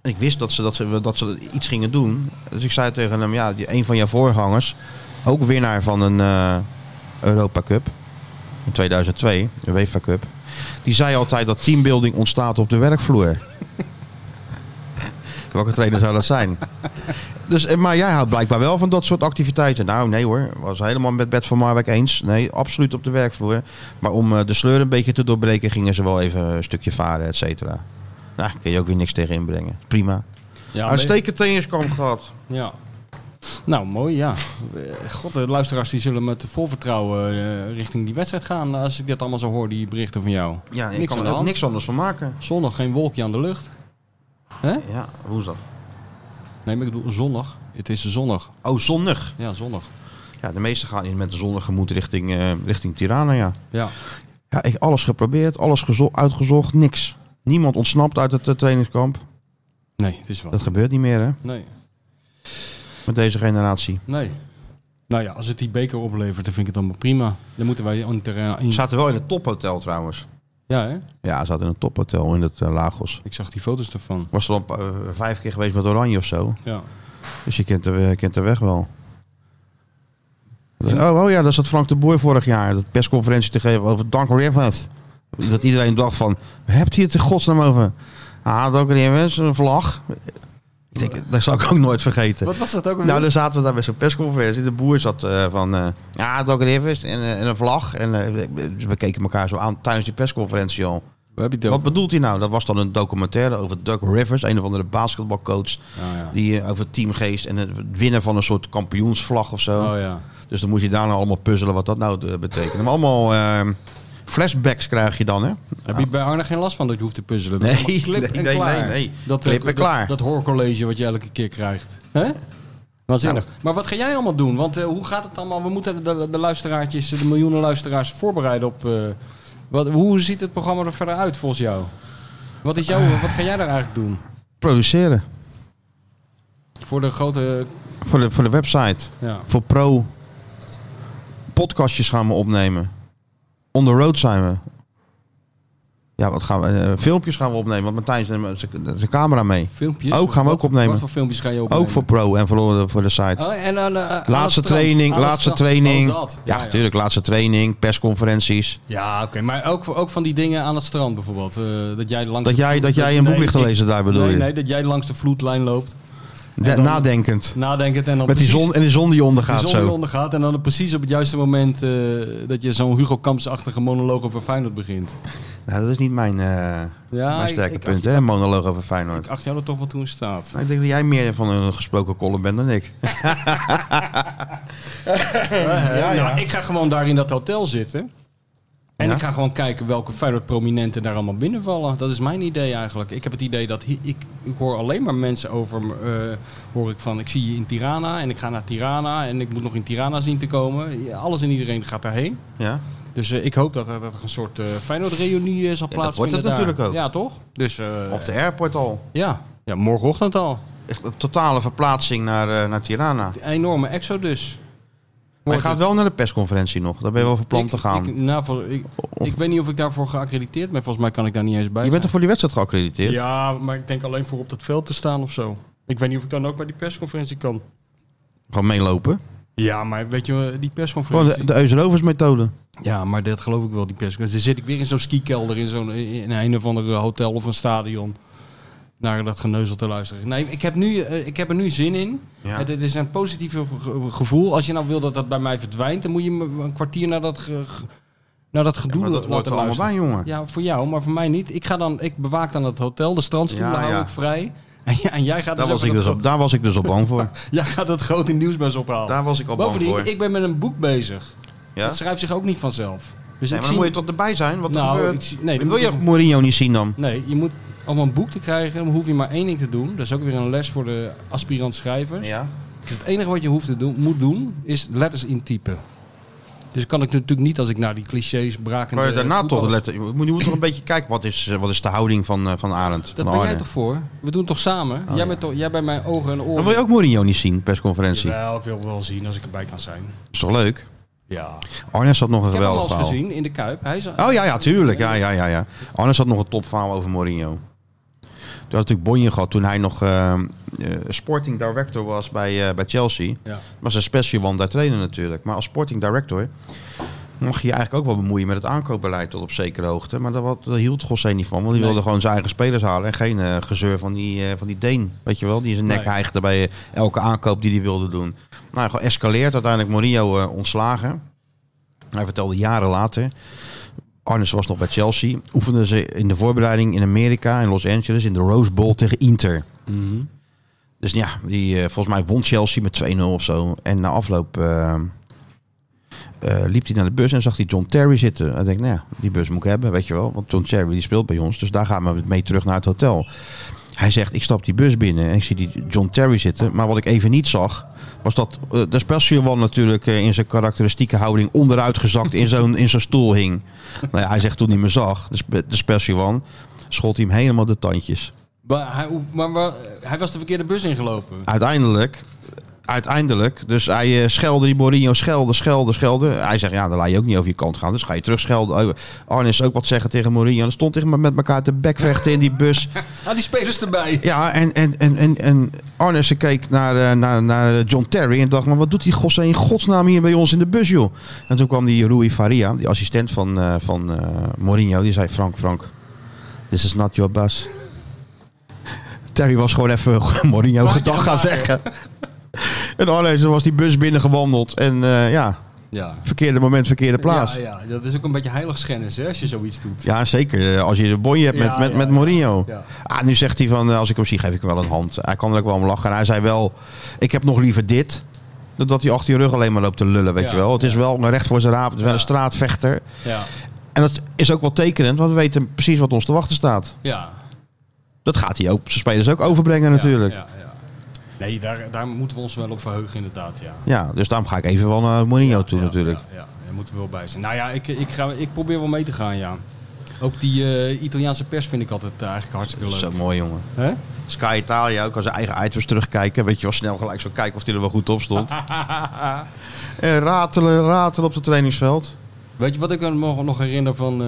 Speaker 1: ik wist dat ze, dat ze, dat ze iets gingen doen. Dus ik zei tegen hem, ja, die- een van jouw voorgangers, ook winnaar van een eh, Europa Cup in 2002, de UEFA Cup. Die zei altijd dat teambuilding ontstaat op de werkvloer. *laughs* Welke trainer zou dat zijn? Dus, eh, maar jij houdt blijkbaar wel van dat soort activiteiten. Nou, nee hoor. Was helemaal met Bert van Marwijk eens. Nee, absoluut op de werkvloer. Maar om eh, de sleur een beetje te doorbreken, gingen ze wel even een stukje varen, et cetera. Nou, kun je ook weer niks tegen inbrengen. Prima.
Speaker 3: Ja,
Speaker 1: Uitstekend trainingskamp gehad.
Speaker 3: Ja. Nou, mooi, ja. Eh, God, de luisteraars die zullen met vol vertrouwen eh, richting die wedstrijd gaan. Als ik dit allemaal zo hoor, die berichten van jou.
Speaker 1: Ja, ik
Speaker 3: Niks
Speaker 1: kan
Speaker 3: aan
Speaker 1: er
Speaker 3: de
Speaker 1: ook
Speaker 3: hand.
Speaker 1: niks anders van maken.
Speaker 3: Zondag, geen wolkje aan de lucht.
Speaker 1: Ja, woensdag.
Speaker 3: Nee, maar ik bedoel zondag. Het is zondag.
Speaker 1: Oh, zondag.
Speaker 3: Ja, zondag.
Speaker 1: Ja, de meesten gaan in met de zondag gemoed richting, eh, richting Tirana, ja.
Speaker 3: Ja.
Speaker 1: Ja, ik alles geprobeerd, alles gezo- uitgezocht, niks. Niemand ontsnapt uit het eh, trainingskamp.
Speaker 3: Nee, het is wel.
Speaker 1: Dat gebeurt niet meer, hè,
Speaker 3: Nee.
Speaker 1: met deze generatie.
Speaker 3: Nee. Nou ja, als het die beker oplevert, dan vind ik het allemaal prima. Dan moeten wij in terrein... in-
Speaker 1: We zaten wel in het tophotel trouwens.
Speaker 3: Ja, hè?
Speaker 1: Ja, we zaten in een tophotel in het eh, Lagos.
Speaker 3: Ik zag die foto's ervan.
Speaker 1: Was er al een paar- eh, vijf keer geweest met Oranje of zo.
Speaker 3: Ja.
Speaker 1: Dus je kent de, kent de weg wel. Oh, oh ja, daar zat Frank de Boer vorig jaar. Dat persconferentie te geven over Dank Rivers. Dat iedereen dacht van, waar hebt hij het in godsnaam over? Hij had ook Rivers, een vlag. Ik denk, dat zal ik ook nooit vergeten.
Speaker 3: Wat was dat ook
Speaker 1: Nou, dan zaten we daar bij zo'n persconferentie. De boer zat eh, van, eh, ja, Doc Rivers en, eh, en een vlag. En eh, we keken elkaar zo aan tijdens die persconferentie al.
Speaker 3: We hebben het
Speaker 1: Wat
Speaker 3: ook.
Speaker 1: bedoelt hij nou? Dat was dan een documentaire over Doug Rivers, een of andere basketbalcoach.
Speaker 3: Ja, ja.
Speaker 1: Die eh, over teamgeest en het winnen van een soort kampioensvlag of zo.
Speaker 3: Oh ja.
Speaker 1: Dus dan moest je daarna allemaal puzzelen wat dat nou eh, betekent. Maar allemaal eh, flashbacks krijg je dan, hè?
Speaker 3: Heb je bij Arne geen last van dat je hoeft te puzzelen? Dat
Speaker 1: Nee,
Speaker 3: is allemaal clip
Speaker 1: nee,
Speaker 3: en
Speaker 1: nee,
Speaker 3: klaar.
Speaker 1: nee, nee.
Speaker 3: Dat, eh,
Speaker 1: Clip en
Speaker 3: dat-
Speaker 1: klaar.
Speaker 3: Dat, hoorcollege wat je elke keer krijgt. Hè? Waanzinnig.
Speaker 1: Nou.
Speaker 3: Maar wat ga jij allemaal doen? Want eh, hoe gaat het allemaal? We moeten de, de luisteraartjes, de miljoenen luisteraars voorbereiden op... eh, wat, hoe ziet het programma er verder uit volgens jou? Wat, is jouw, wat ga jij daar eigenlijk doen?
Speaker 1: Produceren
Speaker 3: Voor de grote... eh,
Speaker 1: voor de, voor de website.
Speaker 3: Ja,
Speaker 1: Voor pro. Podcastjes gaan we opnemen. On the road zijn we. Ja, wat gaan we? eh, filmpjes gaan we opnemen. Want Martijn neemt zijn- zijn camera mee.
Speaker 3: filmpjes.
Speaker 1: Ook, gaan we ook
Speaker 3: Wat-
Speaker 1: opnemen.
Speaker 3: Wat voor filmpjes ga je opnemen?
Speaker 1: Ook voor pro en voor, voor de site.
Speaker 3: Oh, en, dan, eh, aan het
Speaker 1: Laatste
Speaker 3: strand.
Speaker 1: training,
Speaker 3: Aan het
Speaker 1: laatste
Speaker 3: strand.
Speaker 1: training.
Speaker 3: Oh, dat.
Speaker 1: Ja, natuurlijk, laatste training, persconferenties.
Speaker 3: Ja, oké, maar ook, ook van die dingen aan het strand bijvoorbeeld. eh, dat jij langs
Speaker 1: Dat
Speaker 3: de
Speaker 1: jij,
Speaker 3: vloed-
Speaker 1: dat jij een boek
Speaker 3: nee,
Speaker 1: ligt te
Speaker 3: ik-
Speaker 1: lezen, daar bedoel
Speaker 3: nee,
Speaker 1: je?
Speaker 3: nee, dat jij langs de vloedlijn loopt.
Speaker 1: De-
Speaker 3: dan-
Speaker 1: nadenkend.
Speaker 3: Nadenkend en dan
Speaker 1: Met die
Speaker 3: precies-
Speaker 1: zon, en de zon die ondergaat
Speaker 3: die zon
Speaker 1: zo.
Speaker 3: die ondergaat. En dan precies op het juiste moment eh, dat je zo'n Hugo Kamps-achtige monoloog over Feyenoord begint.
Speaker 1: Nou, dat is niet mijn, eh,
Speaker 3: Ja,
Speaker 1: mijn
Speaker 3: ik-
Speaker 1: sterke
Speaker 3: ik
Speaker 1: punt, hè? Monoloog over Feyenoord.
Speaker 3: Ik acht jou er toch wel toe in staat.
Speaker 1: Nou, ik denk dat jij meer van een gesproken column bent dan ik. *laughs*
Speaker 3: Nou, ik ga gewoon daar in dat hotel zitten. En
Speaker 1: Ja.
Speaker 3: ik ga gewoon kijken welke Feyenoord-prominenten daar allemaal binnenvallen. Dat is mijn idee eigenlijk. Ik heb het idee dat... hi- Ik, ik hoor alleen maar mensen over... me, eh, hoor ik van, ik zie je in Tirana en ik ga naar Tirana... en ik moet nog in Tirana zien te komen. Ja, Alles en iedereen gaat daarheen.
Speaker 1: Ja?
Speaker 3: Dus eh, ik hoop dat er, dat er een soort eh Feyenoord-reunie eh, zal
Speaker 1: Ja, dat
Speaker 3: plaatsvinden
Speaker 1: wordt het
Speaker 3: daar.
Speaker 1: natuurlijk ook. Oh.
Speaker 3: Ja, toch? Dus eh,
Speaker 1: Op de airport al.
Speaker 3: ja. ja, morgenochtend al.
Speaker 1: Echt een totale verplaatsing naar, eh, naar Tirana.
Speaker 3: De enorme exodus.
Speaker 1: Maar je
Speaker 3: Wordt
Speaker 1: gaat wel
Speaker 3: het.
Speaker 1: naar de persconferentie nog. Daar ben je wel van plan
Speaker 3: Ik-
Speaker 1: te gaan.
Speaker 3: Ik, nou, voor- ik,
Speaker 1: Of-
Speaker 3: ik weet niet of ik daarvoor geaccrediteerd ben. Volgens mij kan ik daar niet eens bij
Speaker 1: je bent
Speaker 3: zijn.
Speaker 1: toch voor die wedstrijd geaccrediteerd?
Speaker 3: Ja, maar ik denk alleen voor op dat veld te staan of zo. Ik weet niet of ik dan ook bij die persconferentie kan.
Speaker 1: Gewoon meelopen.
Speaker 3: Ja, maar weet je, eh, die
Speaker 1: Gewoon
Speaker 3: persconferentie...
Speaker 1: Oh, de, de Euserovers methode.
Speaker 3: Ja, maar dat geloof ik wel, die persconferentie. Dan zit ik weer in zo'n skikelder in, zo'n, in een of ander eh, hotel of een stadion... naar dat geneuzel te luisteren. Nee, ik heb, nu, eh, ik heb er nu zin in.
Speaker 1: Ja.
Speaker 3: Het, het is een positief ge- ge- gevoel. Als je nou wil dat dat bij mij verdwijnt... dan moet je me een kwartier naar dat, ge- ge- naar dat gedoe
Speaker 1: maar dat
Speaker 3: laten
Speaker 1: hoort er allemaal
Speaker 3: luisteren.
Speaker 1: bij, jongen.
Speaker 3: Ja, voor jou, maar voor mij niet. Ik, ga dan, ik bewaak dan het hotel, de strandstoelen
Speaker 1: Ja,
Speaker 3: hou
Speaker 1: ja.
Speaker 3: ik vrij. *laughs* En, j- en jij gaat
Speaker 1: Daar,
Speaker 3: dus
Speaker 1: was ik
Speaker 3: even
Speaker 1: dus
Speaker 3: dat
Speaker 1: op, daar was ik dus op bang *laughs* voor.
Speaker 3: gro- *laughs* jij gaat het grote nieuwsbus ophalen.
Speaker 1: Daar was ik al bang
Speaker 3: Bovendien,
Speaker 1: voor.
Speaker 3: ik ben met een boek bezig.
Speaker 1: Ja?
Speaker 3: Dat schrijft zich ook niet vanzelf.
Speaker 1: Nee,
Speaker 3: Dus ik
Speaker 1: maar dan
Speaker 3: zie...
Speaker 1: moet je toch erbij zijn? Wat er
Speaker 3: Nou,
Speaker 1: gebeurt?
Speaker 3: ik zie- nee, dan
Speaker 1: Wil
Speaker 3: moet
Speaker 1: je
Speaker 3: ik-
Speaker 1: Mourinho niet zien dan?
Speaker 3: Nee, je moet om een boek te krijgen, dan hoef je maar één ding te doen. Dat is ook weer een les voor de aspirant schrijvers.
Speaker 1: Ja.
Speaker 3: Dus het enige wat je hoeft te doen, moet doen, is letters intypen. Dus kan ik natuurlijk niet als ik naar die clichés braken.
Speaker 1: Maar daarna toch letten. Je moet, je moet toch een beetje kijken. Wat is, eh, wat is de houding van, eh, van Arend?
Speaker 3: Dat
Speaker 1: van
Speaker 3: ben jij
Speaker 1: Arne?
Speaker 3: toch voor? We doen het toch samen? jij, bent toch, jij bij mijn ogen en oren.
Speaker 1: Dan wil je ook Mourinho niet zien, persconferentie.
Speaker 3: Ja, ik wil wel zien als ik erbij kan zijn.
Speaker 1: Is toch leuk?
Speaker 3: Ja.
Speaker 1: Arnes had nog een
Speaker 3: Ik heb hem al
Speaker 1: geweldig
Speaker 3: eens
Speaker 1: verhaal.
Speaker 3: gezien in de Kuip. Hij is al-
Speaker 1: Oh ja, ja, tuurlijk. Ja, ja, ja, ja. Arnes had nog een topverhaal over Mourinho. Toen had natuurlijk Bonje gehad toen hij nog eh, eh, sporting director was bij, eh, bij Chelsea.
Speaker 3: Ja.
Speaker 1: Was een special one daar trainen natuurlijk. Maar als sporting director mag je je eigenlijk ook wel bemoeien met het aankoopbeleid tot op zekere hoogte. Maar daar, wat, daar hield Gossé niet van, want die
Speaker 3: Nee.
Speaker 1: wilde gewoon zijn eigen spelers halen. En geen eh, gezeur van die, eh, van die Deen, weet je wel. Die zijn nek
Speaker 3: Nee.
Speaker 1: hijgde bij eh, elke aankoop die hij wilde doen. Nou, geëscaleerd. Uiteindelijk Mourinho eh, ontslagen. Hij vertelde jaren later. Arnes was nog bij Chelsea. Oefenden ze in de voorbereiding in Amerika, in Los Angeles, in de Rose Bowl tegen Inter. Dus ja, die, eh, volgens mij won Chelsea met 2-0 of zo. En na afloop eh, eh, liep hij naar de bus en zag hij John Terry zitten. Hij denkt, nou ja, die bus moet ik hebben, weet je wel. Want John Terry die speelt bij ons, dus daar gaan we mee terug naar het hotel. Hij zegt, ik stap die bus binnen en ik zie die John Terry zitten. Maar wat ik even niet zag, was dat eh, de Special One natuurlijk eh, in zijn karakteristieke houding onderuitgezakt in zo'n in zo'n stoel hing. Nou ja, hij zegt toen hij me zag, de, spe- de Special One, schot hij hem helemaal de tandjes.
Speaker 3: Maar, hij, maar, maar hij was de verkeerde bus ingelopen.
Speaker 1: Uiteindelijk, uiteindelijk, dus hij eh schelde die Mourinho, schelde, schelde, schelde. Hij zegt, ja, dan laat je ook niet over je kant gaan, dus ga je terug schelden. Oh, Arnes ook wat zeggen tegen Mourinho. Dan stond hij maar met elkaar te bekvechten in die bus.
Speaker 3: Ah, die spelers erbij.
Speaker 1: Ja, en, en, en, en, en Arnissen keek naar, eh, naar, naar John Terry en dacht, maar wat doet die gosse in godsnaam hier bij ons in de bus, joh? En toen kwam die Rui Faria, die assistent van, eh, van eh, Mourinho, die zei, Frank, Frank, this is not your bus. *laughs* Terry was gewoon even *laughs* Mourinho
Speaker 3: Praatje
Speaker 1: gedag gaan
Speaker 3: gemaakt,
Speaker 1: zeggen. En Arnissen was die bus binnengewandeld en eh, ja,
Speaker 3: Ja.
Speaker 1: verkeerde moment, verkeerde plaats. Ja,
Speaker 3: Ja, ja, dat is ook een beetje heiligschennis hè, als je zoiets doet.
Speaker 1: zeker. eh, Als je de bonje hebt met,
Speaker 3: Ja,
Speaker 1: met,
Speaker 3: ja,
Speaker 1: met
Speaker 3: ja.
Speaker 1: Mourinho.
Speaker 3: Ja.
Speaker 1: Ah, nu zegt hij van, eh, als ik hem zie, geef ik hem wel een hand. Hij kan er ook wel om lachen. En hij zei wel, ik heb nog liever dit... dan dat hij achter je rug alleen maar loopt te lullen, weet
Speaker 3: Ja,
Speaker 1: je wel. Het is wel een recht voor zijn raap. Het is wel een straatvechter.
Speaker 3: Ja.
Speaker 1: En dat is ook wel tekenend, want we weten precies wat ons te wachten staat.
Speaker 3: Ja.
Speaker 1: Dat gaat hij ook, zijn spelers ook overbrengen natuurlijk. Ja,
Speaker 3: Ja, ja, ja. Nee, daar, daar moeten we ons wel op verheugen inderdaad, ja.
Speaker 1: dus daarom ga ik even wel naar Mourinho toe
Speaker 3: Ja,
Speaker 1: natuurlijk.
Speaker 3: Ja, ja, daar moeten we wel bij zijn. Nou ja, ik, ik, ga, ik probeer wel mee te gaan, ja. Ook die eh, Italiaanse pers vind ik altijd eh, eigenlijk hartstikke
Speaker 1: Dat is
Speaker 3: leuk.
Speaker 1: ook mooi, jongen.
Speaker 3: Hè?
Speaker 1: Sky Italia ook als zijn eigen items terugkijken. Weet je wel, snel gelijk zo kijken of hij er wel goed op
Speaker 3: *laughs*
Speaker 1: stond. en ratelen, ratelen op het trainingsveld.
Speaker 3: Weet je wat ik me nog- nog herinner van eh,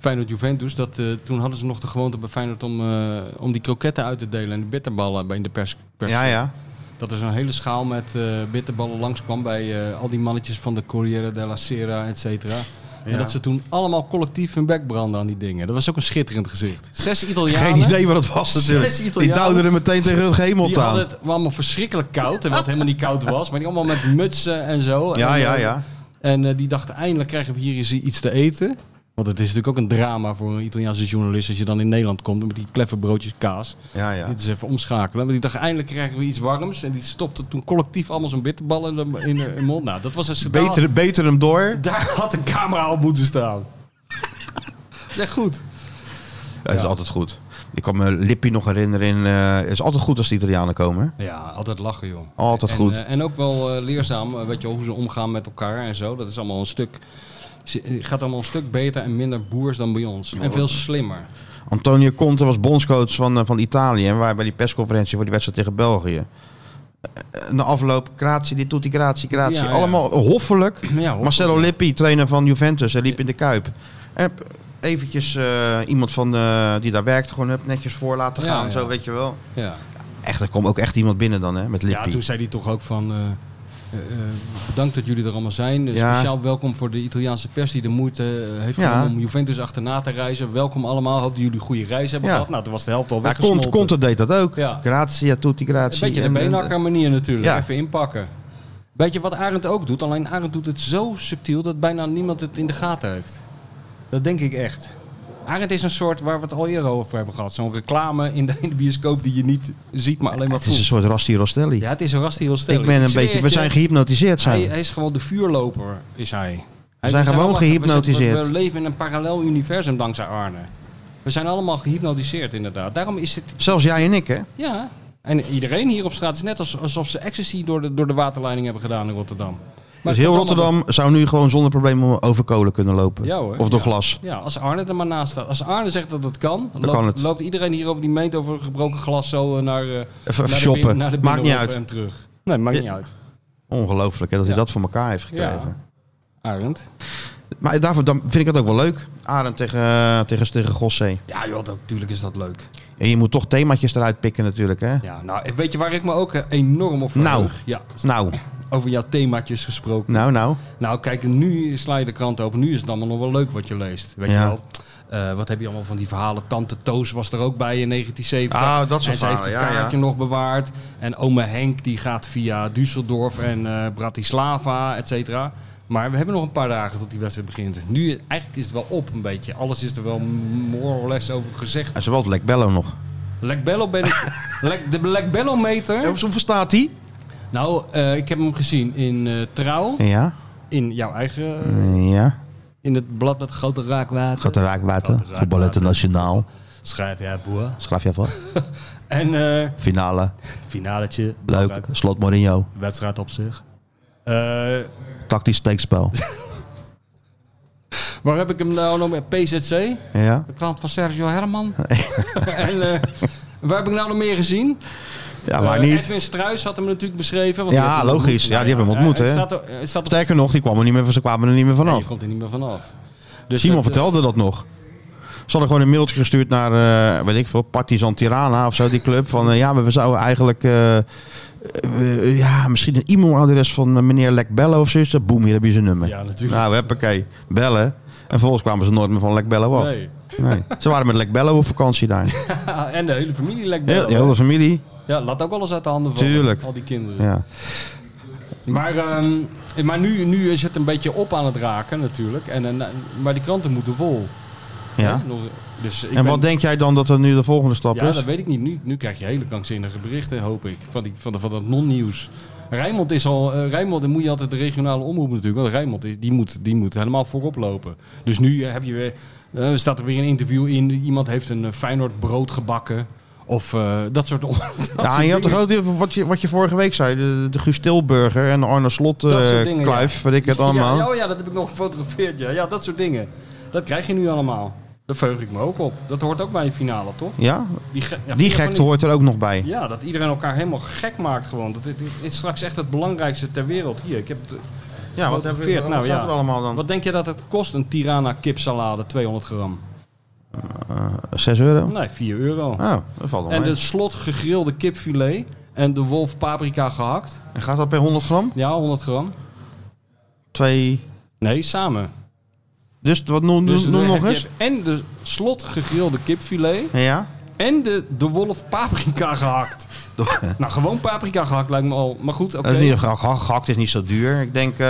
Speaker 3: Feyenoord Juventus? Dat, eh, toen hadden ze nog de gewoonte bij Feyenoord om, eh, om die kroketten uit te delen en de bitterballen bij in de pers. pers-
Speaker 1: Ja, ja.
Speaker 3: Dat er zo'n hele schaal met eh bitterballen langskwam bij eh, al die mannetjes van de Corriere della Sera, et cetera.
Speaker 1: Ja.
Speaker 3: En dat ze toen allemaal collectief hun bek branden aan die dingen. Dat was ook een schitterend gezicht. Zes Italianen.
Speaker 1: Geen idee wat het was natuurlijk.
Speaker 3: Zes
Speaker 1: Die
Speaker 3: Italianen.
Speaker 1: duwden er meteen tegen het hemel
Speaker 3: Die hadden
Speaker 1: aan.
Speaker 3: het allemaal verschrikkelijk koud, terwijl het helemaal niet koud was. Maar die allemaal met mutsen en zo.
Speaker 1: Ja,
Speaker 3: en,
Speaker 1: ja,
Speaker 3: eh,
Speaker 1: ja.
Speaker 3: En eh, die dachten, eindelijk krijgen we hier eens iets te eten. Want het is natuurlijk ook een drama voor een Italiaanse journalist als je dan in Nederland komt met die kleffe broodjes kaas.
Speaker 1: Ja, ja.
Speaker 3: Dit is even omschakelen. Maar die dachten, eindelijk krijgen we iets warms. En die stopte toen collectief allemaal zo'n bitterbal in de, in de- in de mond. Nou, dat was een schandaal.
Speaker 1: Beter, beter hem door.
Speaker 3: Daar had een camera op moeten
Speaker 1: *laughs*
Speaker 3: staan. Zeg goed.
Speaker 1: Het is altijd goed. Ik kan me Lippi nog herinneren. in, eh, het is altijd goed als de Italianen komen. hè?
Speaker 3: Ja, altijd lachen joh.
Speaker 1: Altijd
Speaker 3: en,
Speaker 1: goed.
Speaker 3: eh, en ook wel eh, leerzaam, eh, weet je wel, hoe ze omgaan met elkaar en zo. Dat is allemaal een stuk... ze- Het gaat allemaal een stuk beter en minder boers dan bij ons. En veel slimmer.
Speaker 1: Antonio Conte was bondscoach van, eh, van Italië. En waar bij die persconferentie voor die wedstrijd tegen België. Eh, Na afloop, Kratie, dit doet die Kratie, Kratie.
Speaker 3: Ja, ja.
Speaker 1: Allemaal hoffelijk.
Speaker 3: Ja, hoor.
Speaker 1: Marcelo Lippi, trainer van Juventus, hij liep in de Kuip. Heb eventjes eh, iemand van, eh, die daar werkt gewoon heb netjes voor laten
Speaker 3: Ja,
Speaker 1: gaan.
Speaker 3: ja.
Speaker 1: Zo weet je wel.
Speaker 3: Ja.
Speaker 1: Echt, er kwam ook echt iemand binnen dan hè, met
Speaker 3: ja,
Speaker 1: Lippi.
Speaker 3: toen zei hij toch ook van... eh, eh, eh, bedankt dat jullie er allemaal zijn. Eh,
Speaker 1: Ja.
Speaker 3: Speciaal welkom voor de Italiaanse pers die de moeite eh, heeft
Speaker 1: Ja.
Speaker 3: genomen om Juventus achterna te reizen. Welkom allemaal. Hoop dat jullie een goede reis hebben
Speaker 1: Ja.
Speaker 3: gehad. Nou, toen was de helft al
Speaker 1: ja, Conte,
Speaker 3: weggesmolten.
Speaker 1: Conte deed dat ook.
Speaker 3: Ja.
Speaker 1: Grazie, ja, tutti grazie.
Speaker 3: Een beetje de
Speaker 1: En, eh, en,
Speaker 3: beenhakker manier natuurlijk.
Speaker 1: Ja.
Speaker 3: Even inpakken. Weet je wat Arend ook doet? Alleen Arend doet het zo subtiel dat bijna niemand het in de gaten heeft. Dat denk ik echt. Arend is een soort waar we het al eerder over hebben gehad. Zo'n reclame in de, in de bioscoop die je niet ziet, maar alleen maar
Speaker 1: Het is een
Speaker 3: voelt.
Speaker 1: soort Rasti Rostelli.
Speaker 3: Ja, het is een rast heel stil.
Speaker 1: ik ben een beetje, we zijn gehypnotiseerd zijn.
Speaker 3: eh, hij,
Speaker 1: we.
Speaker 3: hij is gewoon de vuurloper, is hij. Hij- We
Speaker 1: zijn gewoon
Speaker 3: allemaal- we zijn-
Speaker 1: gehypnotiseerd.
Speaker 3: We, we leven in een parallel universum dankzij Arne. We zijn allemaal gehypnotiseerd inderdaad. Daarom is het
Speaker 1: Zelfs jij en ik, hè?
Speaker 3: ja, en iedereen hier op straat is net als- alsof ze ecstasy door de, door de waterleiding hebben gedaan in Rotterdam. Maar
Speaker 1: dus heel
Speaker 3: het komt allemaal-
Speaker 1: Rotterdam zou nu gewoon zonder problemen over kolen kunnen lopen.
Speaker 3: Ja, hoor.
Speaker 1: Of door
Speaker 3: Ja.
Speaker 1: glas.
Speaker 3: Ja, als Arne er maar naast staat. Als Arne zegt dat het kan, loopt,
Speaker 1: kan het.
Speaker 3: loopt iedereen hier over die meent over gebroken glas zo eh, naar, eh,
Speaker 1: Even
Speaker 3: naar
Speaker 1: shoppen.
Speaker 3: De, bin- naar de
Speaker 1: Maakt niet
Speaker 3: binnenhof
Speaker 1: uit.
Speaker 3: En terug. Nee, maakt
Speaker 1: Ja.
Speaker 3: niet uit.
Speaker 1: Ongelooflijk, hè, dat hij
Speaker 3: Ja.
Speaker 1: dat voor elkaar heeft gekregen.
Speaker 3: Arend.
Speaker 1: Maar daarvoor dan vind ik het ook wel leuk. Arend tegen, eh, tegen, tegen Gossé.
Speaker 3: Ja, joh, natuurlijk is dat leuk.
Speaker 1: En je moet toch themaatjes eruit pikken natuurlijk, hè?
Speaker 3: Ja, nou, weet je waar ik me ook eh, enorm op verheug?
Speaker 1: Nou.
Speaker 3: Ja,
Speaker 1: Nou,
Speaker 3: over jouw themaatjes gesproken.
Speaker 1: nou, nou.
Speaker 3: Nou, kijk, nu sla je de krant open. Nu is het allemaal nog wel leuk wat je leest. Weet
Speaker 1: Ja.
Speaker 3: je wel? Eh, wat heb je allemaal van die verhalen? Tante Toos was er ook bij in 1970.
Speaker 1: Ah, dat soort
Speaker 3: en ze heeft het
Speaker 1: verhalen, ja,
Speaker 3: kaartje nog bewaard. En ome Henk die gaat via Düsseldorf en eh, Bratislava, et cetera. Maar we hebben nog een paar dagen tot die wedstrijd begint. Nu eigenlijk is het wel op een beetje. Alles is er wel more or less over gezegd.
Speaker 1: En ze wel het Lek Bello nog.
Speaker 3: Lek Bello ben ik...
Speaker 1: *laughs*
Speaker 3: Lek- de Lek Bello meter.
Speaker 1: Hoe staat hij?
Speaker 3: Nou, eh, ik heb hem gezien in eh, Trouw.
Speaker 1: Ja,
Speaker 3: In jouw eigen...
Speaker 1: ja.
Speaker 3: In het blad met grote raakwater.
Speaker 1: Gaat de raakwater.
Speaker 3: raakwater.
Speaker 1: Voetbal internationaal.
Speaker 3: Schrijf jij voor.
Speaker 1: Schrijf je voor.
Speaker 3: En eh
Speaker 1: Finale.
Speaker 3: finaletje.
Speaker 1: Leuk. Slot Mourinho.
Speaker 3: Wedstrijd op zich. Eh,
Speaker 1: Tactisch
Speaker 3: *laughs*
Speaker 1: steekspel.
Speaker 3: waar heb ik hem nou nog meer? PZC.
Speaker 1: Ja.
Speaker 3: De krant van Sergio
Speaker 1: *laughs*
Speaker 3: Herman. en eh, waar heb ik nou nog meer gezien?
Speaker 1: Ja, Ah, maar
Speaker 3: Eh,
Speaker 1: niet.
Speaker 3: Edwin Struis had hem natuurlijk beschreven. want
Speaker 1: Ja,
Speaker 3: die had hem
Speaker 1: logisch.
Speaker 3: ontmoet.
Speaker 1: Ja, die hebben hem ontmoet, hè.
Speaker 3: Het staat, er- het staat er-
Speaker 1: Sterker nog, die kwam er niet meer, ze kwamen er niet meer
Speaker 3: Nee,
Speaker 1: vanaf.
Speaker 3: je komt er niet meer vanaf. Dus
Speaker 1: Simon
Speaker 3: dat, eh,
Speaker 1: vertelde dat nog. Ze hadden gewoon een mailtje gestuurd naar, eh weet ik veel, Partizan Tirana of zo, die club. Van eh, ja, maar we zouden eigenlijk, eh, eh, we- ja, misschien een e-mailadres van eh, meneer Lek Bello of zoiets. Boem, hier heb je zijn nummer.
Speaker 3: Ja, natuurlijk.
Speaker 1: Nou, huppakee, bellen. En vervolgens kwamen ze nooit meer van Lek Bello af. Nee.
Speaker 3: Nee.
Speaker 1: Ze waren met Lek Bello op vakantie daar.
Speaker 3: *laughs* en de hele familie lijkt
Speaker 1: Heel,
Speaker 3: wel.
Speaker 1: heel de familie.
Speaker 3: Ja, laat ook alles uit de handen vallen.
Speaker 1: Tuurlijk.
Speaker 3: Al die kinderen.
Speaker 1: Ja.
Speaker 3: Maar, ehm, maar nu, nu is het een beetje op aan het raken natuurlijk. En, en, maar die kranten moeten vol.
Speaker 1: Ja.
Speaker 3: Hè? Nog- Dus ik
Speaker 1: En
Speaker 3: ben-
Speaker 1: wat denk jij dan dat er nu de volgende stap
Speaker 3: Ja,
Speaker 1: is?
Speaker 3: dat weet ik niet. Nu, nu krijg je hele krankzinnige berichten, hoop ik. Van, die, van, de- van dat non-nieuws. Rijnmond is al... eh, Rijnmond, dan moet je altijd de regionale omroep natuurlijk. Want Rijnmond is, die moet, die moet helemaal voorop lopen. Dus nu eh, heb je weer... eh, staat er weer een interview in. Iemand heeft een eh, Feyenoord brood gebakken. Of eh, dat soort... *laughs* on- dat
Speaker 1: Ja,
Speaker 3: soort
Speaker 1: en je had
Speaker 3: dingen.
Speaker 1: toch ook die- wat je, wat je vorige week zei, de, de Guus Tilburger en de Arne Slot eh,
Speaker 3: Dat soort dingen,
Speaker 1: kluif, weet ik het allemaal.
Speaker 3: *laughs* Ja, oh ja, dat heb ik nog gefotografeerd. Ja. ja, dat soort dingen. Dat krijg je nu allemaal. Daar veug ik me ook op. Dat hoort ook bij een finale, toch?
Speaker 1: Ja,
Speaker 3: Die, ge- ja, vind je
Speaker 1: die
Speaker 3: van
Speaker 1: gekte
Speaker 3: niet?
Speaker 1: hoort er ook nog bij.
Speaker 3: Ja, dat iedereen elkaar helemaal gek maakt gewoon. Dat, dit, dit is straks echt het belangrijkste ter wereld. Hier, ik heb
Speaker 1: Oh.
Speaker 3: het-
Speaker 1: Ja,
Speaker 3: wat nou hebben we- wat staat er
Speaker 1: allemaal dan?
Speaker 3: wat denk je dat het kost, een Tirana kipsalade, 200 gram?
Speaker 1: 6 euro?
Speaker 3: Nee, 4 euro.
Speaker 1: Oh, dat valt wel
Speaker 3: en dus-
Speaker 1: mee.
Speaker 3: de slot gegrilde kipfilet en de wolf paprika gehakt.
Speaker 1: En gaat dat per 100 gram?
Speaker 3: Ja, 100 gram.
Speaker 1: Twee...
Speaker 3: Nee, samen.
Speaker 1: Dus wat noem,
Speaker 3: Dus
Speaker 1: noem
Speaker 3: dan
Speaker 1: nog
Speaker 3: heb je
Speaker 1: eens.
Speaker 3: En de slot gegrilde kipfilet.
Speaker 1: Ja?
Speaker 3: En de, de wolf paprika gehakt. *laughs* nou, gewoon paprika gehakt lijkt me al. Maar goed, oké.
Speaker 1: Dat is niet, geha- gehakt is niet zo duur. Ik denk eh,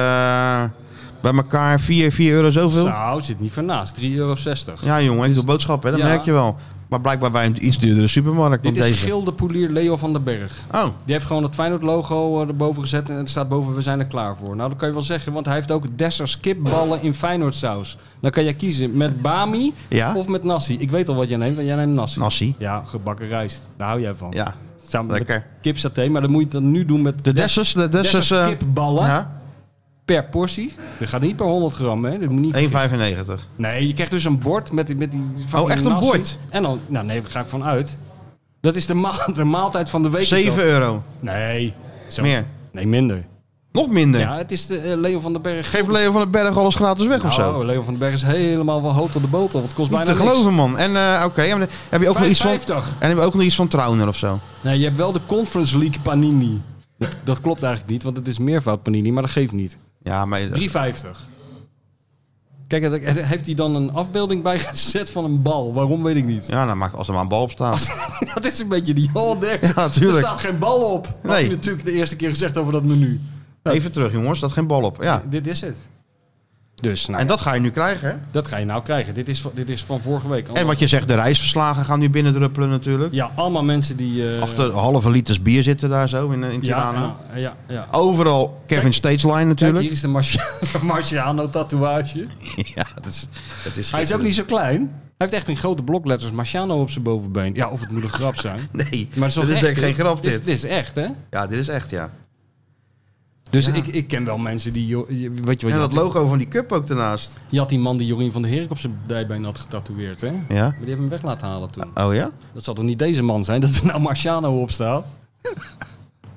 Speaker 1: bij elkaar 4, 4 euro zoveel.
Speaker 3: Nou, zit niet van naast. 3,60 euro.
Speaker 1: Ja, jongen, ik doe boodschappen, hè, dat
Speaker 3: Ja.
Speaker 1: merk je wel. Maar blijkbaar bij een iets duurdere supermarkt dan
Speaker 3: Dit is
Speaker 1: deze.
Speaker 3: Gildepoelier Leo van den Berg.
Speaker 1: Oh,
Speaker 3: Die heeft gewoon het Feyenoord logo eh, erboven gezet en er staat boven we zijn er klaar voor. Nou, dat kan je wel zeggen, want hij heeft ook Dessers kipballen in Feyenoord saus. Dan kan jij kiezen met bami
Speaker 1: Ja.
Speaker 3: of met nasi. Ik weet al wat jij neemt, want jij neemt nasi.
Speaker 1: nasi.
Speaker 3: Ja, gebakken rijst. Daar hou jij van.
Speaker 1: Ja,
Speaker 3: Samen
Speaker 1: lekker.
Speaker 3: met kipsaté, maar dan moet je dat nu doen met
Speaker 1: De Dessers, de Dessers... eh,
Speaker 3: kipballen
Speaker 1: ja,
Speaker 3: per portie. Dit gaat niet per 100 gram, hè. Dat moet niet
Speaker 1: 1,95.
Speaker 3: Nee, je krijgt dus een bord met die, met die fucking
Speaker 1: Oh, echt een
Speaker 3: nasi.
Speaker 1: bord?
Speaker 3: En dan, nou nee, daar ga ik van uit. Dat is de, maal- *laughs* de maaltijd van de week. is dat.
Speaker 1: 7 euro.
Speaker 3: Nee. Zo.
Speaker 1: Meer.
Speaker 3: Nee, minder.
Speaker 1: Nog minder.
Speaker 3: Ja, het is de eh, Leo van den Berg.
Speaker 1: Geef Leo van den Berg alles gratis weg of zo.
Speaker 3: Nou, Leo van den Berg is helemaal wel hoog op de botel. Het kost
Speaker 1: Niet
Speaker 3: bijna
Speaker 1: te geloven, man. En eh, oké, en heb je ook nog
Speaker 3: niks.
Speaker 1: iets van...
Speaker 3: 50.
Speaker 1: En heb je ook nog iets van Trouwner of zo?
Speaker 3: Nee, je hebt wel de Conference League Panini. Dat, dat klopt eigenlijk niet, want het is meervoud Panini, maar dat geeft niet.
Speaker 1: Ja, maar...
Speaker 3: 3,50. Kijk, het- het- heeft hij dan een afbeelding bijgezet van een bal? Waarom weet ik niet.
Speaker 1: Ja, dan maakt als er maar een bal op
Speaker 3: *laughs*
Speaker 1: staat.
Speaker 3: Dat is een beetje die Hollandex.
Speaker 1: Ja,
Speaker 3: er
Speaker 1: natuurlijk.
Speaker 3: staat geen bal op. Dat had
Speaker 1: Nee.
Speaker 3: hij natuurlijk de eerste keer gezegd over dat menu.
Speaker 1: Even terug, jongens. staat geen bal op. Ja.
Speaker 3: Dit is het. Dus, nou,
Speaker 1: En
Speaker 3: ja,
Speaker 1: dat ga je nu krijgen, hè?
Speaker 3: dat ga je nou krijgen. Dit is, van- dit is van vorige week.
Speaker 1: En wat je zegt, de reisverslagen gaan nu binnendruppelen natuurlijk.
Speaker 3: Ja, allemaal mensen die... eh,
Speaker 1: Achter halve liters bier zitten daar zo in, eh, in
Speaker 3: ja,
Speaker 1: Tirana.
Speaker 3: ja, ja, ja.
Speaker 1: Overal Kevin Stageline
Speaker 3: Kijk,
Speaker 1: natuurlijk.
Speaker 3: hier is *laughs* de Marcia- Marciano-tatoeage.
Speaker 1: *laughs* ja, dat is... Dat is
Speaker 3: Hij is ook niet zo klein. Hij heeft echt in grote blokletters Marciano op zijn bovenbeen. Ja, of het moet een grap zijn.
Speaker 1: Nee,
Speaker 3: Maar
Speaker 1: *laughs*
Speaker 3: het
Speaker 1: dit
Speaker 3: wel
Speaker 1: is
Speaker 3: echt,
Speaker 1: denk ik geen
Speaker 3: hè?
Speaker 1: grap,
Speaker 3: Dit
Speaker 1: dit.
Speaker 3: is, dit is echt, hè?
Speaker 1: Ja, dit is echt, ja.
Speaker 3: Dus ik, ik ken wel mensen die... joh, je- Weet je wat
Speaker 1: En
Speaker 3: je
Speaker 1: dat
Speaker 3: had?
Speaker 1: logo van die cup ook daarnaast.
Speaker 3: Je had die man die Jorien van der Herik op zijn dijbeen had getatoeëerd, hè? Maar
Speaker 1: Ja?
Speaker 3: die heeft hem weg laten halen toen.
Speaker 1: Oh ja?
Speaker 3: Dat zal toch niet deze man zijn, dat er nou Marciano op staat? *laughs*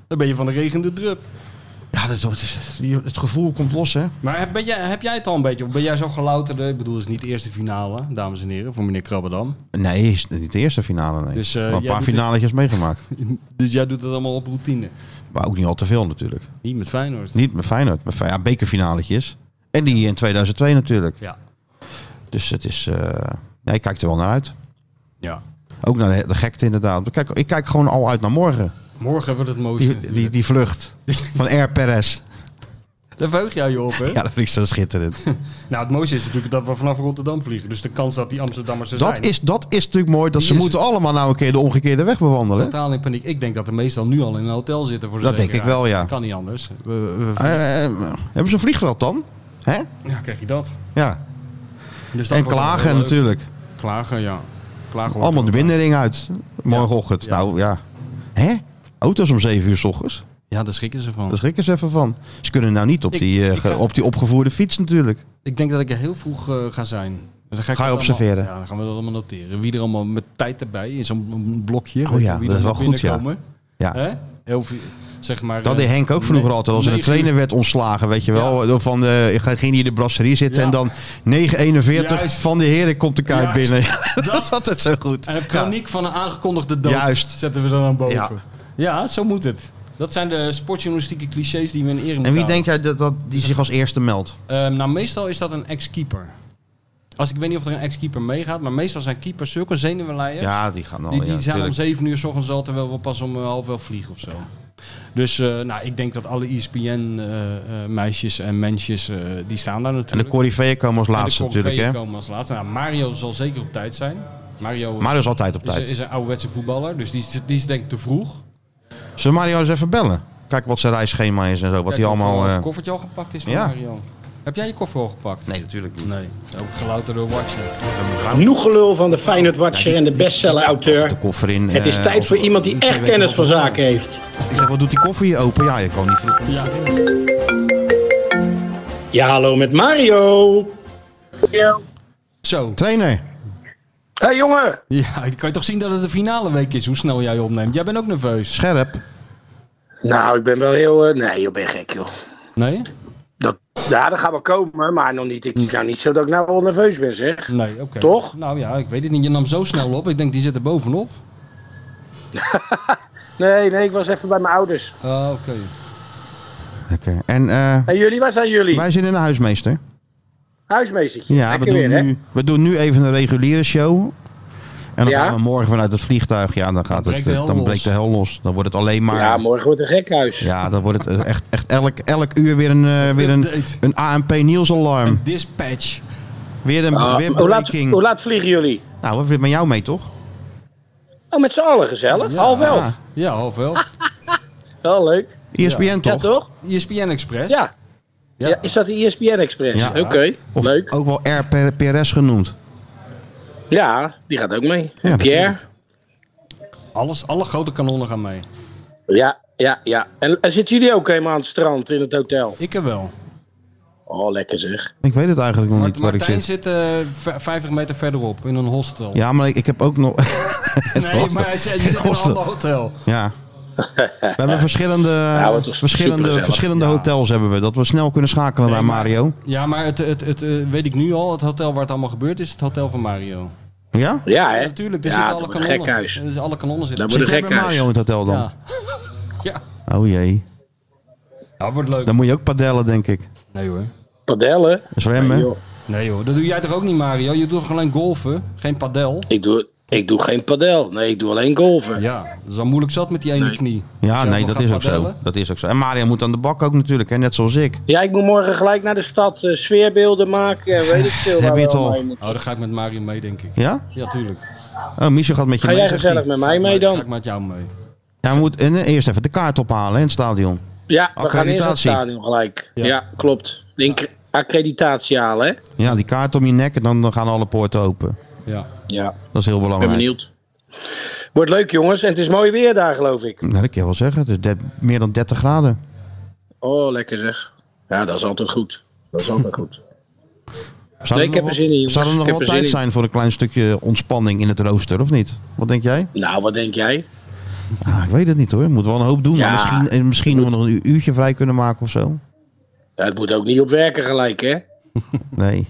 Speaker 3: Dan ben je van de regende drup.
Speaker 1: Ja, dat, dat is- het gevoel komt los, hè?
Speaker 3: Maar heb, ben jij, heb jij het al een beetje? Of ben jij zo gelouterde? Ik bedoel, het is niet de eerste finale, dames en heren, voor meneer Krabbedam.
Speaker 1: Nee, is niet de eerste finale, nee.
Speaker 3: Dus, eh,
Speaker 1: maar een
Speaker 3: jij
Speaker 1: paar
Speaker 3: doet het-
Speaker 1: finaletjes meegemaakt. *laughs*
Speaker 3: Dus jij doet het allemaal op routine.
Speaker 1: Maar ook niet al te veel natuurlijk.
Speaker 3: Niet met Feyenoord.
Speaker 1: Niet met Feyenoord, maar Fe- ja, bekerfinaletjes. En die in 2002 natuurlijk.
Speaker 3: Ja.
Speaker 1: Dus het is... eh ja, ik kijk er wel naar uit.
Speaker 3: ja.
Speaker 1: Ook naar de, de gekte inderdaad. Ik kijk, ik kijk gewoon al uit naar morgen.
Speaker 3: Morgen wordt het mooiste.
Speaker 1: Die, die, die
Speaker 3: *laughs*
Speaker 1: vlucht van Air Perez.
Speaker 3: Daar verheug jij je op, hè?
Speaker 1: Ja, dat vind ik zo schitterend.
Speaker 3: Nou, het mooiste is natuurlijk dat we vanaf Rotterdam vliegen. Dus de kans dat die Amsterdammers er
Speaker 1: Dat
Speaker 3: zijn.
Speaker 1: is, dat is natuurlijk mooi. Dat
Speaker 3: Die
Speaker 1: ze
Speaker 3: is-
Speaker 1: moeten allemaal nou een keer de omgekeerde weg bewandelen. hè?
Speaker 3: Totaal in paniek. Ik denk dat de meestal nu al in een hotel zitten. Voor de
Speaker 1: Dat denk ik
Speaker 3: zekerheid.
Speaker 1: wel, ja.
Speaker 3: Kan niet anders. We- we- we-
Speaker 1: Eh, eh, hebben ze een vliegveld dan? Hè?
Speaker 3: ja, krijg je dat.
Speaker 1: Ja.
Speaker 3: Dus dat
Speaker 1: En
Speaker 3: wordt wel
Speaker 1: klagen
Speaker 3: heel leuk.
Speaker 1: natuurlijk.
Speaker 3: Klagen, ja. Klagen wordt
Speaker 1: Allemaal de
Speaker 3: wel-
Speaker 1: binnenring uit. Morgenochtend.
Speaker 3: Ja.
Speaker 1: Nou ja. Hè? Auto's om 7 uur s ochtends.
Speaker 3: Ja, daar schrikken ze van.
Speaker 1: Daar schrikken ze even van. Ze kunnen nou niet op,
Speaker 3: Ik-
Speaker 1: die, eh,
Speaker 3: ik ga-
Speaker 1: ge- op die opgevoerde fiets natuurlijk.
Speaker 3: Ik denk dat ik er heel vroeg eh, ga zijn. En Dan ga, ik
Speaker 1: Ga je
Speaker 3: dat
Speaker 1: observeren?
Speaker 3: Allemaal, ja, dan gaan we dat allemaal noteren. Wie er allemaal met tijd erbij in zo'n blokje.
Speaker 1: Oh
Speaker 3: weet je,
Speaker 1: ja,
Speaker 3: wie
Speaker 1: dat is
Speaker 3: er
Speaker 1: wel goed, ja.
Speaker 3: binnenkomen.
Speaker 1: Ja.
Speaker 3: Hè? Heel veel, zeg maar,
Speaker 1: Dat
Speaker 3: eh,
Speaker 1: deed Henk ook vroeger
Speaker 3: ne-
Speaker 1: altijd als er een
Speaker 3: negen
Speaker 1: trainer werd ontslagen, weet je wel. Van de, ging hij in de brasserie zitten
Speaker 3: Ja.
Speaker 1: en dan 941
Speaker 3: Juist.
Speaker 1: van de heren komt de kuip
Speaker 3: Juist.
Speaker 1: binnen. *laughs* dat is altijd zo goed.
Speaker 3: En een chroniek van een aangekondigde dood
Speaker 1: Juist.
Speaker 3: zetten we er dan boven.
Speaker 1: Ja.
Speaker 3: Ja. zo moet het. Dat zijn de sportjournalistieke clichés die we in ere moeten
Speaker 1: En wie denk
Speaker 3: houden.
Speaker 1: jij dat, dat die zich als eerste meldt?
Speaker 3: Ehm, nou, meestal is dat een ex-keeper. Als ik weet niet of er een ex-keeper meegaat, maar meestal zijn keepers zulke zenuwenleiers.
Speaker 1: Ja, die gaan al.
Speaker 3: Die, die
Speaker 1: Oh, ja,
Speaker 3: zijn om
Speaker 1: tuurlijk.
Speaker 3: 7 uur s ochtends al, terwijl we pas om eh, half elf vliegen of zo. Dus eh, nou, ik denk dat alle ESPN-meisjes eh, en mensjes, eh, die staan daar
Speaker 1: En de
Speaker 3: natuurlijk.
Speaker 1: Corriveeën komen als laatste natuurlijk, hè.
Speaker 3: komen als laatste. Nou, Mario zal zeker op tijd zijn. Mario
Speaker 1: Mario is altijd op
Speaker 3: is,
Speaker 1: tijd.
Speaker 3: is een ouderwetse voetballer, dus die, is- die is denk ik te vroeg.
Speaker 1: Zullen we Mario eens even bellen? Kijken wat zijn reisschema is en zo. Wat
Speaker 3: Kijk
Speaker 1: hij
Speaker 3: of,
Speaker 1: allemaal...
Speaker 3: eh,
Speaker 1: eh,
Speaker 3: het koffertje al gepakt is van
Speaker 1: ja.
Speaker 3: Mario. Heb jij je koffer al gepakt?
Speaker 1: Nee, natuurlijk niet.
Speaker 3: Nee, ook gelouterde watcher.
Speaker 5: Genoeg gelul van de Feyenoord Watcher en de bestseller-auteur.
Speaker 1: De koffer in.
Speaker 5: Het is
Speaker 1: eh,
Speaker 5: tijd
Speaker 1: of-
Speaker 5: voor iemand die
Speaker 1: twee
Speaker 5: echt
Speaker 1: weken
Speaker 5: kennis van
Speaker 1: nog-
Speaker 5: zaken heeft.
Speaker 1: Ik zeg, wat doet die koffer hier open? Ja, je kan niet...
Speaker 3: Ja.
Speaker 5: Ja, hallo met Mario.
Speaker 3: Zo.
Speaker 1: Trainer,
Speaker 4: Hé hey, jongen,
Speaker 3: Ja, kan je toch zien dat het de finale week is, hoe snel jij opneemt. Jij bent ook nerveus.
Speaker 1: scherp.
Speaker 4: Nou, ik ben wel heel. eh, nee, joh, ben je gek, joh.
Speaker 3: Nee?
Speaker 4: Dat, ja, dat gaat wel komen, maar nog niet. Ik is nou niet zo dat ik nou wel nerveus ben, zeg.
Speaker 3: Nee, oké.
Speaker 4: Toch?
Speaker 3: Nou ja, ik weet het niet. Je nam zo snel op. Ik denk, die zit er bovenop.
Speaker 4: Nee, nee, ik was even bij mijn ouders.
Speaker 3: Ah, oké.
Speaker 1: Oké. eh, En eh,
Speaker 4: En jullie, waar zijn jullie?
Speaker 1: wij zijn in de huismeester.
Speaker 5: Huismeestertje.
Speaker 1: Ja, we
Speaker 5: Lekker weer,
Speaker 1: doen,
Speaker 5: hè?
Speaker 1: nu, we doen nu even een reguliere show. En dan
Speaker 5: Ja?
Speaker 1: gaan we morgen vanuit het vliegtuig. Ja, dan, gaat
Speaker 3: breekt
Speaker 1: het, eh,
Speaker 3: de hel
Speaker 1: dan
Speaker 3: los.
Speaker 1: breekt de hel los. Dan wordt het alleen maar...
Speaker 5: Ja, morgen wordt een gekhuis.
Speaker 1: Ja, dan wordt het eh, echt, echt elk, elk uur weer een, eh, weer een,
Speaker 3: Update.
Speaker 1: een ANP Niels alarm.
Speaker 3: Dispatch.
Speaker 1: Weer een
Speaker 5: Ah,
Speaker 1: weer
Speaker 5: hoe, laat,
Speaker 1: breaking.
Speaker 5: hoe laat vliegen jullie?
Speaker 1: Nou, wat zit met jou mee toch?
Speaker 5: Oh, met z'n allen gezellig.
Speaker 3: Ja.
Speaker 5: Half elf.
Speaker 1: Ja.
Speaker 3: Ja, half elf.
Speaker 5: Ah. Wel leuk.
Speaker 1: ESPN toch?
Speaker 5: Ja, toch?
Speaker 3: ESPN Express.
Speaker 5: Ja.
Speaker 3: Ja.
Speaker 5: ja. Is dat de
Speaker 4: E
Speaker 5: ESPN Express?
Speaker 1: Ja.
Speaker 5: Oké,
Speaker 1: Of
Speaker 5: leuk.
Speaker 1: ook wel RPRS genoemd.
Speaker 5: Ja, die gaat ook mee.
Speaker 1: Ja,
Speaker 5: Pierre.
Speaker 3: Alles, alle grote kanonnen gaan mee.
Speaker 5: Ja, ja, ja. En, en zitten jullie ook helemaal aan het strand in het hotel?
Speaker 3: Ik heb wel.
Speaker 5: Oh, lekker zeg.
Speaker 1: Ik weet het eigenlijk nog niet
Speaker 3: Mart-
Speaker 1: waar ik
Speaker 3: Martijn
Speaker 1: zit.
Speaker 3: zit eh, v- 50 meter verderop in een hostel.
Speaker 1: Ja, maar ik, ik heb ook nog... *laughs*
Speaker 3: nee,
Speaker 1: hostel.
Speaker 3: maar hij zit, je zit in een
Speaker 1: Hostel.
Speaker 3: ander hotel.
Speaker 1: ja. We
Speaker 5: *laughs*
Speaker 1: hebben verschillende,
Speaker 5: het was
Speaker 1: verschillende,
Speaker 5: supergezellig.
Speaker 1: verschillende hotels hebben we. Dat we snel kunnen schakelen naar
Speaker 3: maar-
Speaker 1: Mario.
Speaker 3: Ja, maar het, het, het eh, weet ik nu al. Het hotel waar het allemaal gebeurt is het hotel van Mario.
Speaker 1: Ja?
Speaker 5: Ja, hè?
Speaker 3: Ja, natuurlijk, er
Speaker 5: ja,
Speaker 3: zitten
Speaker 5: dat
Speaker 3: alle
Speaker 5: wordt een
Speaker 3: kanonnen.
Speaker 5: gekhuis.
Speaker 3: Er zitten alle kanonnen zitten.
Speaker 5: Dat
Speaker 1: Zit
Speaker 5: wordt
Speaker 1: jij
Speaker 5: een
Speaker 1: bij
Speaker 5: gekhuis.
Speaker 1: Mario in het hotel dan?
Speaker 3: Ja. ja. *laughs*
Speaker 1: Oh jee.
Speaker 3: Ja, wordt leuk.
Speaker 1: Dan moet je ook padellen, denk ik.
Speaker 3: Nee hoor.
Speaker 5: Padellen.
Speaker 1: Zwemmen.
Speaker 5: Joh,
Speaker 3: Nee hoor. Dat doe jij toch ook niet, Mario? Je doet toch alleen golven? Geen padel?
Speaker 5: ik, doe, ik doe geen padel. Nee, ik doe alleen golven.
Speaker 3: Ja, dat is al moeilijk zat met die ene
Speaker 5: Nee.
Speaker 3: knie.
Speaker 1: Ja,
Speaker 3: Als jij
Speaker 1: nee,
Speaker 3: nog
Speaker 1: dat
Speaker 3: gaat
Speaker 1: is, ook zo.
Speaker 3: padellen.
Speaker 1: dat is ook zo. En Mario moet aan de bak ook natuurlijk, hè? net zoals ik.
Speaker 5: Ja, ik moet morgen gelijk naar de stad eh, sfeerbeelden maken en weet ik veel.
Speaker 1: Heb
Speaker 5: waar
Speaker 1: je
Speaker 5: we
Speaker 1: het al?
Speaker 5: allemaal in moeten.
Speaker 3: Oh, dan ga ik met Mario mee, denk ik.
Speaker 1: Ja?
Speaker 3: Ja, tuurlijk.
Speaker 1: Oh, Michel gaat met je
Speaker 5: Ga
Speaker 1: mee.
Speaker 5: jij
Speaker 1: zegt
Speaker 5: gezellig
Speaker 1: hij.
Speaker 5: met mij mee
Speaker 3: Ga ik
Speaker 5: dan?
Speaker 3: met jou mee.
Speaker 1: Hij moet en, eh, eerst even de kaart ophalen hè, in het stadion.
Speaker 5: Ja, we gaan eerst naar het
Speaker 1: Accreditatie.
Speaker 5: stadion gelijk.
Speaker 3: Ja.
Speaker 5: Ja, klopt. De inc- accreditatie halen, hè?
Speaker 1: Ja, die kaart om je nek en dan dan gaan alle poorten open.
Speaker 3: Ja.
Speaker 5: Ja,
Speaker 1: Dat is heel
Speaker 5: ik ben
Speaker 1: belangrijk.
Speaker 5: benieuwd. Wordt leuk, jongens. En het is mooi weer daar, geloof ik.
Speaker 1: Nou, dat kan je wel zeggen. Het is de- meer dan 30 graden.
Speaker 5: Oh, lekker zeg. Ja, dat is altijd goed. Dat is altijd goed.
Speaker 1: Zou
Speaker 5: Nee,
Speaker 1: er
Speaker 5: ik heb
Speaker 1: nog
Speaker 5: er
Speaker 1: wat-
Speaker 5: zin in, jongens.
Speaker 1: Zou er nog
Speaker 5: Ik heb
Speaker 1: wel
Speaker 5: er
Speaker 1: tijd
Speaker 5: zin in.
Speaker 1: zijn voor een klein stukje ontspanning in het rooster, of niet? Wat denk jij?
Speaker 5: *laughs* Nou, wat denk jij?
Speaker 1: Ah, ik weet het niet hoor. Moet wel een hoop doen.
Speaker 5: Ja.
Speaker 1: Maar misschien, eh, misschien nog een u- uurtje vrij kunnen maken of zo.
Speaker 5: Ja, het moet ook niet op werken gelijk, hè?
Speaker 1: Nee.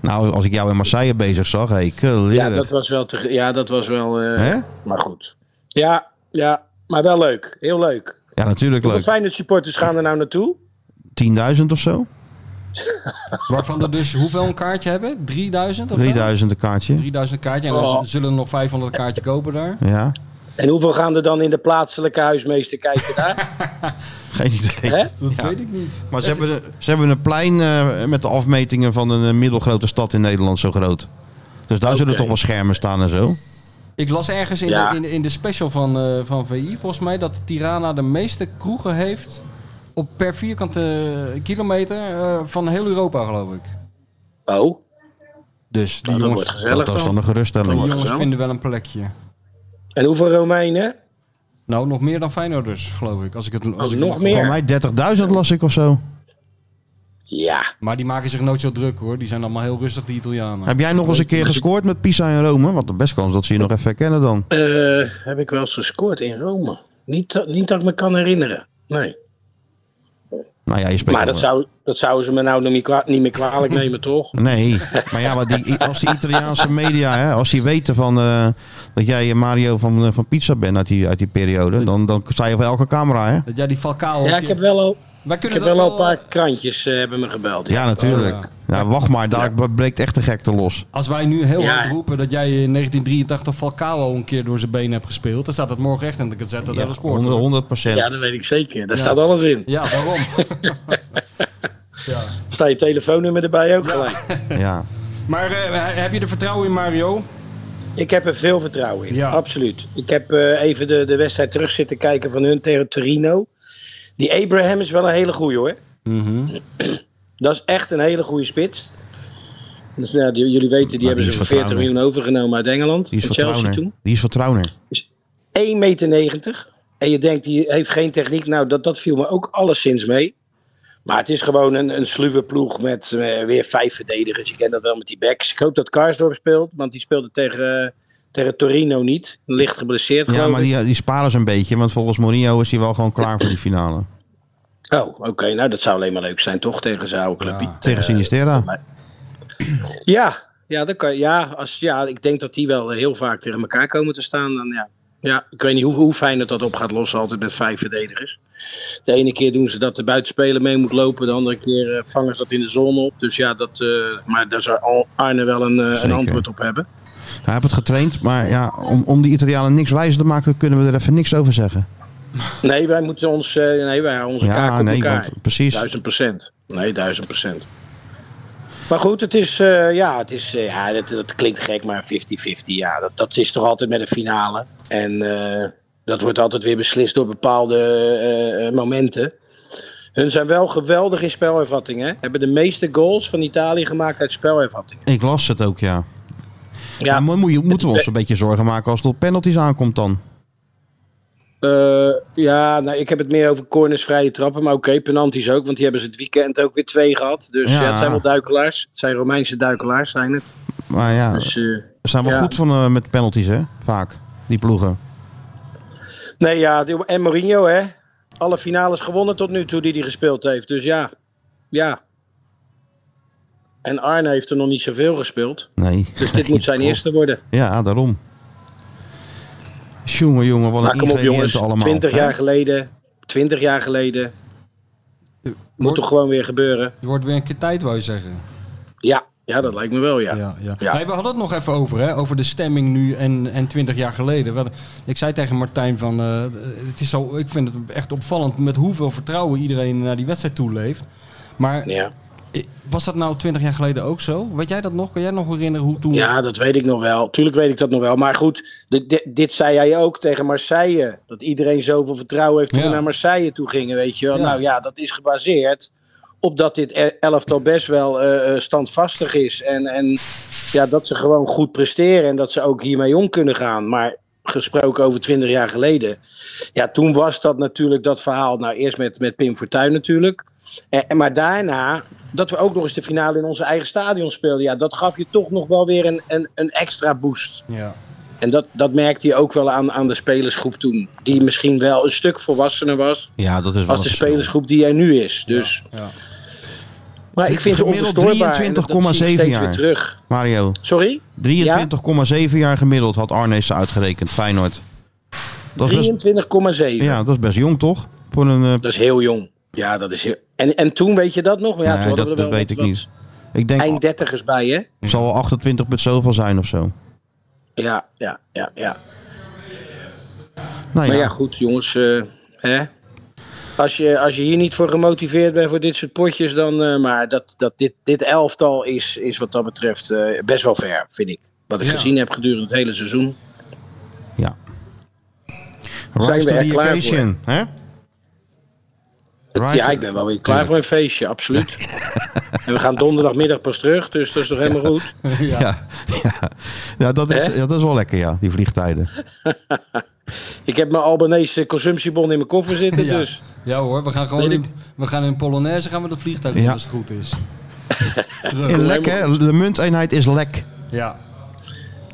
Speaker 1: Nou, als ik jou in Marseille bezig zag, hé, ik
Speaker 5: Ja, dat was wel... Te, ja, dat was wel... eh,
Speaker 1: Hè?
Speaker 5: Maar goed. Ja, ja. Maar wel leuk. Heel leuk.
Speaker 1: Ja, natuurlijk
Speaker 5: Hoeveel
Speaker 1: leuk.
Speaker 5: fijne supporters gaan er nou naartoe?
Speaker 1: 10.000 of zo?
Speaker 3: Waarvan er dus hoeveel een kaartje hebben? 3000 of zo?
Speaker 1: 3000 een kaartje.
Speaker 3: 3000 kaartje. En
Speaker 5: Oh.
Speaker 3: dan z- zullen er nog 500 kaartje kopen daar.
Speaker 1: Ja,
Speaker 5: En hoeveel gaan er dan in de plaatselijke huismeester kijken daar?
Speaker 1: geen idee.
Speaker 5: Hè?
Speaker 3: Dat
Speaker 1: Ja. weet
Speaker 3: ik niet.
Speaker 1: Maar ze hebben, de- ze hebben een plein eh, met de afmetingen van een eh, middelgrote stad in Nederland zo groot. Dus daar zullen
Speaker 5: Oké.
Speaker 1: toch wel schermen staan en zo.
Speaker 3: Ik las ergens in,
Speaker 5: Ja.
Speaker 3: de, in, de- in de special van, eh, van VI volgens mij dat Tirana de meeste kroegen heeft op per vierkante kilometer eh, van heel Europa, geloof ik.
Speaker 5: *laughs* Oh,
Speaker 3: Dus die
Speaker 5: nou, dat wordt
Speaker 3: jongens,
Speaker 5: gezellig
Speaker 1: dat is dan
Speaker 5: dan.
Speaker 1: een geruststelling.
Speaker 3: die
Speaker 5: wordt
Speaker 3: jongens
Speaker 5: gezellig.
Speaker 3: vinden wel een plekje.
Speaker 5: En hoeveel Romeinen?
Speaker 3: Nou, nog meer dan Feyenoorders, geloof ik. Als ik het, als ik het
Speaker 5: nog
Speaker 3: mag-
Speaker 5: meer?
Speaker 1: Voor mij 30.000 las ik of zo.
Speaker 5: Ja.
Speaker 3: Maar die maken zich nooit zo druk hoor. Die zijn allemaal heel rustig, die Italianen.
Speaker 1: Heb jij nog eens een keer gescoord met Pisa en Rome? Want de best kans dat ze je nog even herkennen dan.
Speaker 5: Eh, heb ik wel eens gescoord in Rome? Niet, dat- niet dat ik me kan herinneren. Nee.
Speaker 1: Nou ja, je speelt
Speaker 5: Maar dat,
Speaker 1: wel.
Speaker 5: zou, dat zouden ze me nou nog niet, kwa- niet meer *laughs* kwalijk nemen, toch?
Speaker 1: Nee, maar ja, maar die, als die Italiaanse media, hè, als die weten van, eh, dat jij eh, Mario van, eh, van Pizza bent uit die, uit die periode, dan, dan sta je voor elke camera, hè?
Speaker 3: Dat jij die Falcao... een
Speaker 5: Ja, ik
Speaker 3: keer-
Speaker 5: heb wel al,
Speaker 3: Wij
Speaker 5: ik
Speaker 3: kunnen
Speaker 5: heb
Speaker 3: dat
Speaker 5: wel al een
Speaker 3: wel,
Speaker 5: paar krantjes eh, hebben me gebeld.
Speaker 1: Ja, natuurlijk. Ja, wacht maar, daar breekt echt de gekte los.
Speaker 3: Als wij nu heel
Speaker 5: Ja.
Speaker 3: hard roepen dat jij in 1983 Falcao een keer door zijn benen hebt gespeeld, dan staat dat morgen echt in de gazette dat
Speaker 1: Ja,
Speaker 3: hele sport.
Speaker 1: 100, 100 procent.
Speaker 5: Ja, dat weet ik zeker. Daar staat alles in.
Speaker 3: Ja,
Speaker 1: *laughs*
Speaker 3: waarom? ja.
Speaker 5: Staat je telefoonnummer erbij ook gelijk.
Speaker 3: *laughs*
Speaker 1: Ja.
Speaker 3: Maar eh, heb je er vertrouwen in, Mario?
Speaker 5: Ik heb er veel vertrouwen in,
Speaker 3: Ja.
Speaker 5: absoluut. Ik heb eh, even de, de wedstrijd terug zitten kijken van hun tegen Torino. Die Abraham is wel een hele goeie hoor.
Speaker 1: Mhm.
Speaker 5: Dat is echt een hele goede spits. Dus, nou, die- jullie weten, die
Speaker 1: Maar die
Speaker 5: hebben
Speaker 1: is
Speaker 5: ze voor 40
Speaker 1: vertrouwen.
Speaker 5: miljoen overgenomen uit Engeland.
Speaker 1: Die is
Speaker 5: van
Speaker 1: van
Speaker 5: Chelsea
Speaker 1: Trauner.
Speaker 5: toen.
Speaker 1: Die is van Trauner.
Speaker 5: 1,90 meter. En je denkt, die heeft geen techniek. Nou, dat, dat viel me ook alleszins mee. Maar het is gewoon een, een sluwe ploeg met eh, weer vijf verdedigers. Je kent dat wel met die backs. Ik hoop dat Karsdorp speelt, want die speelde tegen, eh, tegen Torino niet. Licht geblesseerd
Speaker 1: Ja,
Speaker 5: geloof
Speaker 1: maar
Speaker 5: ik.
Speaker 1: die, die sparen ze een beetje, want volgens Mourinho is hij wel gewoon klaar voor die finale.
Speaker 5: Oh, oké. Nou, dat zou alleen maar leuk zijn, toch? Tegen zijn oude clubje.
Speaker 3: Ja.
Speaker 1: Tegen Sinistera.
Speaker 5: eh, Ja, ja, dat kan, ja, als, ja, ik denk dat die wel heel vaak tegen elkaar komen te staan. Dan, ja. Ja, ik weet niet hoe, hoe fijn dat dat op gaat lossen altijd met vijf verdedigers. De ene keer doen ze dat de buitenspeler mee moet lopen, de andere keer eh, vangen ze dat in de zon op. Dus ja, dat, eh, maar daar zou Al- Arne wel een, eh, een
Speaker 1: Zeker.
Speaker 5: antwoord op hebben.
Speaker 1: Hij heeft het getraind, maar ja, om, om die Italianen niks wijzer te maken, kunnen we er even niks over zeggen.
Speaker 5: Nee, wij moeten ons, eh, nee, wij houden onze kaak
Speaker 1: Ja,
Speaker 5: op
Speaker 1: nee,
Speaker 5: elkaar.
Speaker 1: want precies.
Speaker 5: Duizend procent. Nee, duizend procent. Maar goed, het is, eh, ja, het is, eh, ja dat, dat klinkt gek, maar 50-50, ja, dat, dat is toch altijd met een finale. En eh, dat wordt altijd weer beslist door bepaalde eh, eh, momenten. Hun zijn wel geweldig in spelervattingen. hè. Hebben de meeste goals van Italië gemaakt uit spelervattingen.
Speaker 1: Ik las het ook, ja.
Speaker 5: Ja,
Speaker 1: maar moet je, moeten we
Speaker 5: be-
Speaker 1: ons een beetje zorgen maken als het op penalties aankomt dan?
Speaker 5: eh, ja nou, ik heb het meer over corners, vrije trappen. Maar oké, penalties ook, want die hebben ze het weekend ook weer twee gehad. Dus
Speaker 1: Ja.
Speaker 5: ja, het zijn wel duikelaars. Het zijn Romeinse duikelaars, zijn het.
Speaker 1: Maar ja,
Speaker 5: Dus, eh,
Speaker 1: ze zijn wel
Speaker 5: ja.
Speaker 1: goed van, eh, met penalties, hè? Vaak, die ploegen.
Speaker 5: Nee, ja, die- en Mourinho, hè? Alle finales gewonnen tot nu toe die hij gespeeld heeft. Dus ja, ja. En Arne heeft er nog niet zoveel gespeeld.
Speaker 1: Nee.
Speaker 5: Dus dit moet zijn
Speaker 1: *laughs* Klopt.
Speaker 5: eerste worden.
Speaker 1: Ja, daarom. Jongen, jongen, wat
Speaker 5: Maar
Speaker 1: een
Speaker 5: kom op, jongens.
Speaker 1: ingrediënten allemaal.
Speaker 5: 20
Speaker 1: hè?
Speaker 5: jaar geleden. 20 jaar geleden. Moet
Speaker 3: Wordt-
Speaker 5: toch gewoon weer gebeuren?
Speaker 3: Het wordt weer een keer tijd, wou je zeggen.
Speaker 5: Ja, ja dat lijkt me wel, ja.
Speaker 3: Ja, ja.
Speaker 5: Ja.
Speaker 3: Nee, we hadden het nog even over, hè? over de stemming nu en, en 20 jaar geleden. Wel, Ik zei tegen Martijn van, eh, het is zo, ik vind het echt opvallend met hoeveel vertrouwen iedereen naar die wedstrijd toe leeft. Maar
Speaker 5: Ja.
Speaker 3: eh, was dat nou 20 jaar geleden ook zo? Weet jij dat nog? Kan jij nog herinneren hoe toen?
Speaker 5: Ja, dat weet ik nog wel. Tuurlijk weet ik dat nog wel. Maar goed, dit, dit, dit zei jij ook tegen Marseille. Dat iedereen zoveel vertrouwen heeft toen
Speaker 3: Ja.
Speaker 5: we naar Marseille toe gingen, weet je wel.
Speaker 3: Ja.
Speaker 5: Nou ja, dat is gebaseerd op dat dit e- elftal best wel eh, eh, standvastig is. En, en ja, dat ze gewoon goed presteren en dat ze ook hiermee om kunnen gaan. Maar gesproken over 20 jaar geleden. Ja, toen was dat natuurlijk dat verhaal. Nou, eerst met, met Pim Fortuyn natuurlijk. Eh, En, en maar daarna, dat we ook nog eens de finale in onze eigen stadion speelden. Ja, dat gaf je toch nog wel weer een, een, een extra boost.
Speaker 3: Ja.
Speaker 5: En dat, dat merkte je ook wel aan, aan de spelersgroep toen. Die misschien wel een stuk volwassener was.
Speaker 1: Ja, dat is wel
Speaker 5: Als de
Speaker 1: een verschil.
Speaker 5: spelersgroep die er nu is. Dus,
Speaker 3: ja.
Speaker 5: Maar ik vind ze
Speaker 1: Gemiddeld
Speaker 5: onverstoorbaar. en dat- dat zie ik
Speaker 1: 23,7
Speaker 5: steeds
Speaker 1: jaar.
Speaker 5: weer terug.
Speaker 1: Mario,
Speaker 5: Sorry?
Speaker 1: 23,7 jaar gemiddeld had Arnees ze uitgerekend. Feyenoord. Dat is best,
Speaker 5: 23,7.
Speaker 1: ja, dat is best jong, toch? Voor een, eh,
Speaker 5: Dat is heel jong. Ja, dat is heel... En, en toen weet je dat nog? Maar ja,
Speaker 1: Nee,
Speaker 5: toen hadden
Speaker 1: dat-
Speaker 5: we er
Speaker 1: dat
Speaker 5: wel
Speaker 1: weet
Speaker 5: wat-
Speaker 1: ik niet.
Speaker 5: wat
Speaker 1: ik denk,
Speaker 5: Eind dertigers bij, hè?
Speaker 1: het zal wel 28 met zoveel zijn of zo.
Speaker 5: Ja, ja, ja, ja.
Speaker 1: Nou ja,
Speaker 5: Maar ja, goed, jongens. eh, hè? Als, je, als je hier niet voor gemotiveerd bent voor dit soort potjes, dan. eh, maar dat, dat dit, dit elftal is, is wat dat betreft eh, best wel ver, vind ik. Wat ik
Speaker 3: Ja.
Speaker 5: gezien heb gedurende het hele seizoen. zijn
Speaker 1: rise
Speaker 5: we
Speaker 1: to
Speaker 5: er
Speaker 1: the
Speaker 5: klaar
Speaker 1: occasion. Hè? Rise
Speaker 5: ja,
Speaker 1: to-
Speaker 5: ik ben wel weer klaar voor een feestje,
Speaker 1: *laughs*
Speaker 5: absoluut. en we gaan donderdagmiddag pas terug, dus dat is toch helemaal goed.
Speaker 1: *laughs* Ja, ja. Ja, dat is,
Speaker 5: Hè?
Speaker 1: ja, dat is wel lekker, ja, die vliegtijden.
Speaker 5: Ik heb mijn Albanese consumptiebon in mijn koffer zitten,
Speaker 3: Ja.
Speaker 5: dus.
Speaker 3: Ja hoor, we gaan gewoon
Speaker 5: Nee,
Speaker 3: in, we gaan in Polonaise gaan we de vliegtuig doen
Speaker 1: Ja.
Speaker 3: als het goed
Speaker 5: *laughs*
Speaker 3: is.
Speaker 1: In
Speaker 3: Terug.
Speaker 1: lek, hè? De munteenheid is lek.
Speaker 3: Ja,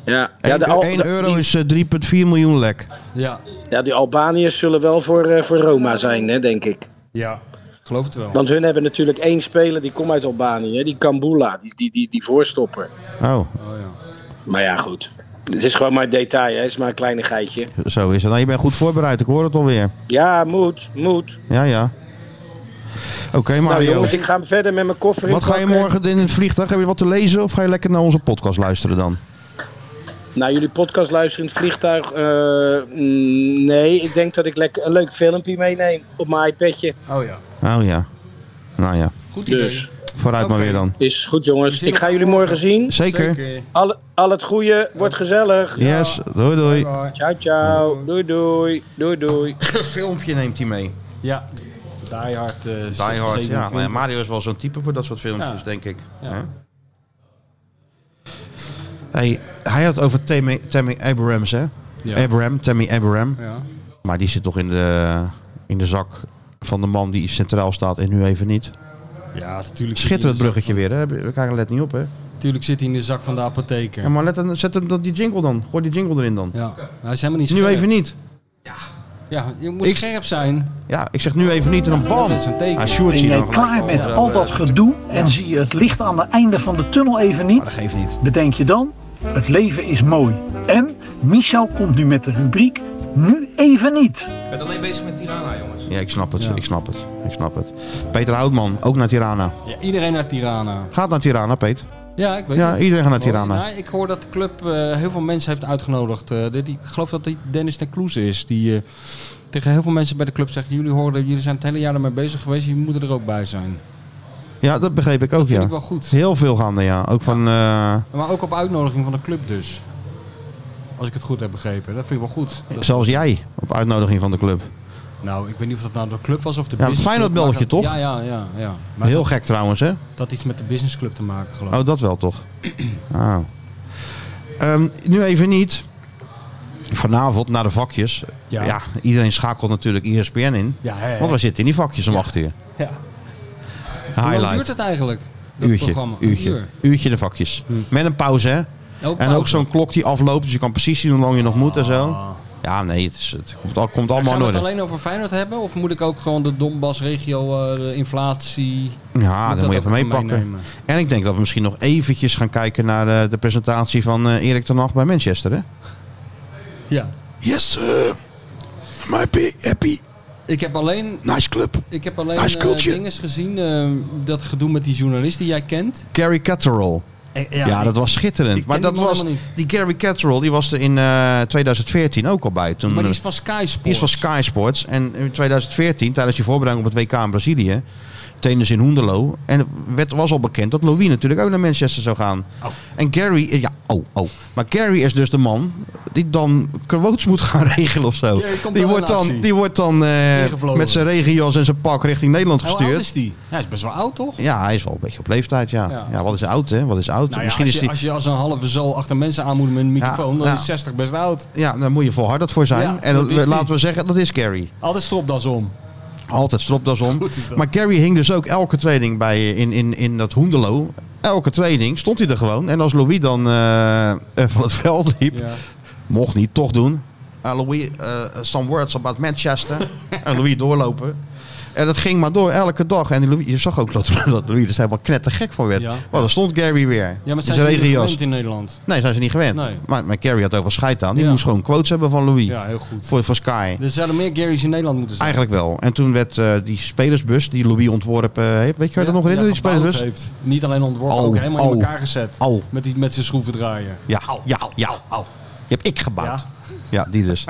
Speaker 5: Ja, ja,
Speaker 1: 1,
Speaker 5: de Al- de-
Speaker 1: euro
Speaker 5: die-
Speaker 1: is eh, 3,4 miljoen lek.
Speaker 3: ja,
Speaker 5: Ja, die Albaniërs zullen wel voor, eh, voor Roma zijn, hè, denk ik.
Speaker 3: ja. Geloof het wel.
Speaker 5: Want hun hebben natuurlijk één speler die komt uit Albanië, hè, die Kambula, die, die, die, die voorstopper.
Speaker 1: Oh,
Speaker 3: Oh, ja.
Speaker 5: Maar ja, goed. Het is gewoon maar detail, hè. Het is maar een kleinigheidje.
Speaker 1: zo is het. Nou, je bent goed voorbereid, ik hoor het alweer.
Speaker 5: Ja, moet, moet.
Speaker 1: Ja, ja. Oké,
Speaker 5: Nou
Speaker 1: Mario.
Speaker 5: jongens, ik ga verder met mijn koffer
Speaker 1: wat ga je
Speaker 5: inpakken.
Speaker 1: morgen in het vliegtuig? Heb je wat te lezen of ga je lekker naar onze podcast luisteren dan?
Speaker 5: Nou, jullie podcast luisteren in het vliegtuig. eh, mm, nee, ik denk dat ik lekker een leuk filmpje meeneem op mijn iPadje.
Speaker 3: oh ja,
Speaker 1: Oh ja. Nou ja,
Speaker 3: goed idee.
Speaker 5: Dus,
Speaker 1: vooruit maar
Speaker 3: Oké.
Speaker 1: weer dan.
Speaker 5: is goed jongens.
Speaker 3: zien
Speaker 5: Ik ga
Speaker 3: elkaar
Speaker 5: jullie morgen zien.
Speaker 1: Zeker.
Speaker 5: Al, al het goede, wordt gezellig.
Speaker 1: Yes, doei doei.
Speaker 3: Bye bye.
Speaker 5: Ciao, ciao. Doei, doei. Doei, doei.
Speaker 1: Een filmpje neemt hij mee.
Speaker 3: Ja,
Speaker 1: Die
Speaker 3: Die Hard. eh,
Speaker 1: Hard, ja.
Speaker 3: 27.
Speaker 1: Nou ja, Mario is wel zo'n type voor dat soort filmpjes,
Speaker 3: Ja.
Speaker 1: denk ik.
Speaker 3: Ja.
Speaker 1: Hè? Hey, hij had over Tammy, Tammy Abrams, hè?
Speaker 3: Ja.
Speaker 1: Abram, Tammy Abram.
Speaker 3: Ja.
Speaker 1: Maar die zit toch in de, in de zak van de man die centraal staat en nu even niet.
Speaker 3: Ja, natuurlijk. zit
Speaker 1: Schitterend
Speaker 3: hij in de
Speaker 1: bruggetje weer, hè? We kijken, let niet op, hè?
Speaker 3: zak- Natuurlijk zit hij in de zak van de apotheker.
Speaker 1: Ja,
Speaker 3: Ja.
Speaker 1: maar let dan, zet hem dan die jingle dan. Gooi die jingle erin dan.
Speaker 3: Hij is helemaal niet
Speaker 1: Nu
Speaker 3: scherp.
Speaker 1: even niet.
Speaker 3: Ja, je moet
Speaker 1: Ik-
Speaker 3: scherp zijn.
Speaker 1: Ja, ik zeg nu even niet en dan bam.
Speaker 3: Dat is een teken.
Speaker 1: Hij sjoert
Speaker 6: Ben
Speaker 1: hier
Speaker 6: jij
Speaker 1: dan gelijk
Speaker 6: klaar met
Speaker 1: wel,
Speaker 6: al
Speaker 1: eh,
Speaker 6: dat gedoe en zie je het licht aan het einde van de tunnel
Speaker 1: Maar
Speaker 6: even
Speaker 1: dat
Speaker 6: niet?
Speaker 1: geeft niet.
Speaker 6: Bedenk je dan, het leven is mooi. En Michel komt nu met de rubriek Nu even niet.
Speaker 2: Ik ben alleen bezig met Tirana, jongens.
Speaker 1: Ja, ik snap het.
Speaker 3: Ja.
Speaker 1: Ik snap het. Ik snap het. Peter Houtman, ook naar Tirana.
Speaker 3: Ja, iedereen naar Tirana.
Speaker 1: Gaat naar Tirana, Peet.
Speaker 3: Ja, ik weet
Speaker 1: Ja,
Speaker 3: het.
Speaker 1: iedereen gaat naar
Speaker 3: Mooi.
Speaker 1: Tirana.
Speaker 3: Nou, ik hoor dat de club eh, heel veel mensen heeft uitgenodigd. Eh, dit, ik geloof dat dit Dennis ten Kloeze is. Die eh, tegen heel veel mensen bij de club zegt... jullie, horen, jullie zijn het hele jaar ermee bezig geweest. Jullie moeten er ook bij zijn.
Speaker 1: Ja, dat begreep ik
Speaker 3: Dat
Speaker 1: ook,
Speaker 3: vind
Speaker 1: ja.
Speaker 3: ik wel goed.
Speaker 1: Heel veel gaande, ja. Ook van... eh,
Speaker 3: Maar ook op uitnodiging van de club dus. Als ik het goed heb begrepen. Dat vind ik wel goed. Dat-
Speaker 1: Zelfs jij, op uitnodiging van de club.
Speaker 3: nou, ik weet niet of dat nou de club was of de
Speaker 1: Ja,
Speaker 3: business
Speaker 1: Feyenoord
Speaker 3: club, maar
Speaker 1: belletje,
Speaker 3: dat-
Speaker 1: toch?
Speaker 3: Ja, ja, ja. ja. Maar
Speaker 1: Heel
Speaker 3: dat,
Speaker 1: gek trouwens, hè?
Speaker 3: dat had iets met de businessclub te maken, geloof ik.
Speaker 1: Oh, dat wel toch? Ah. Ehm, nu even niet. Vanavond naar de vakjes. Ja.
Speaker 3: Ja.
Speaker 1: iedereen schakelt natuurlijk E ESPN in.
Speaker 3: Ja, hè, hè.
Speaker 1: Want we zitten in die vakjes om acht uur.
Speaker 3: Ja. Hoe lang duurt
Speaker 1: Highlight.
Speaker 3: het eigenlijk? Dat
Speaker 1: Uurtje,
Speaker 3: programma? Een
Speaker 1: uurtje,
Speaker 3: uur.
Speaker 1: uurtje de vakjes. Met een pauze, hè?
Speaker 3: Ook
Speaker 1: En
Speaker 3: pauze.
Speaker 1: ook zo'n klok die afloopt, dus je kan precies zien hoe lang je nog moet en zo.
Speaker 3: Ah.
Speaker 1: Ja, nee, het, is, het komt, al- komt
Speaker 3: Gaan
Speaker 1: allemaal
Speaker 3: we
Speaker 1: in
Speaker 3: het
Speaker 1: orde.
Speaker 3: alleen over Feyenoord hebben? Of moet ik ook gewoon de Donbass-regio, eh, de inflatie...
Speaker 1: Ja,
Speaker 3: dat
Speaker 1: Ah, dan moet je
Speaker 3: ook
Speaker 1: even
Speaker 3: even
Speaker 1: meepakken.
Speaker 3: meenemen?
Speaker 1: En ik denk dat we misschien nog eventjes gaan kijken naar eh, de presentatie van eh, Erik ten Hag bij Manchester, hè?
Speaker 3: Ja.
Speaker 7: Yes, sir. I'm happy, happy.
Speaker 3: Ik heb alleen,
Speaker 7: Nice club.
Speaker 3: ik heb alleen
Speaker 7: Hij is
Speaker 3: eh,
Speaker 7: cultje.
Speaker 3: dinges gezien. eh, dat gedoe met die journalist die jij kent.
Speaker 1: Gary Catterall.
Speaker 3: Eh,
Speaker 1: Ja, dat was schitterend.
Speaker 3: ik
Speaker 1: Maar
Speaker 3: ken
Speaker 1: dat
Speaker 3: die man
Speaker 1: was,
Speaker 3: helemaal
Speaker 1: die Gary Catterall, die was er in eh, 2014 ook al bij. Toen,
Speaker 3: Maar die is
Speaker 1: eh,
Speaker 3: van Sky Sports.
Speaker 1: die is van Sky Sports. En in 2014, tijdens die voorbereiding op het WK in Brazilië, tenens in Hoenderlo. En het werd, was al bekend dat Louis natuurlijk ook naar Manchester zou gaan.
Speaker 3: Oh.
Speaker 1: En Gary, eh, ja, oh, oh. Maar Gary is dus de man die dan quotes moet gaan *laughs* regelen of zo.
Speaker 3: Gary komt
Speaker 1: Die
Speaker 3: wel
Speaker 1: wordt
Speaker 3: in
Speaker 1: dan,
Speaker 3: actie.
Speaker 1: die wordt dan eh,
Speaker 3: Ingevlogen.
Speaker 1: met zijn regenjas en zijn pak richting Nederland
Speaker 3: Hoe oud
Speaker 1: gestuurd.
Speaker 3: is die? Hij is best wel oud, toch?
Speaker 1: Ja, hij is wel een beetje op leeftijd, ja. Ja,
Speaker 3: Ja.
Speaker 1: wat is oud, hè? Wat is oud?
Speaker 3: Nou ja,
Speaker 1: Misschien
Speaker 3: als,
Speaker 1: is
Speaker 3: je,
Speaker 1: die...
Speaker 3: als je als een halve zool achter mensen aan moet met een microfoon, dan
Speaker 1: ja.
Speaker 3: is 60 best oud.
Speaker 1: Ja, daar moet je volhardend voor zijn.
Speaker 3: Ja,
Speaker 1: en
Speaker 3: dat
Speaker 1: dat-
Speaker 3: is die.
Speaker 1: laten we zeggen, dat is Gary.
Speaker 3: Altijd stropdas om.
Speaker 1: Altijd stropdas om.
Speaker 3: Goed is dat.
Speaker 1: Maar Gary hing dus ook elke training bij in, in, in dat Hoendelo. Elke training stond hij er gewoon. En als Louis dan eh, eh, van het veld liep,
Speaker 3: Ja.
Speaker 1: mocht niet, toch doen. Eh, Louis, eh, some words about Manchester.
Speaker 3: *laughs*
Speaker 1: en Louis doorlopen. En dat ging maar door elke dag. En Louis, je zag ook dat, *laughs* dat Louis er helemaal knettergek van werd.
Speaker 3: Ja.
Speaker 1: Maar daar stond Gary weer.
Speaker 3: Ja, maar
Speaker 1: In
Speaker 3: zijn ze niet
Speaker 1: regenjas.
Speaker 3: gewend in Nederland?
Speaker 1: Nee, zijn ze niet gewend.
Speaker 3: Nee.
Speaker 1: Maar, maar Gary had ook wel scheid aan. Die
Speaker 3: Ja.
Speaker 1: moest gewoon quotes hebben van Louis.
Speaker 3: Ja, heel goed.
Speaker 1: Voor, voor Sky.
Speaker 3: Er zouden meer Gary's in Nederland moeten zijn.
Speaker 1: Eigenlijk wel. En toen werd eh, die spelersbus die Louis ontworpen heeft. Weet je waar je dat nog herinnert? die
Speaker 3: gebouwd
Speaker 1: spelersbus?
Speaker 3: heeft. Niet alleen ontworpen,
Speaker 1: Au,
Speaker 3: ook helemaal
Speaker 1: au,
Speaker 3: in elkaar gezet.
Speaker 1: au.
Speaker 3: Met, die, met zijn schroevendraaier.
Speaker 1: Ja, ja, ja. Die heb ik gebouwd. Ja,
Speaker 3: Ja.
Speaker 1: die
Speaker 3: *laughs*
Speaker 1: dus.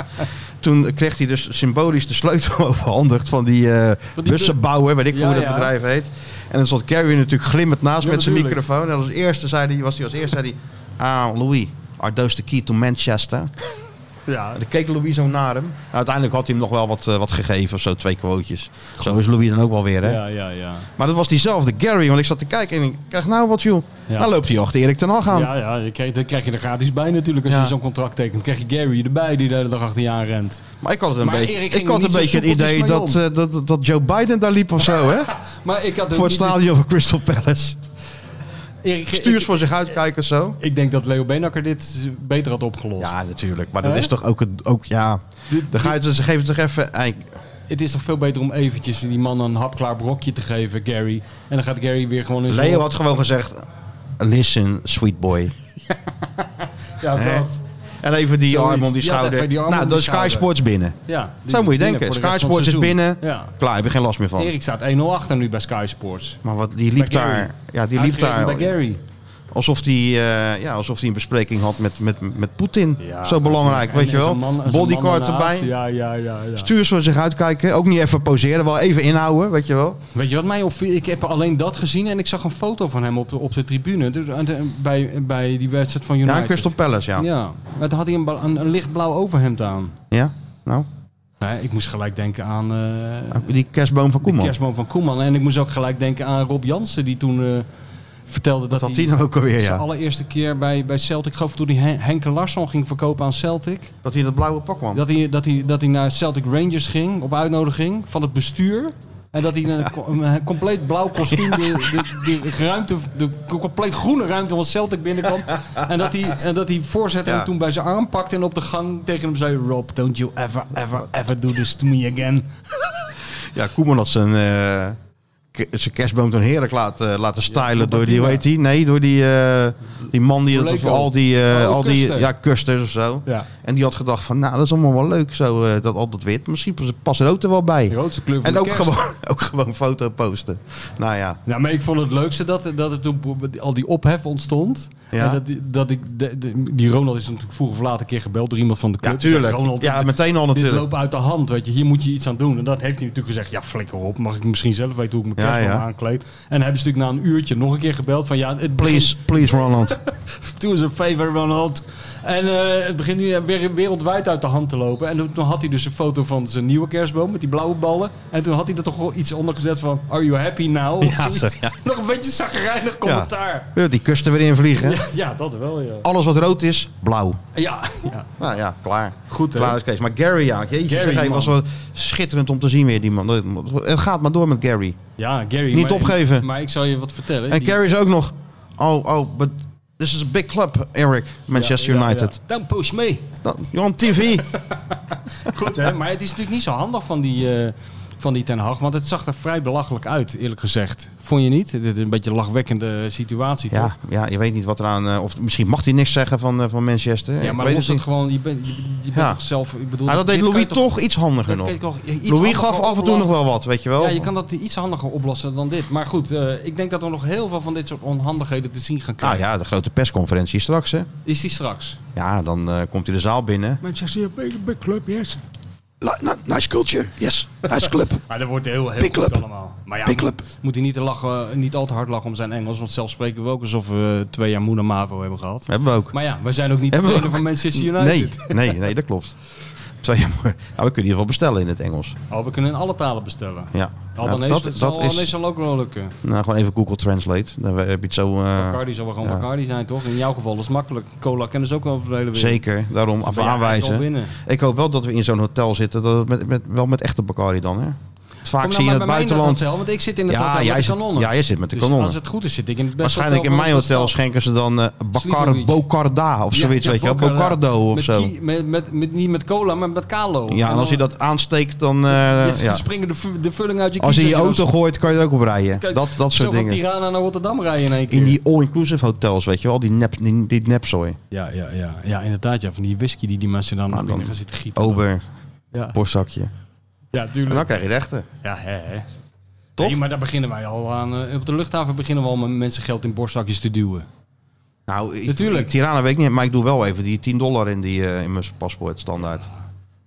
Speaker 1: toen kreeg hij dus symbolisch de sleutel *laughs* overhandigd van die, eh,
Speaker 3: Van die
Speaker 1: bussenbouwer, weet ik veel
Speaker 3: Ja,
Speaker 1: hoe dat
Speaker 3: ja.
Speaker 1: bedrijf heet. En dan stond Carrie natuurlijk glimmend naast
Speaker 3: Ja,
Speaker 1: met zijn
Speaker 3: natuurlijk.
Speaker 1: microfoon. En als eerste zei hij, was hij als eerste zei hij, ah Louis, are those the key to Manchester?
Speaker 3: Ja,
Speaker 1: Dan keek Louis zo naar hem. Nou, uiteindelijk had hij hem nog wel wat, eh, wat gegeven of zo, twee quotejes. Zo is Louis dan ook wel weer, hè?
Speaker 3: ja, ja. ja.
Speaker 1: Maar dat was diezelfde Gary, want ik zat te kijken en ik krijg nou wat, joh.
Speaker 3: Ja.
Speaker 1: Dan loopt hij achter Erik ten Hag aan.
Speaker 3: Ja, ja je krijgt- dat krijg je er gratis bij natuurlijk als
Speaker 1: Ja.
Speaker 3: je zo'n contract tekent. krijg je Gary erbij die de hele dag achter je aan rent.
Speaker 1: Maar ik had het een
Speaker 3: Maar
Speaker 1: beetje,
Speaker 3: Erik
Speaker 1: ik
Speaker 3: ging
Speaker 1: had
Speaker 3: er
Speaker 1: een
Speaker 3: niet zo
Speaker 1: beetje het
Speaker 3: soepeltjes
Speaker 1: idee
Speaker 3: mee
Speaker 1: dat, eh, dat, dat Joe Biden daar liep of zo,
Speaker 3: *laughs*
Speaker 1: hè?
Speaker 3: Maar ik had ook
Speaker 1: Voor het
Speaker 3: niet-
Speaker 1: stadion van Crystal
Speaker 3: *laughs*
Speaker 1: Palace.
Speaker 3: Erik,
Speaker 1: Stuurs
Speaker 3: ik,
Speaker 1: voor zich uitkijken zo.
Speaker 3: ik denk dat Leo Beenakker dit beter had opgelost.
Speaker 1: Ja, natuurlijk. Maar dat
Speaker 3: Hè?
Speaker 1: is toch ook, een, ook ja... Dan ga je, ze geven toch even... ei,
Speaker 3: Het is toch veel beter om eventjes die man een hapklaar brokje te geven, Gary. En dan gaat Gary weer gewoon in zijn...
Speaker 1: Leo had gewoon gezegd... Listen, sweet boy.
Speaker 3: Ja,
Speaker 1: Hè?
Speaker 3: dat.
Speaker 1: En even die
Speaker 3: Zoiets.
Speaker 1: arm om die
Speaker 3: Ja,
Speaker 1: schouder.
Speaker 3: even die arm
Speaker 1: nou,
Speaker 3: om
Speaker 1: dan
Speaker 3: die
Speaker 1: Sky
Speaker 3: schouder.
Speaker 1: Sports binnen.
Speaker 3: Ja, die
Speaker 1: Zo moet je
Speaker 3: binnen
Speaker 1: denken.
Speaker 3: voor de rest
Speaker 1: Sky
Speaker 3: van het
Speaker 1: Sports is
Speaker 3: seizoen.
Speaker 1: binnen.
Speaker 3: Ja.
Speaker 1: Klaar, heb je geen last meer van.
Speaker 3: Erik staat 1-0 achter nu bij Sky Sports.
Speaker 1: Maar wat, die liep
Speaker 3: Bij Gary.
Speaker 1: daar... Ja, die liep
Speaker 3: Uitgerekend
Speaker 1: daar...
Speaker 3: bij Gary.
Speaker 1: Alsof hij ja, alsof die een bespreking had met, met, met Poetin. Zo belangrijk,
Speaker 3: En
Speaker 1: weet je
Speaker 3: zo'n
Speaker 1: wel.
Speaker 3: man- zo'n man
Speaker 1: Bodycard
Speaker 3: ernaast.
Speaker 1: erbij.
Speaker 3: Ja, ja, ja, ja.
Speaker 1: Stuur ze zich uitkijken. Ook niet even poseren, wel even inhouden, weet je wel.
Speaker 3: Weet je wat mij opviel? Ik heb alleen dat gezien en ik zag een foto van hem op de, op de tribune. Dus, aan de- bij, bij die wedstrijd van United.
Speaker 1: Ja, Crystal Palace, ja.
Speaker 3: Ja,
Speaker 1: ja.
Speaker 3: maar toen had hij een, ba- een, een lichtblauw overhemd aan.
Speaker 1: Nou,
Speaker 3: Nee, ik moest gelijk denken aan eh
Speaker 1: die kerstboom van
Speaker 3: de
Speaker 1: Koeman.
Speaker 3: kerstman van Koeman. En ik moest ook gelijk denken aan Rob Jansen, die toen eh, vertelde dat,
Speaker 1: Dat had
Speaker 3: hij
Speaker 1: hij nou ook alweer,
Speaker 3: zijn
Speaker 1: ja.
Speaker 3: allereerste keer bij, bij Celtic, ik geloof toen hij Hen- Henke Larsson ging verkopen aan Celtic.
Speaker 1: Dat hij in dat blauwe pak kwam.
Speaker 3: Dat hij, dat, hij, dat hij naar Celtic Rangers ging, op uitnodiging van het bestuur. En dat hij een,
Speaker 1: *laughs*
Speaker 3: co- een eh, compleet blauw kostuum, de, de, de ruimte, de co- compleet groene ruimte van Celtic binnenkwam. En dat hij, en dat hij voorzitter
Speaker 1: Ja.
Speaker 3: hem toen bij zijn arm pakte en op de gang tegen hem zei... Rob, don't you ever, ever, ever do this to me again.
Speaker 1: Ja, Koeman had zijn... eh, k- zijn kerstboom toen heerlijk laten, laten stylen door die, hoe heet die? Nee, door die, eh, die man die dat
Speaker 3: Coleco.
Speaker 1: voor al die, eh,
Speaker 3: Oh,
Speaker 1: al die
Speaker 3: Custer.
Speaker 1: ja, kusters of zo.
Speaker 3: Ja.
Speaker 1: En die had gedacht van, nou, dat is allemaal wel leuk, zo, eh, dat altijd wit. Misschien pas- past rood er wel bij.
Speaker 3: De grootste kleur van
Speaker 1: En
Speaker 3: de
Speaker 1: ook
Speaker 3: kerst.
Speaker 1: gewoon, *laughs* ook gewoon foto posten. Nou ja,
Speaker 3: Nou, maar ik vond het leukste dat, dat er toen al die ophef ontstond.
Speaker 1: Ja.
Speaker 3: En dat, die- dat ik, de- de- die Ronald is natuurlijk vroeger of later een keer gebeld door iemand van de club.
Speaker 1: ja
Speaker 3: Die zei,
Speaker 1: tuurlijk.
Speaker 3: Ronald,
Speaker 1: Ja, meteen al
Speaker 3: dit
Speaker 1: natuurlijk.
Speaker 3: loopt uit de hand, weet je. Hier moet je iets aan doen. En dat heeft hij natuurlijk gezegd. Ja, flikker op. Mag ik misschien zelf weten hoe ik mijn
Speaker 1: Ja,
Speaker 3: kerstboom
Speaker 1: ja.
Speaker 3: aankleed? En hebben ze natuurlijk na een uurtje nog een keer gebeld van... Ja, het begint-
Speaker 1: Please, please
Speaker 3: *laughs*
Speaker 1: Ronald.
Speaker 3: Toen is een favor Ronald. En eh, het begint nu weer wereldwijd uit de hand te lopen. En toen had hij dus een foto van zijn nieuwe kerstboom met die blauwe ballen. En toen had hij er toch wel iets onder gezet van... Are you happy now? Of
Speaker 1: Ja,
Speaker 3: zoiets.
Speaker 1: zo, ja.
Speaker 3: *laughs* Nog een beetje zagrijnig commentaar.
Speaker 1: Ja, die kusten weer invliegen.
Speaker 3: Ja. dat wel, ja.
Speaker 1: Alles wat rood is, blauw.
Speaker 3: Ja, ja.
Speaker 1: Nou ja, klaar.
Speaker 3: Goed, hè?
Speaker 1: Klaar is Kees. Maar Gary, ja. Jeetje,
Speaker 3: Gary,
Speaker 1: zeg, hij
Speaker 3: man.
Speaker 1: was wel schitterend om te zien weer, die man. Het gaat maar door met Gary.
Speaker 3: ja Gary.
Speaker 1: Niet
Speaker 3: maar-
Speaker 1: opgeven.
Speaker 3: Maar ik zal je wat vertellen.
Speaker 1: En
Speaker 3: Die-
Speaker 1: Gary is ook nog... Oh, oh, but this is a big club, Eric. Manchester
Speaker 3: Ja, ja,
Speaker 1: United.
Speaker 3: ja. Dan push me.
Speaker 1: Nou, You're on TV.
Speaker 3: Goed, hè? Maar het is natuurlijk niet zo handig van die, eh, van die Ten Hag. Want het zag er vrij belachelijk uit, eerlijk gezegd. Vond je niet? Dit is een beetje een lachwekkende situatie, toch?
Speaker 1: ja, ja, je weet niet wat eraan... eh, of misschien mag hij niks zeggen van, eh, van Manchester.
Speaker 3: Ja,
Speaker 1: Ik
Speaker 3: maar
Speaker 1: weet
Speaker 3: los
Speaker 1: het
Speaker 3: het
Speaker 1: niet.
Speaker 3: gewoon, je bent, je, je bent
Speaker 1: Ja.
Speaker 3: toch zelf... Ik bedoel,
Speaker 1: Ah, dat deed
Speaker 3: dit kan
Speaker 1: Louis
Speaker 3: je
Speaker 1: toch, iets handiger
Speaker 3: dit
Speaker 1: nog.
Speaker 3: kan je toch
Speaker 1: Louis
Speaker 3: iets handiger
Speaker 1: gaf af en toe nog
Speaker 3: oplossen.
Speaker 1: wel wat, weet je wel.
Speaker 3: Ja, je kan dat iets handiger oplossen dan dit. Maar goed, eh, ik denk dat we nog heel veel van dit soort onhandigheden te zien gaan
Speaker 1: Nou
Speaker 3: krijgen.
Speaker 1: ja, de grote persconferentie straks, hè.
Speaker 3: Is die straks?
Speaker 1: Ja, dan eh, komt hij de zaal binnen.
Speaker 3: Manchester, big, big club, yes.
Speaker 7: La- na- nice culture. Yes. Nice club.
Speaker 3: Maar dat wordt heel, heel
Speaker 7: Big
Speaker 3: goed
Speaker 7: club.
Speaker 3: allemaal. Maar ja,
Speaker 7: Big
Speaker 3: moet-
Speaker 7: club.
Speaker 3: moet hij niet, te lachen, eh, niet al te hard lachen om zijn Engels. Want zelf spreken we ook alsof we twee jaar Moena Mavo hebben gehad.
Speaker 1: Hebben we ook.
Speaker 3: Maar ja, wij zijn ook niet de
Speaker 1: Hebben we
Speaker 3: trainer
Speaker 1: ook.
Speaker 3: van Manchester United.
Speaker 1: Nee, nee, nee, dat klopt. *laughs* Zou je maar- nou, we kunnen in ieder geval bestellen in het Engels.
Speaker 3: Oh, we kunnen in alle talen bestellen.
Speaker 1: Ja. Nou,
Speaker 3: Albanese, dat, zal, Albanese zal ook wel lukken.
Speaker 1: Nou, gewoon even Google Translate. Dan heb je het zo... eh,
Speaker 3: Bacardi zal wel gewoon
Speaker 1: ja.
Speaker 3: Bacardi zijn, toch? In jouw geval is het makkelijk. Cola kennen ze ook wel over de hele wereld.
Speaker 1: zeker, daarom
Speaker 3: Dus
Speaker 1: af
Speaker 3: ben jij eigenlijk al
Speaker 1: aanwijzen.
Speaker 3: binnen.
Speaker 1: Ik hoop wel dat we in zo'n hotel zitten. Dat het met, met, wel met echte Bacardi dan, hè? Vaak
Speaker 3: Kom nou
Speaker 1: zie je in het
Speaker 3: maar bij mij in dat
Speaker 1: buitenland...
Speaker 3: Hotel, want ik zit in het
Speaker 1: ja,
Speaker 3: hotel
Speaker 1: jij
Speaker 3: met de
Speaker 1: zit,
Speaker 3: kanonnen.
Speaker 1: ja, jij zit met de
Speaker 3: Dus
Speaker 1: kanonnen.
Speaker 3: als het goed is, zit ik in het beste
Speaker 1: Waarschijnlijk in
Speaker 3: hotel van
Speaker 1: mijn
Speaker 3: de
Speaker 1: hotel
Speaker 3: stad.
Speaker 1: schenken ze dan eh Bacar
Speaker 3: Sleepy Beach.
Speaker 1: Bocarda of
Speaker 3: Ja,
Speaker 1: zoiets,
Speaker 3: ja,
Speaker 1: weet je wel.
Speaker 3: Bocarda.
Speaker 1: Bocardo of
Speaker 3: Met
Speaker 1: zo.
Speaker 3: ki- met, met, met, niet met cola, maar met kalo.
Speaker 1: Ja, en als je dat aansteekt, dan... eh,
Speaker 3: Ja,
Speaker 1: ja.
Speaker 3: springen de, vu- de vulling uit je
Speaker 1: Als je
Speaker 3: kiezen.
Speaker 1: in je auto gooit, kan je er ook op rijden.
Speaker 3: Kijk,
Speaker 1: Dat, dat soort dingen.
Speaker 3: Zo van Tirana naar Rotterdam rijden in één keer.
Speaker 1: In die all-inclusive hotels, weet je wel, die, nep, die, die nepzooi.
Speaker 3: ja, ja, ja, ja, inderdaad. Ja, van die whisky die die mensen dan,
Speaker 1: Nou, dan-
Speaker 3: binnen gaan zitten gieten.
Speaker 1: Ober,
Speaker 3: Ja,
Speaker 1: borstzakje.
Speaker 3: ja
Speaker 1: En
Speaker 3: tuurlijk.
Speaker 1: dan krijg je de echte.
Speaker 3: Ja, hè, hè.
Speaker 1: Toch?
Speaker 3: Nee, maar daar beginnen wij al aan. eh, Op de luchthaven beginnen we al met mensen geld in borstzakjes te duwen.
Speaker 1: Nou, ik,
Speaker 3: Natuurlijk.
Speaker 1: ik- Tirana weet ik niet, maar ik doe wel even die 10 dollar in, die, eh, in mijn paspoort standaard.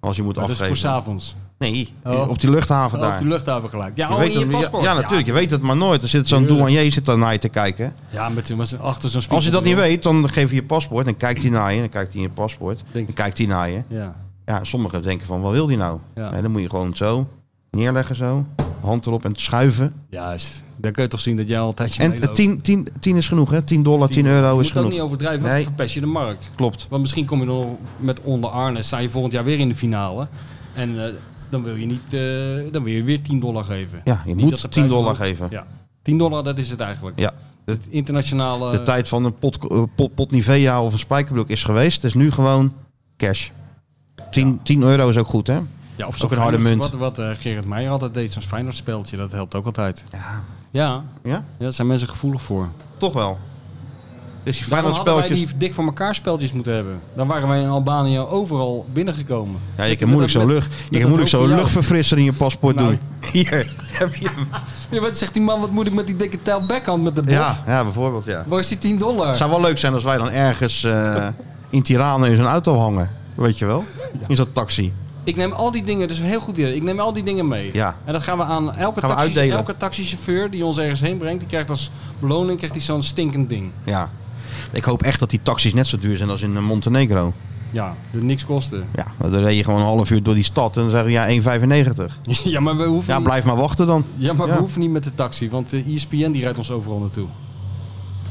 Speaker 1: Als je moet
Speaker 3: Dat is voor
Speaker 1: afgeven.
Speaker 3: s'avonds.
Speaker 1: Nee,
Speaker 3: Oh.
Speaker 1: op die luchthaven
Speaker 3: Oh,
Speaker 1: daar.
Speaker 3: op de luchthaven gelijk. Ja,
Speaker 1: Je
Speaker 3: oh,
Speaker 1: weet
Speaker 3: in je
Speaker 1: het- ja-
Speaker 3: paspoort.
Speaker 1: ja, natuurlijk. Je weet het maar nooit. Er zit zo'n
Speaker 3: Tuurlijk.
Speaker 1: douanier zit daar naar je te kijken.
Speaker 3: Ja, met, met z'n- achter zo'n spiegel.
Speaker 1: Als je dat niet weet, dan geef je je paspoort. Dan kijkt hij naar je. Dan kijkt hij in je paspoort.
Speaker 3: Denk-
Speaker 1: Dan kijkt hij naar je.
Speaker 3: Ja.
Speaker 1: Ja, sommigen denken van, wat wil die nou?
Speaker 3: Ja.
Speaker 1: Nee, dan moet je gewoon zo neerleggen zo. Hand erop en schuiven.
Speaker 3: Juist. Dan kun je toch zien dat jij altijd je
Speaker 1: En
Speaker 3: meeloopt.
Speaker 1: 10 10 10 is genoeg, hè? 10 dollar, 10 euro is
Speaker 3: moet ook
Speaker 1: genoeg.
Speaker 3: niet overdrijven, want
Speaker 1: Nee.
Speaker 3: dan verpest je de markt.
Speaker 1: Klopt.
Speaker 3: Want misschien kom je dan nog met onder Arne, sta je volgend jaar weer in de finale. En eh, dan wil je niet, eh, dan wil je weer 10 dollar geven.
Speaker 1: Ja, je
Speaker 3: Niet
Speaker 1: moet
Speaker 3: dat de
Speaker 1: 10
Speaker 3: prijs
Speaker 1: dollar
Speaker 3: omhoog-
Speaker 1: geven. Ja.
Speaker 3: Ja, 10 dollar dat is het eigenlijk. Het internationale...
Speaker 1: De tijd van een pot, eh, pot, pot Nivea of een spijkerbroek is geweest. Het is nu gewoon cash. 10, 10 euro is ook goed, hè?
Speaker 3: Ja, of
Speaker 1: Ook een harde
Speaker 3: Feyenoord-
Speaker 1: munt.
Speaker 3: Wat, wat eh, Gerrit Meijer altijd deed, zo'n Feyenoord speeltje, dat helpt ook altijd. Ja. Ja,
Speaker 1: Ja,
Speaker 3: daar zijn mensen gevoelig voor.
Speaker 1: toch wel. Dus die
Speaker 3: Daarom
Speaker 1: Feyenoord
Speaker 3: hadden wij
Speaker 1: spelletjes...
Speaker 3: die dik voor elkaar speltjes moeten hebben. Dan waren wij in Albanië overal binnengekomen.
Speaker 1: Ja, je
Speaker 3: Met-
Speaker 1: kan moeilijk
Speaker 3: met-
Speaker 1: zo'n
Speaker 3: met-
Speaker 1: lucht, je
Speaker 3: met
Speaker 1: kan
Speaker 3: het
Speaker 1: moeilijk
Speaker 3: hoofd
Speaker 1: zo'n
Speaker 3: van jou.
Speaker 1: luchtverfrisser in je paspoort
Speaker 3: Nou.
Speaker 1: doen. Hier, heb je hem.
Speaker 3: Ja, wat zegt die man, wat moet ik met die dikke tail backhand met de bof?
Speaker 1: Ja, ja, bijvoorbeeld, ja.
Speaker 3: Waar is die 10 dollar?
Speaker 1: Het zou wel leuk zijn als wij dan ergens eh, in Tirana in zo'n auto hangen. Weet je wel? In zo'n taxi.
Speaker 3: Ik neem al die dingen, dus heel goed idee. Ik neem al die dingen mee.
Speaker 1: Ja.
Speaker 3: En dat gaan we aan elke,
Speaker 1: Gaan we
Speaker 3: taxi,
Speaker 1: uitdelen.
Speaker 3: elke taxichauffeur die ons ergens heen brengt. Die krijgt als beloning krijgt hij zo'n stinkend ding.
Speaker 1: Ja. Ik hoop echt dat die taxis net zo duur zijn als in eh, Montenegro.
Speaker 3: Ja, dat niks kosten. *laughs*
Speaker 1: Ja, dan reed je gewoon een half uur door die stad en dan zeggen we ja 1,95.
Speaker 3: ja, maar we hoeven
Speaker 1: Ja,
Speaker 3: niet-
Speaker 1: blijf maar wachten dan.
Speaker 3: Ja, maar
Speaker 1: Ja.
Speaker 3: we hoeven niet met de taxi, want eh, E de ESPN die rijdt ons overal naartoe.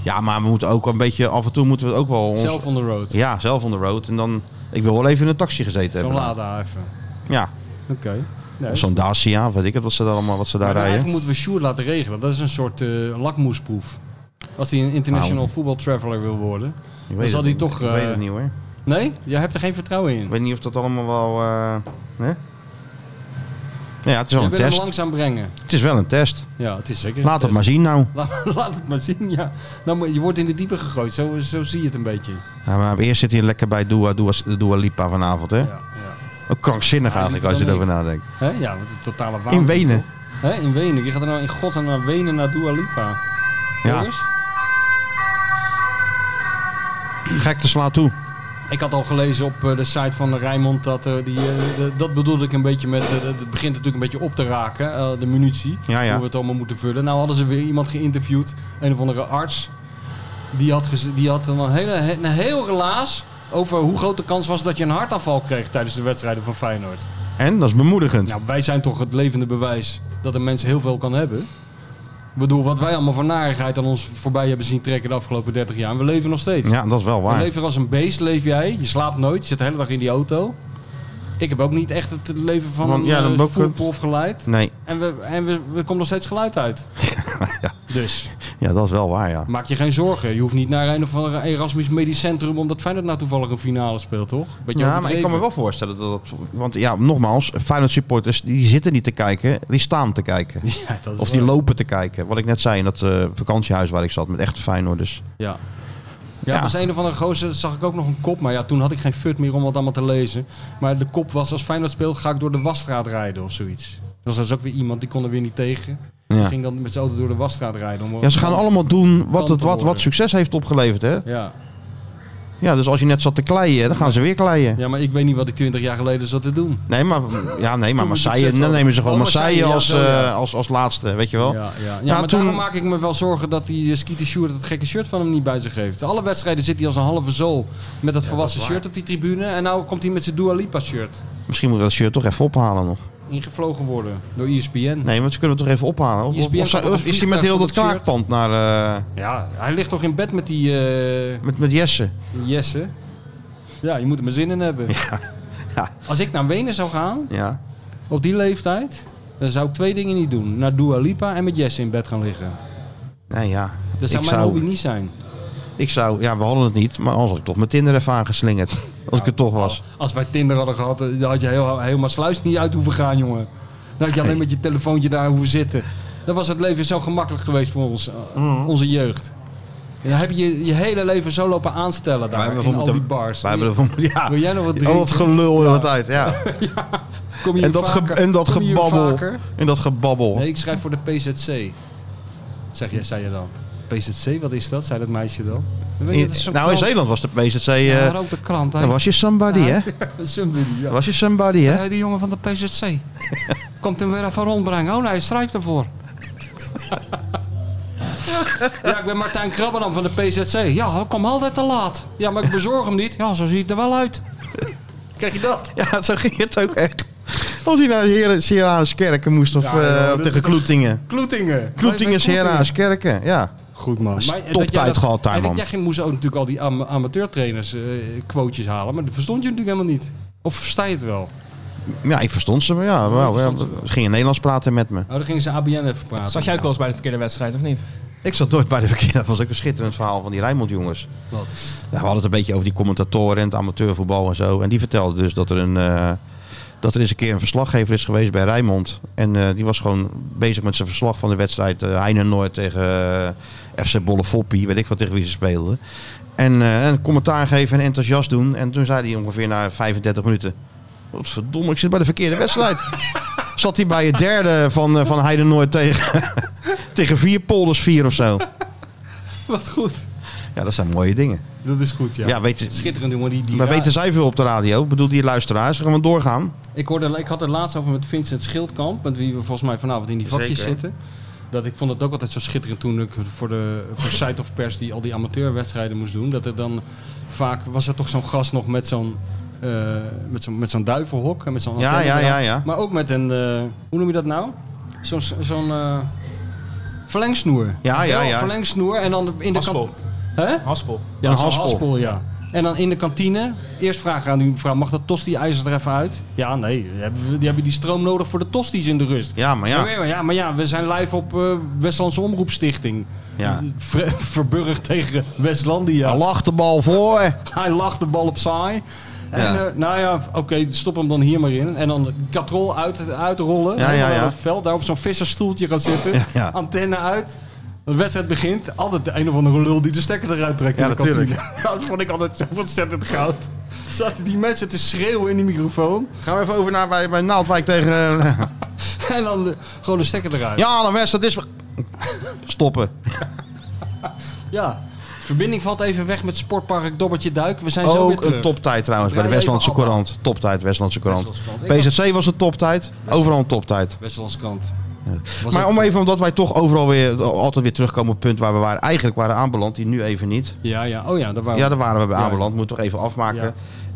Speaker 1: Ja, maar we moeten ook een beetje, af en toe moeten we het ook wel... ons-
Speaker 3: Zelf on the road.
Speaker 1: Ja, zelf on the road. En dan, ik wil wel even in een taxi gezeten
Speaker 3: Zo'n
Speaker 1: hebben.
Speaker 3: Lada even.
Speaker 1: Ja,
Speaker 3: Oké. Nee.
Speaker 1: of zo'n Dacia, weet ik het, wat ze daar allemaal, wat ze daar
Speaker 3: Maar
Speaker 1: rijden.
Speaker 3: eigenlijk moeten we Sjoerd laten regelen. Dat is een soort eh lakmoesproef. Als hij een international
Speaker 1: Nou.
Speaker 3: voetbal traveler wil worden.
Speaker 1: Ik
Speaker 3: zal
Speaker 1: het
Speaker 3: die
Speaker 1: niet.
Speaker 3: toch,
Speaker 1: Ik weet
Speaker 3: eh,
Speaker 1: het niet hoor.
Speaker 3: Nee? Jij hebt er geen vertrouwen in.
Speaker 1: Ik weet niet of dat allemaal wel... eh, hè? ja, het is wel
Speaker 3: Je
Speaker 1: een
Speaker 3: wil hem
Speaker 1: test.
Speaker 3: langzaam brengen.
Speaker 1: Het is wel een test.
Speaker 3: Ja, het is zeker. een
Speaker 1: Laat het
Speaker 3: test.
Speaker 1: maar zien nou.
Speaker 3: *laughs* Laat, laat het maar zien, ja. Nou, maar je wordt in de diepe gegooid, zo, zo zie je het een beetje.
Speaker 1: Ja, maar eerst zit hij lekker bij Dua, Dua, Dua Lipa vanavond, hè?
Speaker 3: Ja, ja.
Speaker 1: Ook krankzinnig
Speaker 3: Ja,
Speaker 1: eigenlijk, als
Speaker 3: liever
Speaker 1: je
Speaker 3: dan
Speaker 1: erover nadenkt.
Speaker 3: Hè? ja want het is totale waanzin.
Speaker 1: In Wenen.
Speaker 3: toch? Hè? In Wenen. Wie gaat er nou in godsnaam naar Wenen naar Dua Lipa?
Speaker 1: Ja,
Speaker 3: Jongens?
Speaker 1: gek te slaan toe.
Speaker 3: Ik had al gelezen op eh, de site van Rijnmond dat eh, die, eh, de- dat bedoelde ik een beetje met. eh, het begint natuurlijk een beetje op te raken, eh, de munitie.
Speaker 1: Ja, ja.
Speaker 3: Hoe we het allemaal moeten vullen. Nou hadden ze weer iemand geïnterviewd, een of andere arts. Die had, geze- die had een, hele, he- een heel relaas over hoe groot de kans was dat je een hartaanval kreeg tijdens de wedstrijden van Feyenoord.
Speaker 1: En, dat is bemoedigend.
Speaker 3: Nou, wij zijn toch het levende bewijs dat een mens heel veel kan hebben. Ik bedoel, wat wij allemaal van narigheid aan ons voorbij hebben zien trekken de afgelopen 30 jaar. En we leven nog steeds.
Speaker 1: Ja, dat is wel
Speaker 3: Je
Speaker 1: waar.
Speaker 3: leven als een beest, leef jij. Je slaapt nooit, je zit de hele dag in die auto. Ik heb ook niet echt het leven van
Speaker 1: Want,
Speaker 3: een
Speaker 1: ja,
Speaker 3: ja,
Speaker 1: dan ook-
Speaker 3: voetbalprof geleid.
Speaker 1: Nee,
Speaker 3: En, we, en we, we komen nog steeds geluid
Speaker 1: *laughs*
Speaker 3: uit. Dus
Speaker 1: ja, dat is wel waar, ja.
Speaker 3: maak je geen zorgen. Je hoeft niet naar een of ander Erasmus Medisch Centrum... omdat Feyenoord nou toevallig een finale speelt, toch? Beetje
Speaker 1: Ja, maar ik kan me wel voorstellen dat dat... Want ja, nogmaals, Feyenoord supporters, die zitten niet te kijken, die staan te kijken.
Speaker 3: overdreven. *laughs* Ja, dat is
Speaker 1: Of die
Speaker 3: waar.
Speaker 1: lopen te kijken. Wat ik net zei in dat eh, vakantiehuis waar ik zat met echte Feyenoorders.
Speaker 3: Ja. Ja,
Speaker 1: Ja.
Speaker 3: als een of andere gozer zag ik ook nog een kop. Maar ja, toen had ik geen fut meer om wat allemaal te lezen. Maar de kop was, als Feyenoord speelt, ga ik door de wasstraat rijden of zoiets. Dat was dus ook weer iemand, die kon er weer niet tegen.
Speaker 1: Ja.
Speaker 3: Die ging dan met zijn auto door de wasstraat rijden. Om...
Speaker 1: Ja, ze gaan allemaal doen wat, het,
Speaker 3: Kanten
Speaker 1: wat, wat
Speaker 3: worden.
Speaker 1: succes heeft opgeleverd, hè?
Speaker 3: Ja.
Speaker 1: Ja, dus als je net zat te kleien, dan gaan ze weer kleien.
Speaker 3: ja, maar ik weet niet wat ik 20 jaar geleden zat te doen.
Speaker 1: Nee, maar, ja, nee, maar
Speaker 3: Toen
Speaker 1: Marseille,
Speaker 3: succes
Speaker 1: dan
Speaker 3: hadden.
Speaker 1: nemen ze gewoon
Speaker 3: Oh,
Speaker 1: Marseille
Speaker 3: Marseille, ja,
Speaker 1: als,
Speaker 3: zo, ja.
Speaker 1: eh, als, als laatste, weet je wel?
Speaker 3: Ja, ja. ja,
Speaker 1: Ja,
Speaker 3: maar
Speaker 1: Oh. Nou, toen-
Speaker 3: daarom maak ik me wel zorgen dat die eh, Skeeter Sjoerd dat gekke shirt van hem niet bij zich heeft. Alle wedstrijden zit hij als een halve zool met dat volwassen shirt op die tribune. En nou komt hij met zijn Dua Lipa shirt.
Speaker 1: Misschien moet dat shirt toch even ophalen nog.
Speaker 3: Ingevlogen worden door E ESPN.
Speaker 1: Nee, maar ze kunnen het toch even ophalen? Of,
Speaker 3: ESPN
Speaker 1: of, of zijn-
Speaker 3: kan op
Speaker 1: of
Speaker 3: een
Speaker 1: is hij met
Speaker 3: vliegtuig
Speaker 1: heel
Speaker 3: van
Speaker 1: dat
Speaker 3: het shirt.
Speaker 1: kraakpand naar... eh,
Speaker 3: Ja, hij ligt toch in bed met die eh,
Speaker 1: met, met Jesse?
Speaker 3: Jesse. Ja, je moet er maar zin in hebben.
Speaker 1: *laughs* Ja.
Speaker 3: Als ik naar Wenen zou gaan,
Speaker 1: Ja.
Speaker 3: op die leeftijd, dan zou ik twee dingen niet doen. Naar Dua Lipa en met Jesse in bed gaan liggen.
Speaker 1: Nee, ja.
Speaker 3: Dat zou
Speaker 1: ik,
Speaker 3: mijn hobby
Speaker 1: zou,
Speaker 3: niet zijn.
Speaker 1: ik zou... Ja, we hadden het niet, maar anders had ik toch mijn Tinder even aangeslingerd. Als ik het toch was.
Speaker 3: Als wij Tinder hadden gehad, eh, dan had je heel, helemaal sluis niet uit hoeven gaan, jongen. Dan had je alleen met je telefoontje daar hoeven zitten. Dan was het leven zo gemakkelijk geweest voor ons, eh,
Speaker 1: Mhm.
Speaker 3: onze jeugd. Dan heb je je hele leven zo lopen aanstellen daar,
Speaker 1: hebben
Speaker 3: in
Speaker 1: ervoor
Speaker 3: al
Speaker 1: moeten-
Speaker 3: die bars.
Speaker 1: Wij hebben ervan... Ja.
Speaker 3: Wil jij nog wat
Speaker 1: Al
Speaker 3: drinken?
Speaker 1: dat gelul de hele tijd, ja.
Speaker 3: Kom hier
Speaker 1: En dat, ge-
Speaker 3: vaker?
Speaker 1: en dat
Speaker 3: Kom hier
Speaker 1: gebabbel.
Speaker 3: vaker?
Speaker 1: En dat gebabbel.
Speaker 3: Nee, ik schrijf voor de PZC. Zeg jij, zei je dan. PZC, wat is dat? Zei dat meisje dan. Weet je,
Speaker 1: In-
Speaker 3: dat is zo'n
Speaker 1: nou, in
Speaker 3: krant.
Speaker 1: Zeeland was de PZC...
Speaker 3: Ja,
Speaker 1: eh
Speaker 3: maar ook de krant. hè.
Speaker 1: dan was je somebody, hè?
Speaker 3: Somebody, ja.
Speaker 1: Was je somebody, hè?
Speaker 3: Hey, Eh, die jongen van de *laughs* PZC. Komt hem weer even rondbrengen. Oh nee, hij schrijft *laughs* ervoor. ja, ik ben Martijn Krabbenam van de PZC. Ja, ik kom altijd te laat. Ja, maar ik bezorg hem niet. Ja, zo ziet het er wel uit. Kijk je dat?
Speaker 1: *laughs* Ja, zo ging het ook echt. Als hij naar Heren- Sierra's Kerken moest of
Speaker 3: Ja, ja,
Speaker 1: eh,
Speaker 3: dat
Speaker 1: tegen
Speaker 3: is toch-
Speaker 1: Kloetingen.
Speaker 3: Kloetingen.
Speaker 1: Kloetingen, Sierra's Kerken, ja.
Speaker 3: Goed man.
Speaker 1: toptijd gehad daar, man.
Speaker 3: Jij ging- moest ook natuurlijk al die am amateurtrainers eh quotejes halen. Maar dat verstond je natuurlijk helemaal niet. Of versta je het wel?
Speaker 1: Ja, ik verstond ze, maar ja, wauw, ja,
Speaker 3: verstond ze wel.
Speaker 1: ze gingen Nederlands praten met me.
Speaker 3: Oh, dan gingen ze ABN even praten.
Speaker 2: Zag jij ook wel eens bij de verkeerde wedstrijd, of niet?
Speaker 1: Ik zat nooit bij de verkeerde, dat was ook een schitterend verhaal van die Rijnmond jongens.
Speaker 3: Wat?
Speaker 1: Ja, we hadden het een beetje over die commentatoren en het amateurvoetbal en zo. En die vertelde dus dat er een... eh, dat er eens een keer een verslaggever is geweest bij Rijnmond. En eh, die was gewoon bezig met zijn verslag van de wedstrijd eh Noord tegen eh, FC Bollefoppie. Weet ik wat tegen wie ze speelden. En eh, een commentaar geven en enthousiast doen. En toen zei hij ongeveer na 35 minuten... Wat verdomme, ik zit bij de verkeerde wedstrijd. Zat hij bij het derde van, eh, van Heidenoord tegen, *laughs* tegen vier polders vier of zo.
Speaker 3: Wat goed.
Speaker 1: Ja, dat zijn mooie dingen.
Speaker 3: Dat is goed, ja.
Speaker 1: Ja, weten,
Speaker 3: Schitterend jongen. Die, die
Speaker 1: maar
Speaker 3: ra-
Speaker 1: weten zij veel op de radio? Ik bedoel, die luisteraars. Gaan we doorgaan?
Speaker 3: Ik, hoorde, ik had het laatst over met Vincent Schildkamp, met wie we volgens mij vanavond in die vakjes
Speaker 1: Zeker.
Speaker 3: zitten. Dat ik vond het ook altijd zo schitterend toen ik voor de
Speaker 1: *laughs*
Speaker 3: voor Site of Pers die al die amateurwedstrijden moest doen. Dat er dan vaak was er toch zo'n gast nog met zo'n eh, met zo'n met zo'n duivenhok en met zo'n
Speaker 1: Ja,
Speaker 3: antenne
Speaker 1: ja,
Speaker 3: eraan.
Speaker 1: ja, ja.
Speaker 3: Maar ook met een eh, hoe noem je dat nou? Zo'n zo'n eh, verlengsnoer.
Speaker 1: Ja, ja, ja.
Speaker 3: Verlengsnoer en dan in de
Speaker 2: Haspel.
Speaker 3: Hè?
Speaker 2: Haspel.
Speaker 3: Ja,
Speaker 1: Een
Speaker 3: zo'n
Speaker 1: haspel.
Speaker 3: haspel, ja. En dan in de kantine, eerst vragen aan die mevrouw, mag dat tosti-ijzer er even uit? Ja, nee, die hebben, we- die hebben die stroom nodig voor de tosti's in de rust.
Speaker 1: Ja, maar ja.
Speaker 3: maar ja, maar ja we zijn live op eh Westlandse Omroepstichting.
Speaker 1: Ja.
Speaker 3: *laughs* Ver- Verburg tegen Westlandia.
Speaker 1: Hij lag de bal voor.
Speaker 3: Hij lacht de bal opzij.
Speaker 1: Ja.
Speaker 3: En, eh, nou ja, oké, stop hem dan hier maar in. En dan katrol uit, uitrollen.
Speaker 1: Ja, ja,
Speaker 3: Helemaal
Speaker 1: ja.
Speaker 3: naar het veld, daar op zo'n vissersstoeltje gaan zitten.
Speaker 1: Ja, ja.
Speaker 3: Antenne uit. De wedstrijd begint. Altijd de een of andere lul die de stekker eruit trekt.
Speaker 1: Ja,
Speaker 3: in de kantine. *laughs*
Speaker 1: natuurlijk.
Speaker 3: Dat vond ik altijd zo ontzettend goud. Zaten die mensen te schreeuwen in die microfoon.
Speaker 1: Gaan we even over naar bij, bij Naaldwijk tegen... eh,
Speaker 3: En dan de- gewoon de stekker eruit.
Speaker 1: ja, dan West, dat is... Stoppen.
Speaker 3: Ja. Verbinding valt even weg met Sportpark Dobbertje Duik. We zijn zo weer
Speaker 1: Ook
Speaker 3: terug.
Speaker 1: een toptijd trouwens bij de
Speaker 3: Draai even
Speaker 1: Westlandse
Speaker 3: allemaal.
Speaker 1: Courant. Toptijd, Westlandse Courant.
Speaker 3: Westlandse Courant. Ik
Speaker 1: PZC was een toptijd. Overal een toptijd.
Speaker 3: Westlandse kant. Was
Speaker 1: Maar
Speaker 3: ook-
Speaker 1: om even, omdat wij toch overal weer, altijd weer terugkomen op het punt waar we waren, eigenlijk waren aanbeland, die nu even niet.
Speaker 3: Ja, ja. Oh ja, daar waren
Speaker 1: Ja, daar waren we bij
Speaker 3: Ja.
Speaker 1: aanbeland. Moet toch even afmaken.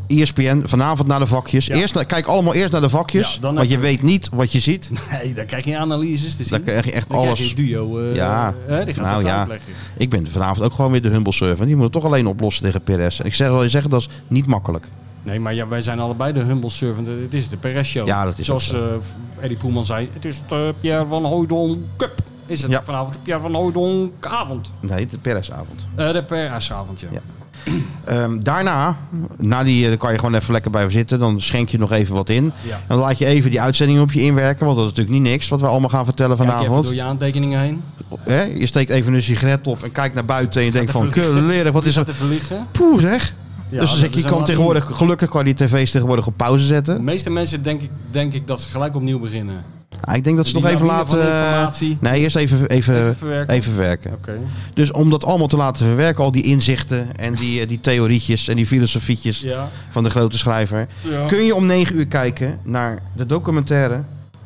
Speaker 1: E
Speaker 3: Ja.
Speaker 1: ESPN, vanavond naar de vakjes.
Speaker 3: Ja.
Speaker 1: Eerst, naar- kijk allemaal eerst naar de vakjes,
Speaker 3: Ja, dan
Speaker 1: want je
Speaker 3: even.
Speaker 1: weet niet wat je
Speaker 3: *laughs*
Speaker 1: ziet.
Speaker 3: Nee, daar krijg je analyses te zien.
Speaker 1: Dan krijg je echt
Speaker 3: Dan krijg
Speaker 1: alles.
Speaker 3: je een duo. eh,
Speaker 1: Ja.
Speaker 3: hè, die gaat
Speaker 1: Nou
Speaker 3: het
Speaker 1: ja.
Speaker 3: uitleggen.
Speaker 1: Ik ben vanavond ook gewoon weer de humble server. Die moet het toch alleen oplossen tegen Perez. En ik zeg wel, je zegt dat is niet makkelijk.
Speaker 3: Nee, maar ja, wij zijn allebei de humble servant. Het is de Perez show.
Speaker 1: Ja, dat is
Speaker 3: Zoals
Speaker 1: ook
Speaker 3: eh, Eddie Poelman zei, het is de Pierre van Hooydonk Cup. Is het
Speaker 1: Ja.
Speaker 3: vanavond de Pierre van Hooydonk avond?
Speaker 1: Nee, het is Perez-avond.
Speaker 3: Eh, de Perez-avond, ja.
Speaker 1: Ja. Ehm, daarna, na die, eh, daar kan je gewoon even lekker bij zitten. Dan schenk je nog even wat in.
Speaker 3: Ja.
Speaker 1: Dan laat je even die uitzending op je inwerken. Want dat is natuurlijk niet niks wat we allemaal gaan vertellen
Speaker 3: Kijk even door
Speaker 1: vanavond.
Speaker 3: je aantekeningen heen.
Speaker 1: Hè? Je steekt even een sigaret op en kijkt naar buiten. En je denkt van, leren, wat is dat?
Speaker 3: Te verliggen.
Speaker 1: Poeh zeg.
Speaker 3: Ja,
Speaker 1: dus dan
Speaker 3: dat
Speaker 1: zeg, je
Speaker 3: is
Speaker 1: kan
Speaker 3: een
Speaker 1: tegenwoordig, gelukkig kan je die tv's tegenwoordig op pauze
Speaker 3: De
Speaker 1: zetten.
Speaker 3: meeste mensen denk ik, denk ik dat ze gelijk opnieuw beginnen.
Speaker 1: Ah, ik denk dat ze
Speaker 3: Die
Speaker 1: nog even
Speaker 3: lawine van
Speaker 1: laten... eh,
Speaker 3: informatie.
Speaker 1: Nee, eerst even, even,
Speaker 3: Even verwerken.
Speaker 1: Eh, Even verwerken.
Speaker 3: Oké.
Speaker 1: Dus om dat allemaal te laten verwerken, al die inzichten en die, eh, die theorietjes en die filosofietjes
Speaker 3: Ja.
Speaker 1: van de grote schrijver.
Speaker 3: Ja.
Speaker 1: Kun je om 9 uur kijken naar de documentaire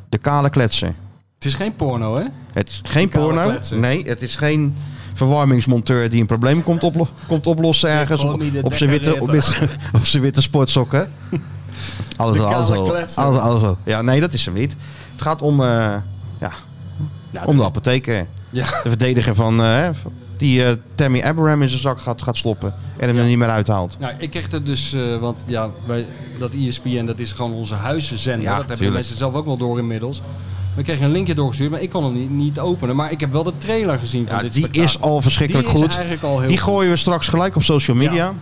Speaker 1: De Kale Kletser.
Speaker 3: Het is geen porno, hè?
Speaker 1: Het is geen
Speaker 3: Kale
Speaker 1: porno.
Speaker 3: Kletser.
Speaker 1: Nee, het is geen verwarmingsmonteur die een probleem komt, oplo- komt oplossen ergens
Speaker 3: gewoon
Speaker 1: op,
Speaker 3: niet de
Speaker 1: op zijn witte, op,
Speaker 3: dekker
Speaker 1: zijn- *laughs* op zijn witte sportsokken.
Speaker 3: *laughs*
Speaker 1: Alles
Speaker 3: De
Speaker 1: al, alles
Speaker 3: Kale
Speaker 1: al, alles,
Speaker 3: Kletser.
Speaker 1: al, alles al. Ja, nee, dat is hem niet. Het gaat om, eh, ja,
Speaker 3: Ja,
Speaker 1: om de apotheker.
Speaker 3: Ja.
Speaker 1: De verdediger van eh, hè, van- die eh, Tammy Abraham in zijn zak gaat, gaat sloppen en hem er niet meer uithaalt.
Speaker 3: Nou, ik kreeg dat dus, eh, want ja, wij, dat E ESPN dat is gewoon onze huiszender.
Speaker 1: Ja,
Speaker 3: dat hebben de
Speaker 1: tuurlijk.
Speaker 3: mensen zelf ook wel door inmiddels. We kregen een linkje doorgestuurd, maar ik kon hem niet, niet openen. Maar ik heb wel de trailer gezien van
Speaker 1: Ja,
Speaker 3: dit
Speaker 1: die
Speaker 3: spektakel.
Speaker 1: is al verschrikkelijk
Speaker 3: Die is
Speaker 1: goed.
Speaker 3: eigenlijk al heel
Speaker 1: Die
Speaker 3: goed.
Speaker 1: gooien we straks gelijk op social media.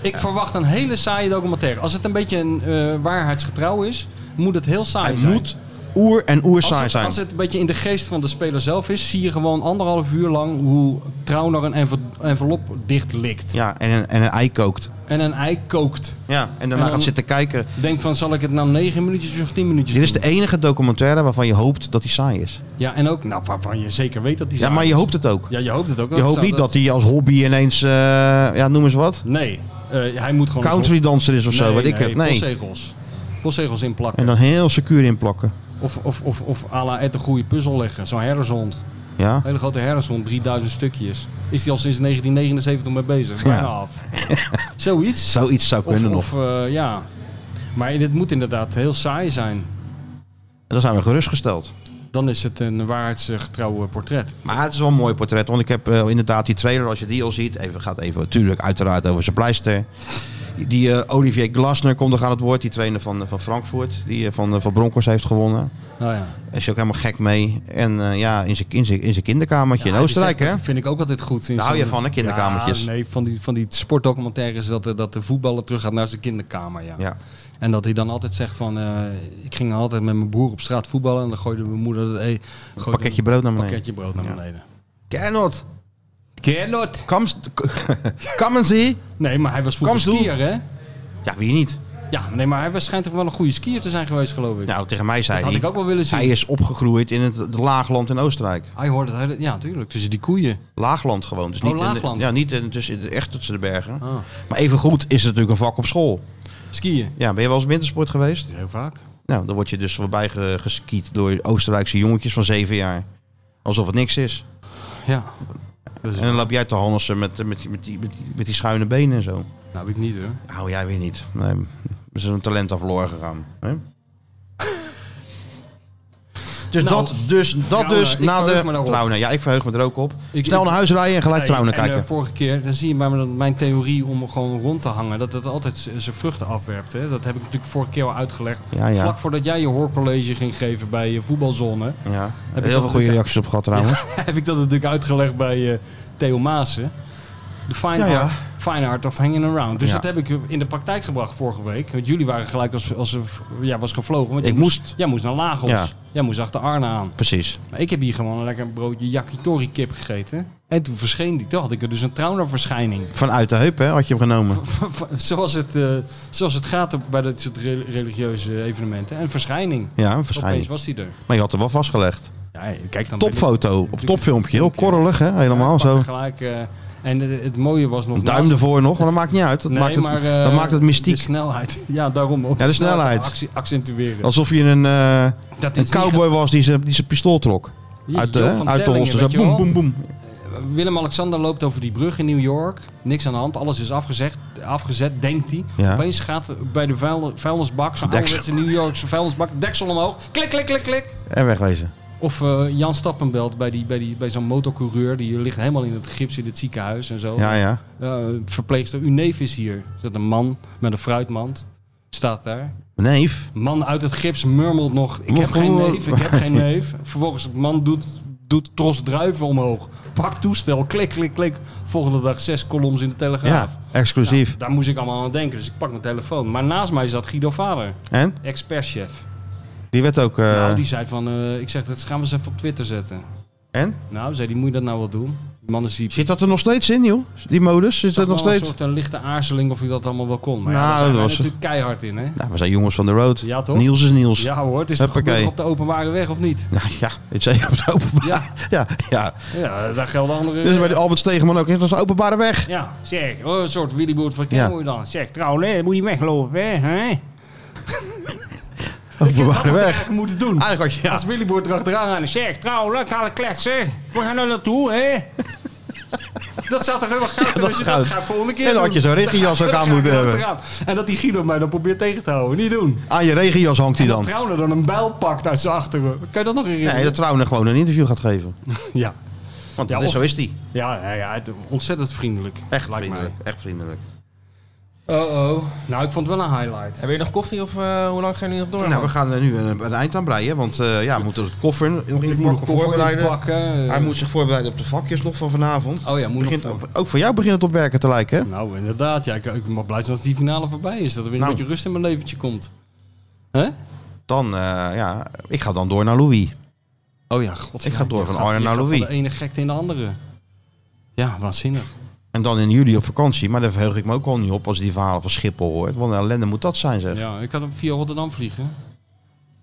Speaker 3: Ik verwacht een hele saaie documentaire. Als het een beetje een eh, waarheidsgetrouw is, moet het heel saai
Speaker 1: Hij
Speaker 3: zijn.
Speaker 1: moet oer en oer
Speaker 3: als
Speaker 1: saai
Speaker 3: het,
Speaker 1: zijn.
Speaker 3: Als het een beetje in de geest van de speler zelf is, zie je gewoon anderhalf uur lang hoe trouw naar een enve- envelop dicht likt.
Speaker 1: Ja, en een, en een ei kookt.
Speaker 3: En een ei kookt.
Speaker 1: Ja, en daarna
Speaker 3: dan-
Speaker 1: gaat zitten kijken.
Speaker 3: Denk van, zal ik het nou negen minuutjes of tien minuutjes
Speaker 1: Dit is de
Speaker 3: doen?
Speaker 1: enige documentaire waarvan je hoopt dat hij saai is.
Speaker 3: Ja, en ook, nou, waarvan je zeker weet dat die
Speaker 1: Ja,
Speaker 3: saai
Speaker 1: maar je
Speaker 3: is.
Speaker 1: hoopt het ook.
Speaker 3: Ja, je hoopt het ook.
Speaker 1: Je hoopt niet dat hij als hobby ineens, eh, ja, noem eens wat,
Speaker 3: Nee, eh, hij moet gewoon...
Speaker 1: country danser is of zo.
Speaker 3: Nee,
Speaker 1: Wat ik heb, nee.
Speaker 3: postzegels. Postzegels inplakken.
Speaker 1: En dan heel secuur inplakken.
Speaker 3: Of, of, of, of à la Ed de goede puzzel leggen. Zo'n herdershond. Een
Speaker 1: Ja.
Speaker 3: hele grote herdershond, 3000 stukjes. Is die al sinds 1979 mee bezig. Bijna af. *laughs* Zoiets.
Speaker 1: Zoiets zou
Speaker 3: Of,
Speaker 1: kunnen nog.
Speaker 3: of eh, ja. Maar dit moet inderdaad heel saai zijn.
Speaker 1: En dan zijn we gerustgesteld.
Speaker 3: Dan is het een waarheidsgetrouwe portret.
Speaker 1: Maar het is wel een mooi portret. Want ik heb eh, inderdaad die trailer, als je die al ziet. Even gaat even natuurlijk uiteraard over zijn pleister. Die eh, Olivier Glasner komt er aan het woord. Die trainer van, eh, van Frankfurt. Die eh, van, eh, van Broncos heeft gewonnen.
Speaker 3: Nou ja.
Speaker 1: Daar is hij ook helemaal gek mee. En eh, ja, in zijn, in zijn, in zijn kinderkamertje in
Speaker 3: Ja,
Speaker 1: Oostenrijk,
Speaker 3: dus
Speaker 1: hè?
Speaker 3: dat vind ik ook altijd goed. in
Speaker 1: Daar hou je
Speaker 3: zo'n-
Speaker 1: van, hè, kinderkamertjes.
Speaker 3: Ja, nee, van die, van die sportdocumentaires dat, de- dat de voetballer terug gaat naar zijn kinderkamer. Ja.
Speaker 1: Ja.
Speaker 3: En dat hij dan altijd zegt van... eh, ik ging altijd met mijn broer op straat voetballen... en dan gooide mijn moeder dat hey, gooide
Speaker 1: Pakketje brood naar
Speaker 3: een
Speaker 1: beneden.
Speaker 3: pakketje brood naar
Speaker 1: Ja.
Speaker 3: beneden.
Speaker 1: Cannot.
Speaker 3: Cannot!
Speaker 1: Kom, *laughs* kom en zie.
Speaker 3: Nee, maar hij was
Speaker 1: Kom,
Speaker 3: vroeger skier, hè?
Speaker 1: Ja, wie niet?
Speaker 3: Ja, nee, maar hij was, schijnt toch wel een goede skier te zijn geweest, geloof ik.
Speaker 1: Nou, tegen mij zei
Speaker 3: dat had ik
Speaker 1: hij.
Speaker 3: ook wel willen zien.
Speaker 1: Hij is opgegroeid in het laagland in Oostenrijk.
Speaker 3: Hij hoorde het, hele- ja, natuurlijk, tussen die koeien.
Speaker 1: Laagland gewoon. Dus
Speaker 3: Oh,
Speaker 1: niet In
Speaker 3: laagland.
Speaker 1: de, ja, niet in, tussen, de- echt tussen de bergen.
Speaker 3: Ah.
Speaker 1: Maar even goed is het natuurlijk een vak op school.
Speaker 3: Skiën.
Speaker 1: Ja, ben je wel eens wintersport geweest?
Speaker 3: Heel vaak.
Speaker 1: Nou, dan word je dus voorbij ge- geskiet door Oostenrijkse jongetjes van zeven jaar. Alsof het niks is.
Speaker 3: Ja.
Speaker 1: En dan loop jij te handelsen met, eh, met, die- met, die, met, die, met die schuine benen en zo.
Speaker 3: Nou, heb ik niet, hoor.
Speaker 1: Hou jij weer niet. Nee, we zijn een talent aan verloren gegaan.
Speaker 3: *laughs*
Speaker 1: Hè? Dus
Speaker 3: Nou,
Speaker 1: dat dus, dat
Speaker 3: Trouwner,
Speaker 1: dus
Speaker 3: ik
Speaker 1: na
Speaker 3: verheug
Speaker 1: de
Speaker 3: me daarop.
Speaker 1: Trouwner. Ja, ik verheug me er ook op.
Speaker 3: Ik-
Speaker 1: Snel
Speaker 3: ik-
Speaker 1: naar huis rijden en gelijk
Speaker 3: Nee,
Speaker 1: Trouwner
Speaker 3: en,
Speaker 1: kijken.
Speaker 3: eh, vorige keer, dan zie je maar dat mijn theorie om gewoon rond te hangen, dat het altijd z- zijn vruchten afwerpt. Hè? Dat heb ik natuurlijk vorige keer al uitgelegd.
Speaker 1: Ja, ja.
Speaker 3: Vlak voordat jij je hoorcollege ging geven bij je voetbalzone, *laughs*
Speaker 1: ja.
Speaker 3: eh, ik
Speaker 1: Heel
Speaker 3: nog
Speaker 1: veel goede
Speaker 3: een-
Speaker 1: reacties op gehad trouwens.
Speaker 3: heb ik dat natuurlijk uitgelegd bij eh Theo Maassen. De fine
Speaker 1: Ja, ja.
Speaker 3: art Fine Art of Hanging Around. Dus
Speaker 1: Ja.
Speaker 3: dat heb ik in de praktijk gebracht vorige week. Want jullie waren gelijk als, als ja, was gevlogen. Want
Speaker 1: Ik
Speaker 3: jij
Speaker 1: moest.
Speaker 3: Jij moest naar Lagos.
Speaker 1: Ja.
Speaker 3: Jij moest achter Arne aan.
Speaker 1: Precies.
Speaker 3: Maar ik heb hier gewoon een lekker broodje yakitori kip gegeten. En toen verscheen die. Toen had ik er dus een traumaverschijning.
Speaker 1: Vanuit de heup hè, had je hem
Speaker 3: *laughs*
Speaker 1: genomen.
Speaker 3: zoals, het, eh, zoals het gaat op- bij dit soort re- religieuze evenementen. En verschijning.
Speaker 1: Ja, een
Speaker 3: Opeens
Speaker 1: verschijning.
Speaker 3: was die er.
Speaker 1: Maar je had hem wel vastgelegd.
Speaker 3: Ja, kijk dan
Speaker 1: Topfoto of topfilmpje. Heel korrelig hè, helemaal
Speaker 3: Ja, ik
Speaker 1: zo.
Speaker 3: pakte Gelijk, eh, en het, het mooie was nog...
Speaker 1: Een duim
Speaker 3: naast-
Speaker 1: ervoor nog, maar dat maakt niet uit. Dat,
Speaker 3: Nee,
Speaker 1: maakt, het,
Speaker 3: maar, eh,
Speaker 1: dat maakt het
Speaker 3: De
Speaker 1: mystiek.
Speaker 3: snelheid. *laughs* Ja, daarom. Om
Speaker 1: Ja, de snelheid.
Speaker 3: te actie- accentueren.
Speaker 1: Alsof je een, eh,
Speaker 3: dat
Speaker 1: een
Speaker 3: is niet
Speaker 1: cowboy was die zijn die zijn pistool trok.
Speaker 3: ge-
Speaker 1: Uit de,
Speaker 3: Joop van
Speaker 1: uit de
Speaker 3: Tellingen,
Speaker 1: holster.
Speaker 3: weet
Speaker 1: Zo boem,
Speaker 3: je wel.
Speaker 1: boem, boem.
Speaker 3: Willem-Alexander loopt over die brug in New York. Niks aan de hand. Alles is afgezegd, afgezet, denkt hij.
Speaker 1: Ja.
Speaker 3: Opeens gaat bij de vuil, vuilnisbak, zo'n
Speaker 1: Deksel.
Speaker 3: ouderwetse New Yorkse vuilnisbak, deksel omhoog. Klik, klik, klik, klik.
Speaker 1: En wegwezen.
Speaker 3: Of eh, Jan Stappenbelt bij, die, bij, die, bij zo'n motorcoureur. Die ligt helemaal in het gips in het ziekenhuis en zo.
Speaker 1: Ja, ja.
Speaker 3: Eh, verpleegster, uw neef is hier. Er zit een man met een fruitmand. Staat daar.
Speaker 1: Neef.
Speaker 3: Man uit het gips murmelt nog: Ik
Speaker 1: Nog
Speaker 3: heb geen
Speaker 1: gewoon-
Speaker 3: neef, ik heb
Speaker 1: *laughs*
Speaker 3: geen neef. Vervolgens, de man doet, doet tros druiven omhoog. Pak toestel, klik, klik, klik. Volgende dag zes columns in de Telegraaf.
Speaker 1: Ja, exclusief.
Speaker 3: Daar moest ik allemaal aan denken, dus ik pak mijn telefoon. Maar naast mij zat Guido Vader,
Speaker 1: En?
Speaker 3: expertchef.
Speaker 1: Die werd ook... eh,
Speaker 3: Nou, die zei van: eh, Ik zeg, dat gaan we eens even op Twitter zetten.
Speaker 1: En?
Speaker 3: Nou, zei die: Moet je dat nou wel doen? Die man is die.
Speaker 1: Zit dat er nog steeds in, joh? Die modus? Zit dat
Speaker 3: zag
Speaker 1: nog
Speaker 3: wel
Speaker 1: steeds?
Speaker 3: Een soort een lichte aarzeling of hij dat allemaal wel kon. Maar ja,
Speaker 1: Nou,
Speaker 3: daar zijn
Speaker 1: dat
Speaker 3: wij
Speaker 1: was-
Speaker 3: natuurlijk keihard in, hè?
Speaker 1: Nou, we zijn jongens van de road.
Speaker 3: Ja, toch?
Speaker 1: Niels is Niels. Ja,
Speaker 3: Ja hoor, het is toch
Speaker 1: Huppakee.
Speaker 3: gebeurd op de openbare weg of niet?
Speaker 1: ja, het zei je op de openbare...
Speaker 3: Ja.
Speaker 1: *laughs* Ja, ja.
Speaker 3: Ja, daar gelden andere...
Speaker 1: Dus bij de Albert Stegeman ook. Dat is een openbare weg.
Speaker 3: Ja, zeg, oh, een soort Willy Boert van
Speaker 1: Ja.
Speaker 3: Kim moet je dan. Zeg, trouwens, hè, dat moet je weglopen, hè? hè? Dat had
Speaker 1: Openbare
Speaker 3: ik
Speaker 1: weg.
Speaker 3: eigenlijk moeten doen.
Speaker 1: Eigenlijk had je... Ja.
Speaker 3: Als Willy Boert erachteraan gaat, zeg, trouwens, ik ga de kletsen. We gaan er naartoe, hè? *laughs* Dat zou toch helemaal goud zijn
Speaker 1: dat
Speaker 3: als je
Speaker 1: goud.
Speaker 3: dat gaat volgende keer
Speaker 1: En dan had je
Speaker 3: doen.
Speaker 1: zo'n regenjas
Speaker 3: Dan
Speaker 1: ook
Speaker 3: ga
Speaker 1: aan
Speaker 3: ik
Speaker 1: moeten hebben.
Speaker 3: erachteraan. En dat die Guido mij dan probeert tegen te houden. Niet doen.
Speaker 1: Aan je regenjas hangt hij
Speaker 3: Dat
Speaker 1: dan.
Speaker 3: Trouwner dan een bijl pakt uit zijn achteren. Kan je dat nog herinneren?
Speaker 1: Nee, dat Trouwner gewoon een interview gaat geven.
Speaker 3: Ja.
Speaker 1: Want
Speaker 3: Ja,
Speaker 1: dat is,
Speaker 3: of-
Speaker 1: zo is die.
Speaker 3: Ja, ja, ja, het- ontzettend vriendelijk.
Speaker 1: Echt
Speaker 3: lijkt mij.
Speaker 1: vriendelijk. Echt vriendelijk.
Speaker 3: Oh-oh. Nou, ik vond het wel een highlight.
Speaker 2: Hebben jullie nog koffie of eh, hoe lang gaan jullie nog door?
Speaker 1: Nou, we gaan er nu een, een eind aan breien. Want eh, ja, we moeten het koffer nog in
Speaker 3: Ik moet
Speaker 1: pakken
Speaker 3: koffie
Speaker 1: voorbereiden.
Speaker 3: inpakken.
Speaker 1: Hij moet zich voorbereiden op de vakjes nog van vanavond.
Speaker 3: Oh ja, moet
Speaker 1: Begint
Speaker 3: nog
Speaker 1: ook, ook voor jou begint het op werken te lijken, hè?
Speaker 3: Nou, inderdaad. Ja, ik, ik ben blij zijn als die finale voorbij is. Dat er weer een
Speaker 1: Nou.
Speaker 3: beetje rust in mijn leventje komt. Hè?
Speaker 1: Dan, eh, ja, ik ga dan door naar Louis.
Speaker 3: Oh ja, god.
Speaker 1: Ik ga
Speaker 3: ja,
Speaker 1: door
Speaker 3: je
Speaker 1: van
Speaker 3: gaat-
Speaker 1: Arnhem
Speaker 3: je
Speaker 1: naar
Speaker 3: gaat
Speaker 1: Louis.
Speaker 3: Van de ene gekte in de andere. Ja, waanzinnig.
Speaker 1: En dan in juli op vakantie. Maar daar verheug ik me ook al niet op als je die verhalen van Schiphol hoort. Want een ellende moet dat zijn, zeg.
Speaker 3: Ja, ik had hem via Rotterdam vliegen.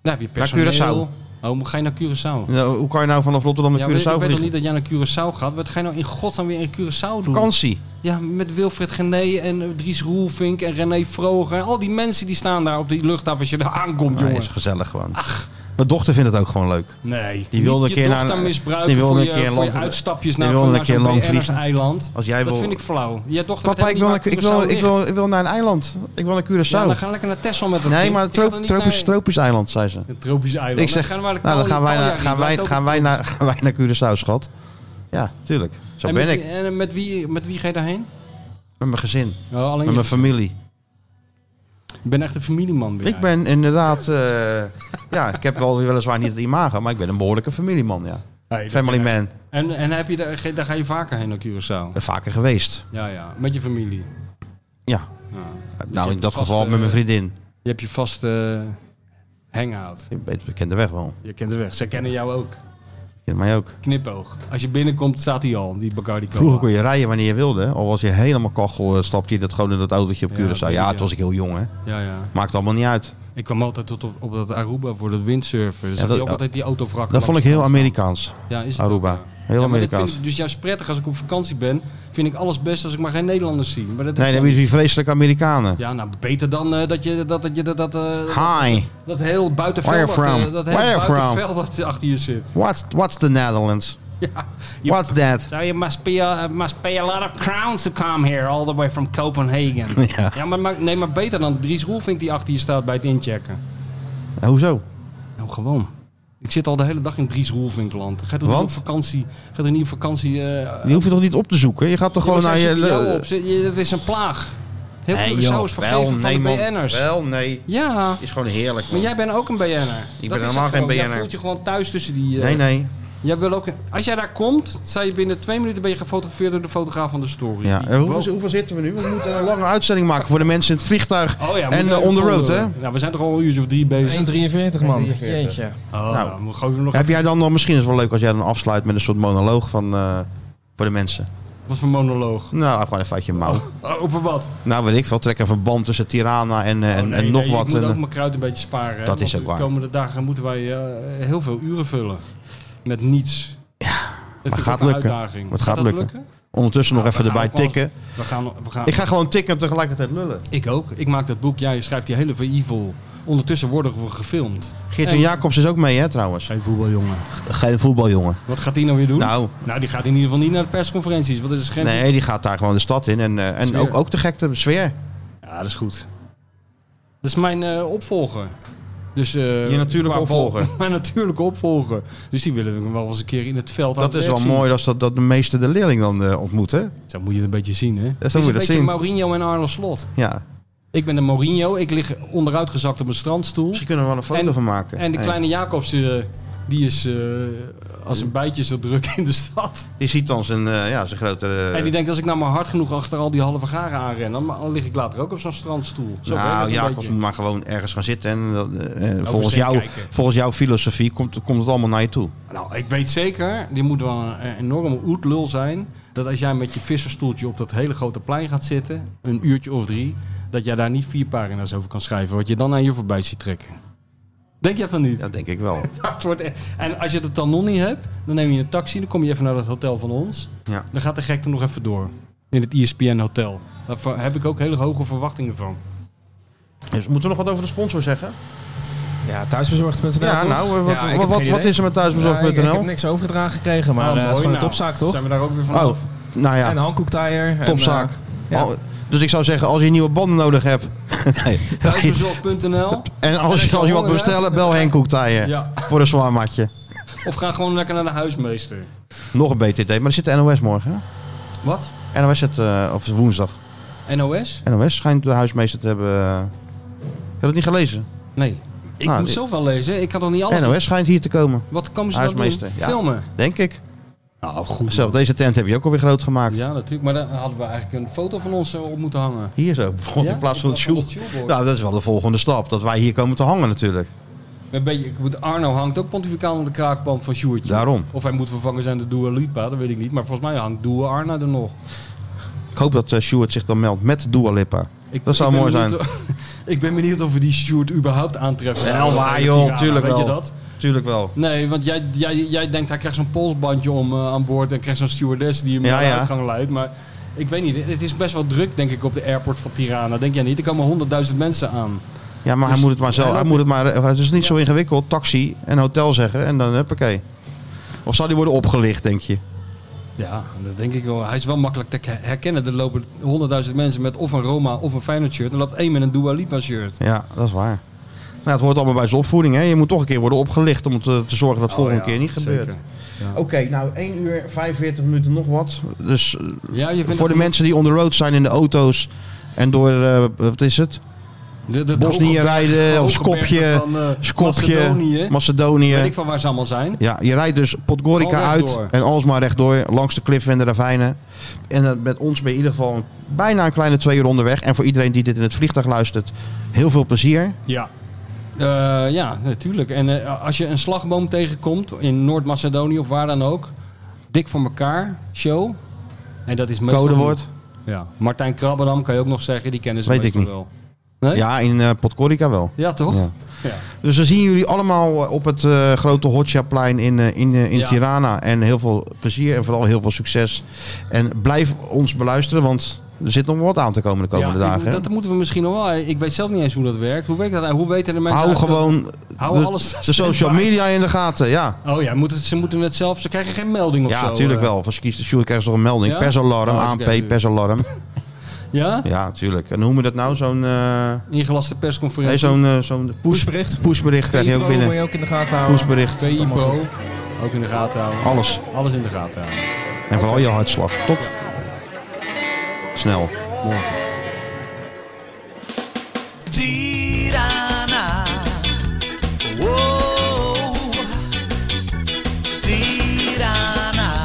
Speaker 3: Daar heb je
Speaker 1: Naar
Speaker 3: personeel.
Speaker 1: Curaçao.
Speaker 3: Oh, moet- ga je naar Curaçao?
Speaker 1: Nou, hoe kan je nou vanaf Rotterdam naar
Speaker 3: Ja, maar ik
Speaker 1: Curaçao
Speaker 3: weet toch
Speaker 1: vliegen?
Speaker 3: niet dat jij naar Curaçao gaat? Wat ga je nou in godsnaam weer in Curaçao doen?
Speaker 1: Vakantie.
Speaker 3: Ja, met Wilfred Gené en eh, Dries Roelvink en René Vroger. Al die mensen die staan daar op die luchthaven als je daar aankomt,
Speaker 1: Nee,
Speaker 3: jongen.
Speaker 1: Ah, is gezellig gewoon. Mijn dochter vindt het ook gewoon leuk.
Speaker 3: Nee.
Speaker 1: Die wilde
Speaker 3: Niet
Speaker 1: een keer
Speaker 3: je
Speaker 1: naar-
Speaker 3: dochter misbruiken
Speaker 1: die wilde
Speaker 3: voor,
Speaker 1: een
Speaker 3: je,
Speaker 1: keer
Speaker 3: voor je
Speaker 1: lang-
Speaker 3: uitstapjes
Speaker 1: die
Speaker 3: naar,
Speaker 1: wilde
Speaker 3: naar
Speaker 1: een
Speaker 3: zo'n
Speaker 1: keer lang
Speaker 3: BN'ers
Speaker 1: vliegen.
Speaker 3: eiland.
Speaker 1: Als jij
Speaker 3: dat
Speaker 1: wil-
Speaker 3: vind ik flauw. Je dochter
Speaker 1: Papa,
Speaker 3: weet
Speaker 1: ik wil,
Speaker 3: helemaal
Speaker 1: naar,
Speaker 3: niet
Speaker 1: ik,
Speaker 3: waar
Speaker 1: wil,
Speaker 3: Curaçao
Speaker 1: ik, wil,
Speaker 3: ligt.
Speaker 1: ik wil naar een eiland. Ik wil naar
Speaker 3: Ja,
Speaker 1: Curaçao.
Speaker 3: dan gaan lekker naar Texel met dat
Speaker 1: nee,
Speaker 3: kind.
Speaker 1: maar
Speaker 3: Die gaat
Speaker 1: tropisch,
Speaker 3: er niet
Speaker 1: tropisch,
Speaker 3: naar-
Speaker 1: tropisch eiland, zei ze.
Speaker 3: Een tropisch eiland.
Speaker 1: Ik zeg,
Speaker 3: dan
Speaker 1: nou, dan gaan wij, naar, gaan, wij, gaan, wij naar, *laughs* gaan wij naar Curaçao, schat. Ja, tuurlijk. Zo
Speaker 3: en
Speaker 1: ben
Speaker 3: met
Speaker 1: ik.
Speaker 3: Wie, en met wie, met wie ga je daarheen?
Speaker 1: Met mijn gezin.
Speaker 3: Oh, alleen
Speaker 1: Met
Speaker 3: je-
Speaker 1: mijn familie.
Speaker 3: Ik ben echt een familieman. Ben
Speaker 1: Ik
Speaker 3: jij.
Speaker 1: ben inderdaad... eh, ja, ik heb wel weliswaar niet het imago, maar ik ben een behoorlijke familieman, ja.
Speaker 3: Nee, dat-
Speaker 1: Family man. eh,
Speaker 3: En, en heb je daar, ge- daar ga je vaker heen naar Curaçao?
Speaker 1: Vaker geweest.
Speaker 3: Ja, ja. Met je familie.
Speaker 1: Ja.
Speaker 3: Ja. je
Speaker 1: Nou, in
Speaker 3: hebt
Speaker 1: dat
Speaker 3: vast,
Speaker 1: geval
Speaker 3: eh,
Speaker 1: met mijn vriendin.
Speaker 3: Je hebt je vaste
Speaker 1: eh,
Speaker 3: hangout.
Speaker 1: Ik weet- ik ken de weg wel.
Speaker 3: Je kent de weg. Zij kennen jou ook.
Speaker 1: Ik ken mij ook.
Speaker 3: Knipoog. Als je binnenkomt, staat hij al, die Bacardi Cola.
Speaker 1: Vroeger kon je rijden wanneer je wilde. hè. Al was je helemaal kachel, eh, stapte je dat gewoon in dat autootje op
Speaker 3: Ja,
Speaker 1: Curaçao.
Speaker 3: dat
Speaker 1: Ja,
Speaker 3: weet ik,
Speaker 1: toen
Speaker 3: ja.
Speaker 1: was ik heel jong, hè.
Speaker 3: Ja, ja.
Speaker 1: Maakt allemaal niet uit.
Speaker 3: Ik kwam altijd tot op, op dat Aruba voor dat windsurfen.
Speaker 1: Ja,
Speaker 3: Dus
Speaker 1: dat-
Speaker 3: dat, ook altijd die autovrakken.
Speaker 1: Dat vond ik
Speaker 3: langs
Speaker 1: heel
Speaker 3: de kant
Speaker 1: Amerikaans,
Speaker 3: staan. Ja, is het
Speaker 1: Aruba.
Speaker 3: ook, ja.
Speaker 1: Heel
Speaker 3: Ja, maar dat
Speaker 1: Amerikaans.
Speaker 3: vind ik dus juist prettig als ik op vakantie ben. Vind ik alles best als ik maar geen Nederlanders zie. Maar dat
Speaker 1: Nee, dan heb je die vreselijke Amerikanen.
Speaker 3: Ja, nou beter dan eh, dat je dat, dat, je, dat, dat, eh,
Speaker 1: Hi,
Speaker 3: dat heel
Speaker 1: Where
Speaker 3: buitenveld, dat,
Speaker 1: from?
Speaker 3: eh, dat hele
Speaker 1: Where from?
Speaker 3: buitenveld dat achter je zit. *laughs*
Speaker 1: what's, what's the Netherlands?
Speaker 3: Ja. Je-
Speaker 1: What's that?
Speaker 3: So you must be a, uh, must pay a lot of crowns to come here all the way from Copenhagen.
Speaker 1: *laughs* Ja.
Speaker 3: Ja, maar, maar, nee, maar beter dan Dries Roelvink die achter je staat bij het inchecken.
Speaker 1: Eh, Hoezo?
Speaker 3: Nou, gewoon. Ik zit al de hele dag in Dries Roelvinkland. Ga je toch niet
Speaker 1: Want?
Speaker 3: op vakantie? Ga je toch niet op vakantie? eh,
Speaker 1: Je hoeft het toch niet op te zoeken? Je gaat toch
Speaker 3: ja, maar
Speaker 1: gewoon naar
Speaker 3: zij
Speaker 1: je...
Speaker 3: zitten jou
Speaker 1: le-
Speaker 3: op. Ze- je- Dat is een plaag. Heel
Speaker 1: Nee,
Speaker 3: Curaçao
Speaker 1: joh.
Speaker 3: is vergeven van de
Speaker 1: man.
Speaker 3: BN'ers.
Speaker 1: Wel, nee.
Speaker 3: Ja,
Speaker 1: Is gewoon heerlijk,
Speaker 3: maar
Speaker 1: man.
Speaker 3: jij bent ook een BN'er.
Speaker 1: ben
Speaker 3: Dat is
Speaker 1: helemaal
Speaker 3: het
Speaker 1: geen
Speaker 3: gewoon. Jij
Speaker 1: BN'er.
Speaker 3: voelt je gewoon thuis tussen die... eh,
Speaker 1: Nee, nee.
Speaker 3: Jij wil ook, als jij daar komt, zei je binnen twee minuten ben je gefotografeerd door de fotograaf van de story.
Speaker 1: Ja. En hoeveel, hoeveel zitten we nu? We moeten een lange uitzending maken voor de mensen in het vliegtuig.
Speaker 3: Oh ja, we
Speaker 1: En,
Speaker 3: moeten
Speaker 1: eh, on the
Speaker 3: even
Speaker 1: road, hè?
Speaker 3: Nou, we zijn toch al een uurtje of drie bezig.
Speaker 2: 1,43 man. Jeetje.
Speaker 1: Nou.
Speaker 3: Oh, nou, we gooien nog
Speaker 1: Heb jij dan nog, misschien is het wel leuk als jij dan afsluit met een soort monoloog van, eh, voor de mensen.
Speaker 3: even- wat voor monoloog.
Speaker 1: Nou, gewoon even uit je mouw.
Speaker 3: Oh, over wat?
Speaker 1: Nou, weet ik veel. Trek een verband tussen Tirana en, eh, en,
Speaker 3: Oh, nee,
Speaker 1: en nog
Speaker 3: nee,
Speaker 1: wat.
Speaker 3: Ik moet
Speaker 1: En,
Speaker 3: ook mijn kruid een beetje sparen. hè,
Speaker 1: Dat
Speaker 3: want
Speaker 1: is ook waar.
Speaker 3: De komende dagen moeten wij eh, heel veel uren vullen. Met niets. Ja,
Speaker 1: maar gaat lukken.
Speaker 3: Uitdaging.
Speaker 1: Het gaat lukken. ondertussen nog
Speaker 3: Nou,
Speaker 1: even
Speaker 3: we gaan
Speaker 1: erbij
Speaker 3: ook wel
Speaker 1: tikken.
Speaker 3: We gaan, we gaan,
Speaker 1: Ik ga gewoon tikken en tegelijkertijd lullen.
Speaker 3: Ik ook. Ik maak dat boek. Jij schrijft die hele evil. Ondertussen worden we gefilmd.
Speaker 1: Geert
Speaker 3: En-
Speaker 1: Jacobs is ook mee, hè, trouwens.
Speaker 3: Geen voetbaljongen.
Speaker 1: Geen voetbaljongen.
Speaker 3: Wat gaat die nou weer doen? Nou,
Speaker 1: Nou,
Speaker 3: die gaat in ieder geval niet naar de persconferenties. Want dat is geen...
Speaker 1: nee, die gaat daar gewoon de stad in. En, eh, en
Speaker 3: Sfeer.
Speaker 1: ook, ook de gekte sfeer.
Speaker 3: Ja, dat is goed. Dat is mijn eh, opvolger. Dus, eh,
Speaker 1: Je natuurlijke
Speaker 3: qua bal-
Speaker 1: opvolger.
Speaker 3: *laughs* Mijn natuurlijke opvolger. Dus die willen we wel eens een keer in het veld aan
Speaker 1: Dat
Speaker 3: het
Speaker 1: is wel
Speaker 3: werk zien.
Speaker 1: mooi als dat, dat de meeste de leerling dan eh, ontmoet, hè?
Speaker 3: Zo moet je het een beetje zien, hè? Het is
Speaker 1: moet je
Speaker 3: een
Speaker 1: dat
Speaker 3: beetje
Speaker 1: zien.
Speaker 3: Mourinho en Arno Slot.
Speaker 1: Ja.
Speaker 3: Ik ben de Mourinho. Ik lig onderuitgezakt op een strandstoel.
Speaker 1: Misschien kunnen we wel een foto
Speaker 3: En-
Speaker 1: van maken.
Speaker 3: En de
Speaker 1: Hey.
Speaker 3: kleine Jacobs, eh, die is eh, als een bijtje zo druk in de stad.
Speaker 1: Die ziet dan zijn, eh, ja, zijn grote... eh,
Speaker 3: En die denkt, als ik nou maar hard genoeg achter al die halve garen aanren, dan, dan lig ik later ook op zo'n strandstoel. Zo werkt
Speaker 1: nou,
Speaker 3: het een
Speaker 1: Jacobs
Speaker 3: beetje.
Speaker 1: moet maar gewoon ergens gaan zitten. En dat, eh, eh, volgens,
Speaker 3: zee
Speaker 1: jou,
Speaker 3: kijken.
Speaker 1: volgens jouw filosofie komt, komt het allemaal naar je toe.
Speaker 3: Nou, ik weet zeker, die moet wel een, een enorme oetlul zijn, dat als jij met je visserstoeltje op dat hele grote plein gaat zitten, een uurtje of drie, dat jij daar niet vier pagina's over kan schrijven, wat je dan aan je voorbij ziet trekken. Denk jij van *laughs* niet?
Speaker 1: Dat denk ik wel.
Speaker 3: Het wordt e- En als je het dan nog niet hebt, dan neem je een taxi, dan kom je even naar dat hotel van ons.
Speaker 1: Ja.
Speaker 3: Dan gaat de gekte nog even door. In het E ESPN hotel. Daar va- heb ik ook hele hoge verwachtingen van.
Speaker 1: Dus moeten we nog wat over de sponsor zeggen?
Speaker 2: Ja, thuisbezorgd.nl.
Speaker 1: Ja,
Speaker 2: toch?
Speaker 1: nou, eh, wat,
Speaker 2: Ja, ik heb
Speaker 1: wat, wat,
Speaker 2: geen idee.
Speaker 1: is er met
Speaker 2: Ja, ik, ik
Speaker 1: thuisbezorgd.nl?
Speaker 2: heb niks overgedragen gekregen, maar
Speaker 3: Oh,
Speaker 1: Ah,
Speaker 2: eh, het is
Speaker 3: mooi,
Speaker 2: gewoon
Speaker 3: nou.
Speaker 2: een topzaak, toch?
Speaker 3: Zijn we daar ook weer van
Speaker 1: oh, *laughs* nou ja,
Speaker 2: En een handkoektaaier. en,
Speaker 1: topzaak.
Speaker 2: eh, ja.
Speaker 1: Oh, Dus ik zou zeggen, als je nieuwe banden nodig hebt... nee.
Speaker 3: Thuisbezorgd.nl
Speaker 1: En als je, als je wat wil bestellen, bel Henk Koektijen
Speaker 3: Ja.
Speaker 1: voor een zwaar matje.
Speaker 3: Of ga gewoon lekker naar de huismeester.
Speaker 1: Nog een BTT, maar er zit de NOS morgen.
Speaker 3: Wat?
Speaker 1: hè? NOS zit, eh, of woensdag.
Speaker 3: NOS?
Speaker 1: NOS schijnt de huismeester te hebben... eh, Heb je dat niet gelezen?
Speaker 3: Nee. Ik
Speaker 1: Nou,
Speaker 3: moet
Speaker 1: dit-
Speaker 3: zoveel lezen. Ik kan nog niet alles...
Speaker 1: NOS schijnt hier te komen,
Speaker 3: Wat komen ze dan doen?
Speaker 1: Huismeester, ja.
Speaker 3: Filmen?
Speaker 1: denk ik.
Speaker 3: Nou, goed.
Speaker 1: Zo, deze tent heb je ook alweer groot gemaakt.
Speaker 3: Ja, natuurlijk. Maar daar hadden we eigenlijk een foto van ons eh, op moeten hangen.
Speaker 1: Hier zo, *laughs* bijvoorbeeld
Speaker 3: Ja?
Speaker 1: in plaats van het Sjoel.
Speaker 3: het Sjoelbord.
Speaker 1: Nou, dat is wel de volgende stap. Dat wij hier komen te hangen natuurlijk.
Speaker 3: Een beetje, ik moet- Arno hangt ook pontificaal aan de kraakpand van Sjoertje.
Speaker 1: Daarom.
Speaker 3: Of hij moet vervangen zijn door Dua Lipa, dat weet ik niet. Maar volgens mij hangt Dua Arno er nog.
Speaker 1: Ik hoop dat eh Sjoerd zich dan meldt met Dua Lipa.
Speaker 3: Ik,
Speaker 1: Dat zou
Speaker 3: ik ben
Speaker 1: mooi
Speaker 3: benieuwd o- *laughs* ik ben benieuwd of we die Sjoerd überhaupt aantreffen.
Speaker 1: Wel waar, joh,
Speaker 3: Tirana,
Speaker 1: tuurlijk
Speaker 3: weet
Speaker 1: wel.
Speaker 3: je dat?
Speaker 1: Tuurlijk wel.
Speaker 3: Nee, want jij, jij, jij denkt hij krijgt zo'n polsbandje om eh, aan boord... en krijgt zo'n stewardess die hem
Speaker 1: Ja,
Speaker 3: naar de
Speaker 1: ja.
Speaker 3: uitgang leidt. Maar ik weet niet, het is best wel druk denk ik op de airport van Tirana. Denk jij niet? Er komen honderdduizend mensen aan.
Speaker 1: Ja, maar hij
Speaker 3: Dus-
Speaker 1: moet het maar zelf.
Speaker 3: Ja,
Speaker 1: Hij
Speaker 3: dat-
Speaker 1: moet het, maar, eh, het is niet zo ingewikkeld. Taxi en hotel zeggen en dan huppakee. Of zal die worden opgelicht, denk je?
Speaker 3: Ja, dat denk ik wel. Hij is wel makkelijk te herkennen. Er lopen honderdduizend mensen met of een Roma of een Feyenoord shirt. Er loopt één met een Dua Lipa shirt.
Speaker 1: Ja, dat is waar. Nou, het hoort allemaal bij zijn opvoeding. Hè? Je moet toch een keer worden opgelicht om te, te zorgen dat het
Speaker 3: Oh,
Speaker 1: volgende keer niet gebeurt. Oké, nou 1 uur 45 minuten nog wat. Dus eh,
Speaker 3: Ja, je vindt
Speaker 1: voor de
Speaker 3: het-
Speaker 1: mensen die on the road zijn in de auto's en door, eh, wat is het?
Speaker 3: de, de
Speaker 1: Bosnië
Speaker 3: hoge bergen-
Speaker 1: rijden, of
Speaker 3: hoge
Speaker 1: Skopje,
Speaker 3: bergen van, eh,
Speaker 1: Skopje,
Speaker 3: Macedonië.
Speaker 1: Macedonië.
Speaker 3: Weet ik van waar ze allemaal zijn.
Speaker 1: Ja, je rijdt dus Podgorica
Speaker 3: Gewoon
Speaker 1: uit
Speaker 3: rechtdoor.
Speaker 1: en alsmaar rechtdoor langs de kliffen en de ravijnen. En eh, met ons ben je in ieder geval een- bijna een kleine twee uur onderweg. En voor iedereen die dit in het vliegtuig luistert, heel veel plezier.
Speaker 3: Ja. Eh, ja, natuurlijk. En eh, als je een slagboom tegenkomt in Noord-Macedonië of waar dan ook. Dik voor elkaar, show. En dat is meestal
Speaker 1: Codewoord.
Speaker 3: goed. Ja. Martijn Krabbedam kan je ook nog zeggen, die kennen ze
Speaker 1: Weet ik
Speaker 3: meestal
Speaker 1: niet.
Speaker 3: wel. Nee?
Speaker 1: Ja, in eh Podgorica wel.
Speaker 3: Ja, toch?
Speaker 1: Ja.
Speaker 3: Ja.
Speaker 1: Dus dan zien jullie allemaal eh, op het eh, grote Hotjaplein in, eh, in, eh, in
Speaker 3: Ja.
Speaker 1: Tirana. En heel veel plezier en vooral heel veel succes. En blijf ons beluisteren, want er zit nog wat aan te komen de komende
Speaker 3: Ja, ik-
Speaker 1: dagen. hè?
Speaker 3: Dat moeten we misschien nog wel. Ik weet zelf niet eens hoe dat werkt. Hoe werkt dat? Hoe weten de mensen?
Speaker 1: Hou
Speaker 3: eigenlijk dat-
Speaker 1: gewoon
Speaker 3: Hou
Speaker 1: de,
Speaker 3: alles
Speaker 1: de social
Speaker 3: standby.
Speaker 1: media in de gaten, ja.
Speaker 3: Oh ja, moeten, ze moeten het zelf. Ze krijgen geen melding of
Speaker 1: Ja,
Speaker 3: zo.
Speaker 1: natuurlijk
Speaker 3: eh.
Speaker 1: wel. Van Skies de Sjoerd krijgen ze toch een melding.
Speaker 3: Ja?
Speaker 1: Persalarm,
Speaker 3: Oh,
Speaker 1: ANP,
Speaker 3: oké, tuurlijk.
Speaker 1: persalarm.
Speaker 3: Ja?
Speaker 1: Ja, natuurlijk. En hoe noemen we dat nou? Zo'n eh,
Speaker 3: Ingelaste
Speaker 1: nee,
Speaker 3: persconferentie.
Speaker 1: zo'n eh, zo'n push,
Speaker 2: Pushbericht.
Speaker 1: pushbericht krijg je ook
Speaker 2: Moet
Speaker 1: binnen.
Speaker 2: je ook in de gaten houden.
Speaker 1: Pushbericht,
Speaker 3: PIPO. Ook in de gaten houden.
Speaker 1: alles.
Speaker 3: Alles in de gaten houden.
Speaker 1: En vooral je hartslag. Top. Snel.
Speaker 8: Tirana. Whoa. Tirana.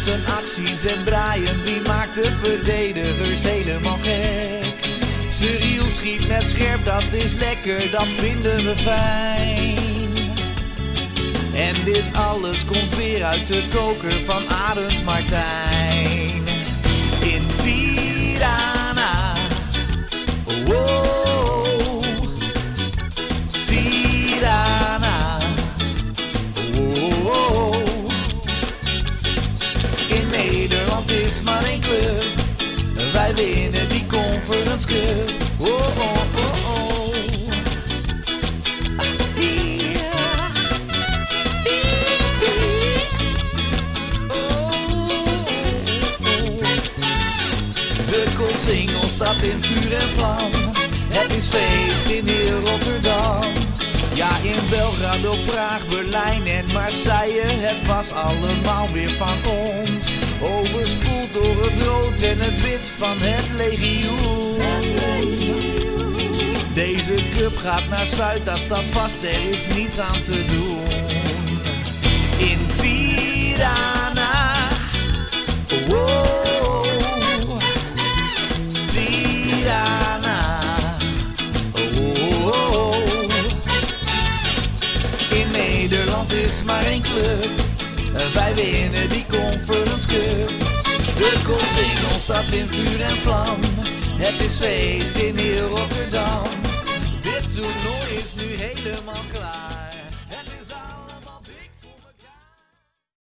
Speaker 8: zijn acties en Brian die maakt de verdedigers helemaal gek. Cyril schiet net scherp, dat is lekker, dat vinden we fijn. En dit alles komt weer uit de koker van Arend Martijn. In Tirana. Wow. Tirana. Wow. In Nederland is maar één club. Wij winnen die Conference Cup. Oh, oh, oh, oh. Yeah. De Koolsingel staat in vuur en vlam. Het is feest in heel Rotterdam. Ja, in Belgrado, Praag, Berlijn en Marseille. Het was allemaal weer van ons. Overspoeld door het rood en het wit van het legioen. Deze cup gaat naar Zuid, dat staat vast. Er is niets aan te doen in Tirana. Wow, Tirana. Wow. In Nederland is maar één club. Wij winnen die Conference Cup. De Koolsingel staat in vuur en vlam. Het is feest in heel Rotterdam. Dit toernooi is nu helemaal klaar.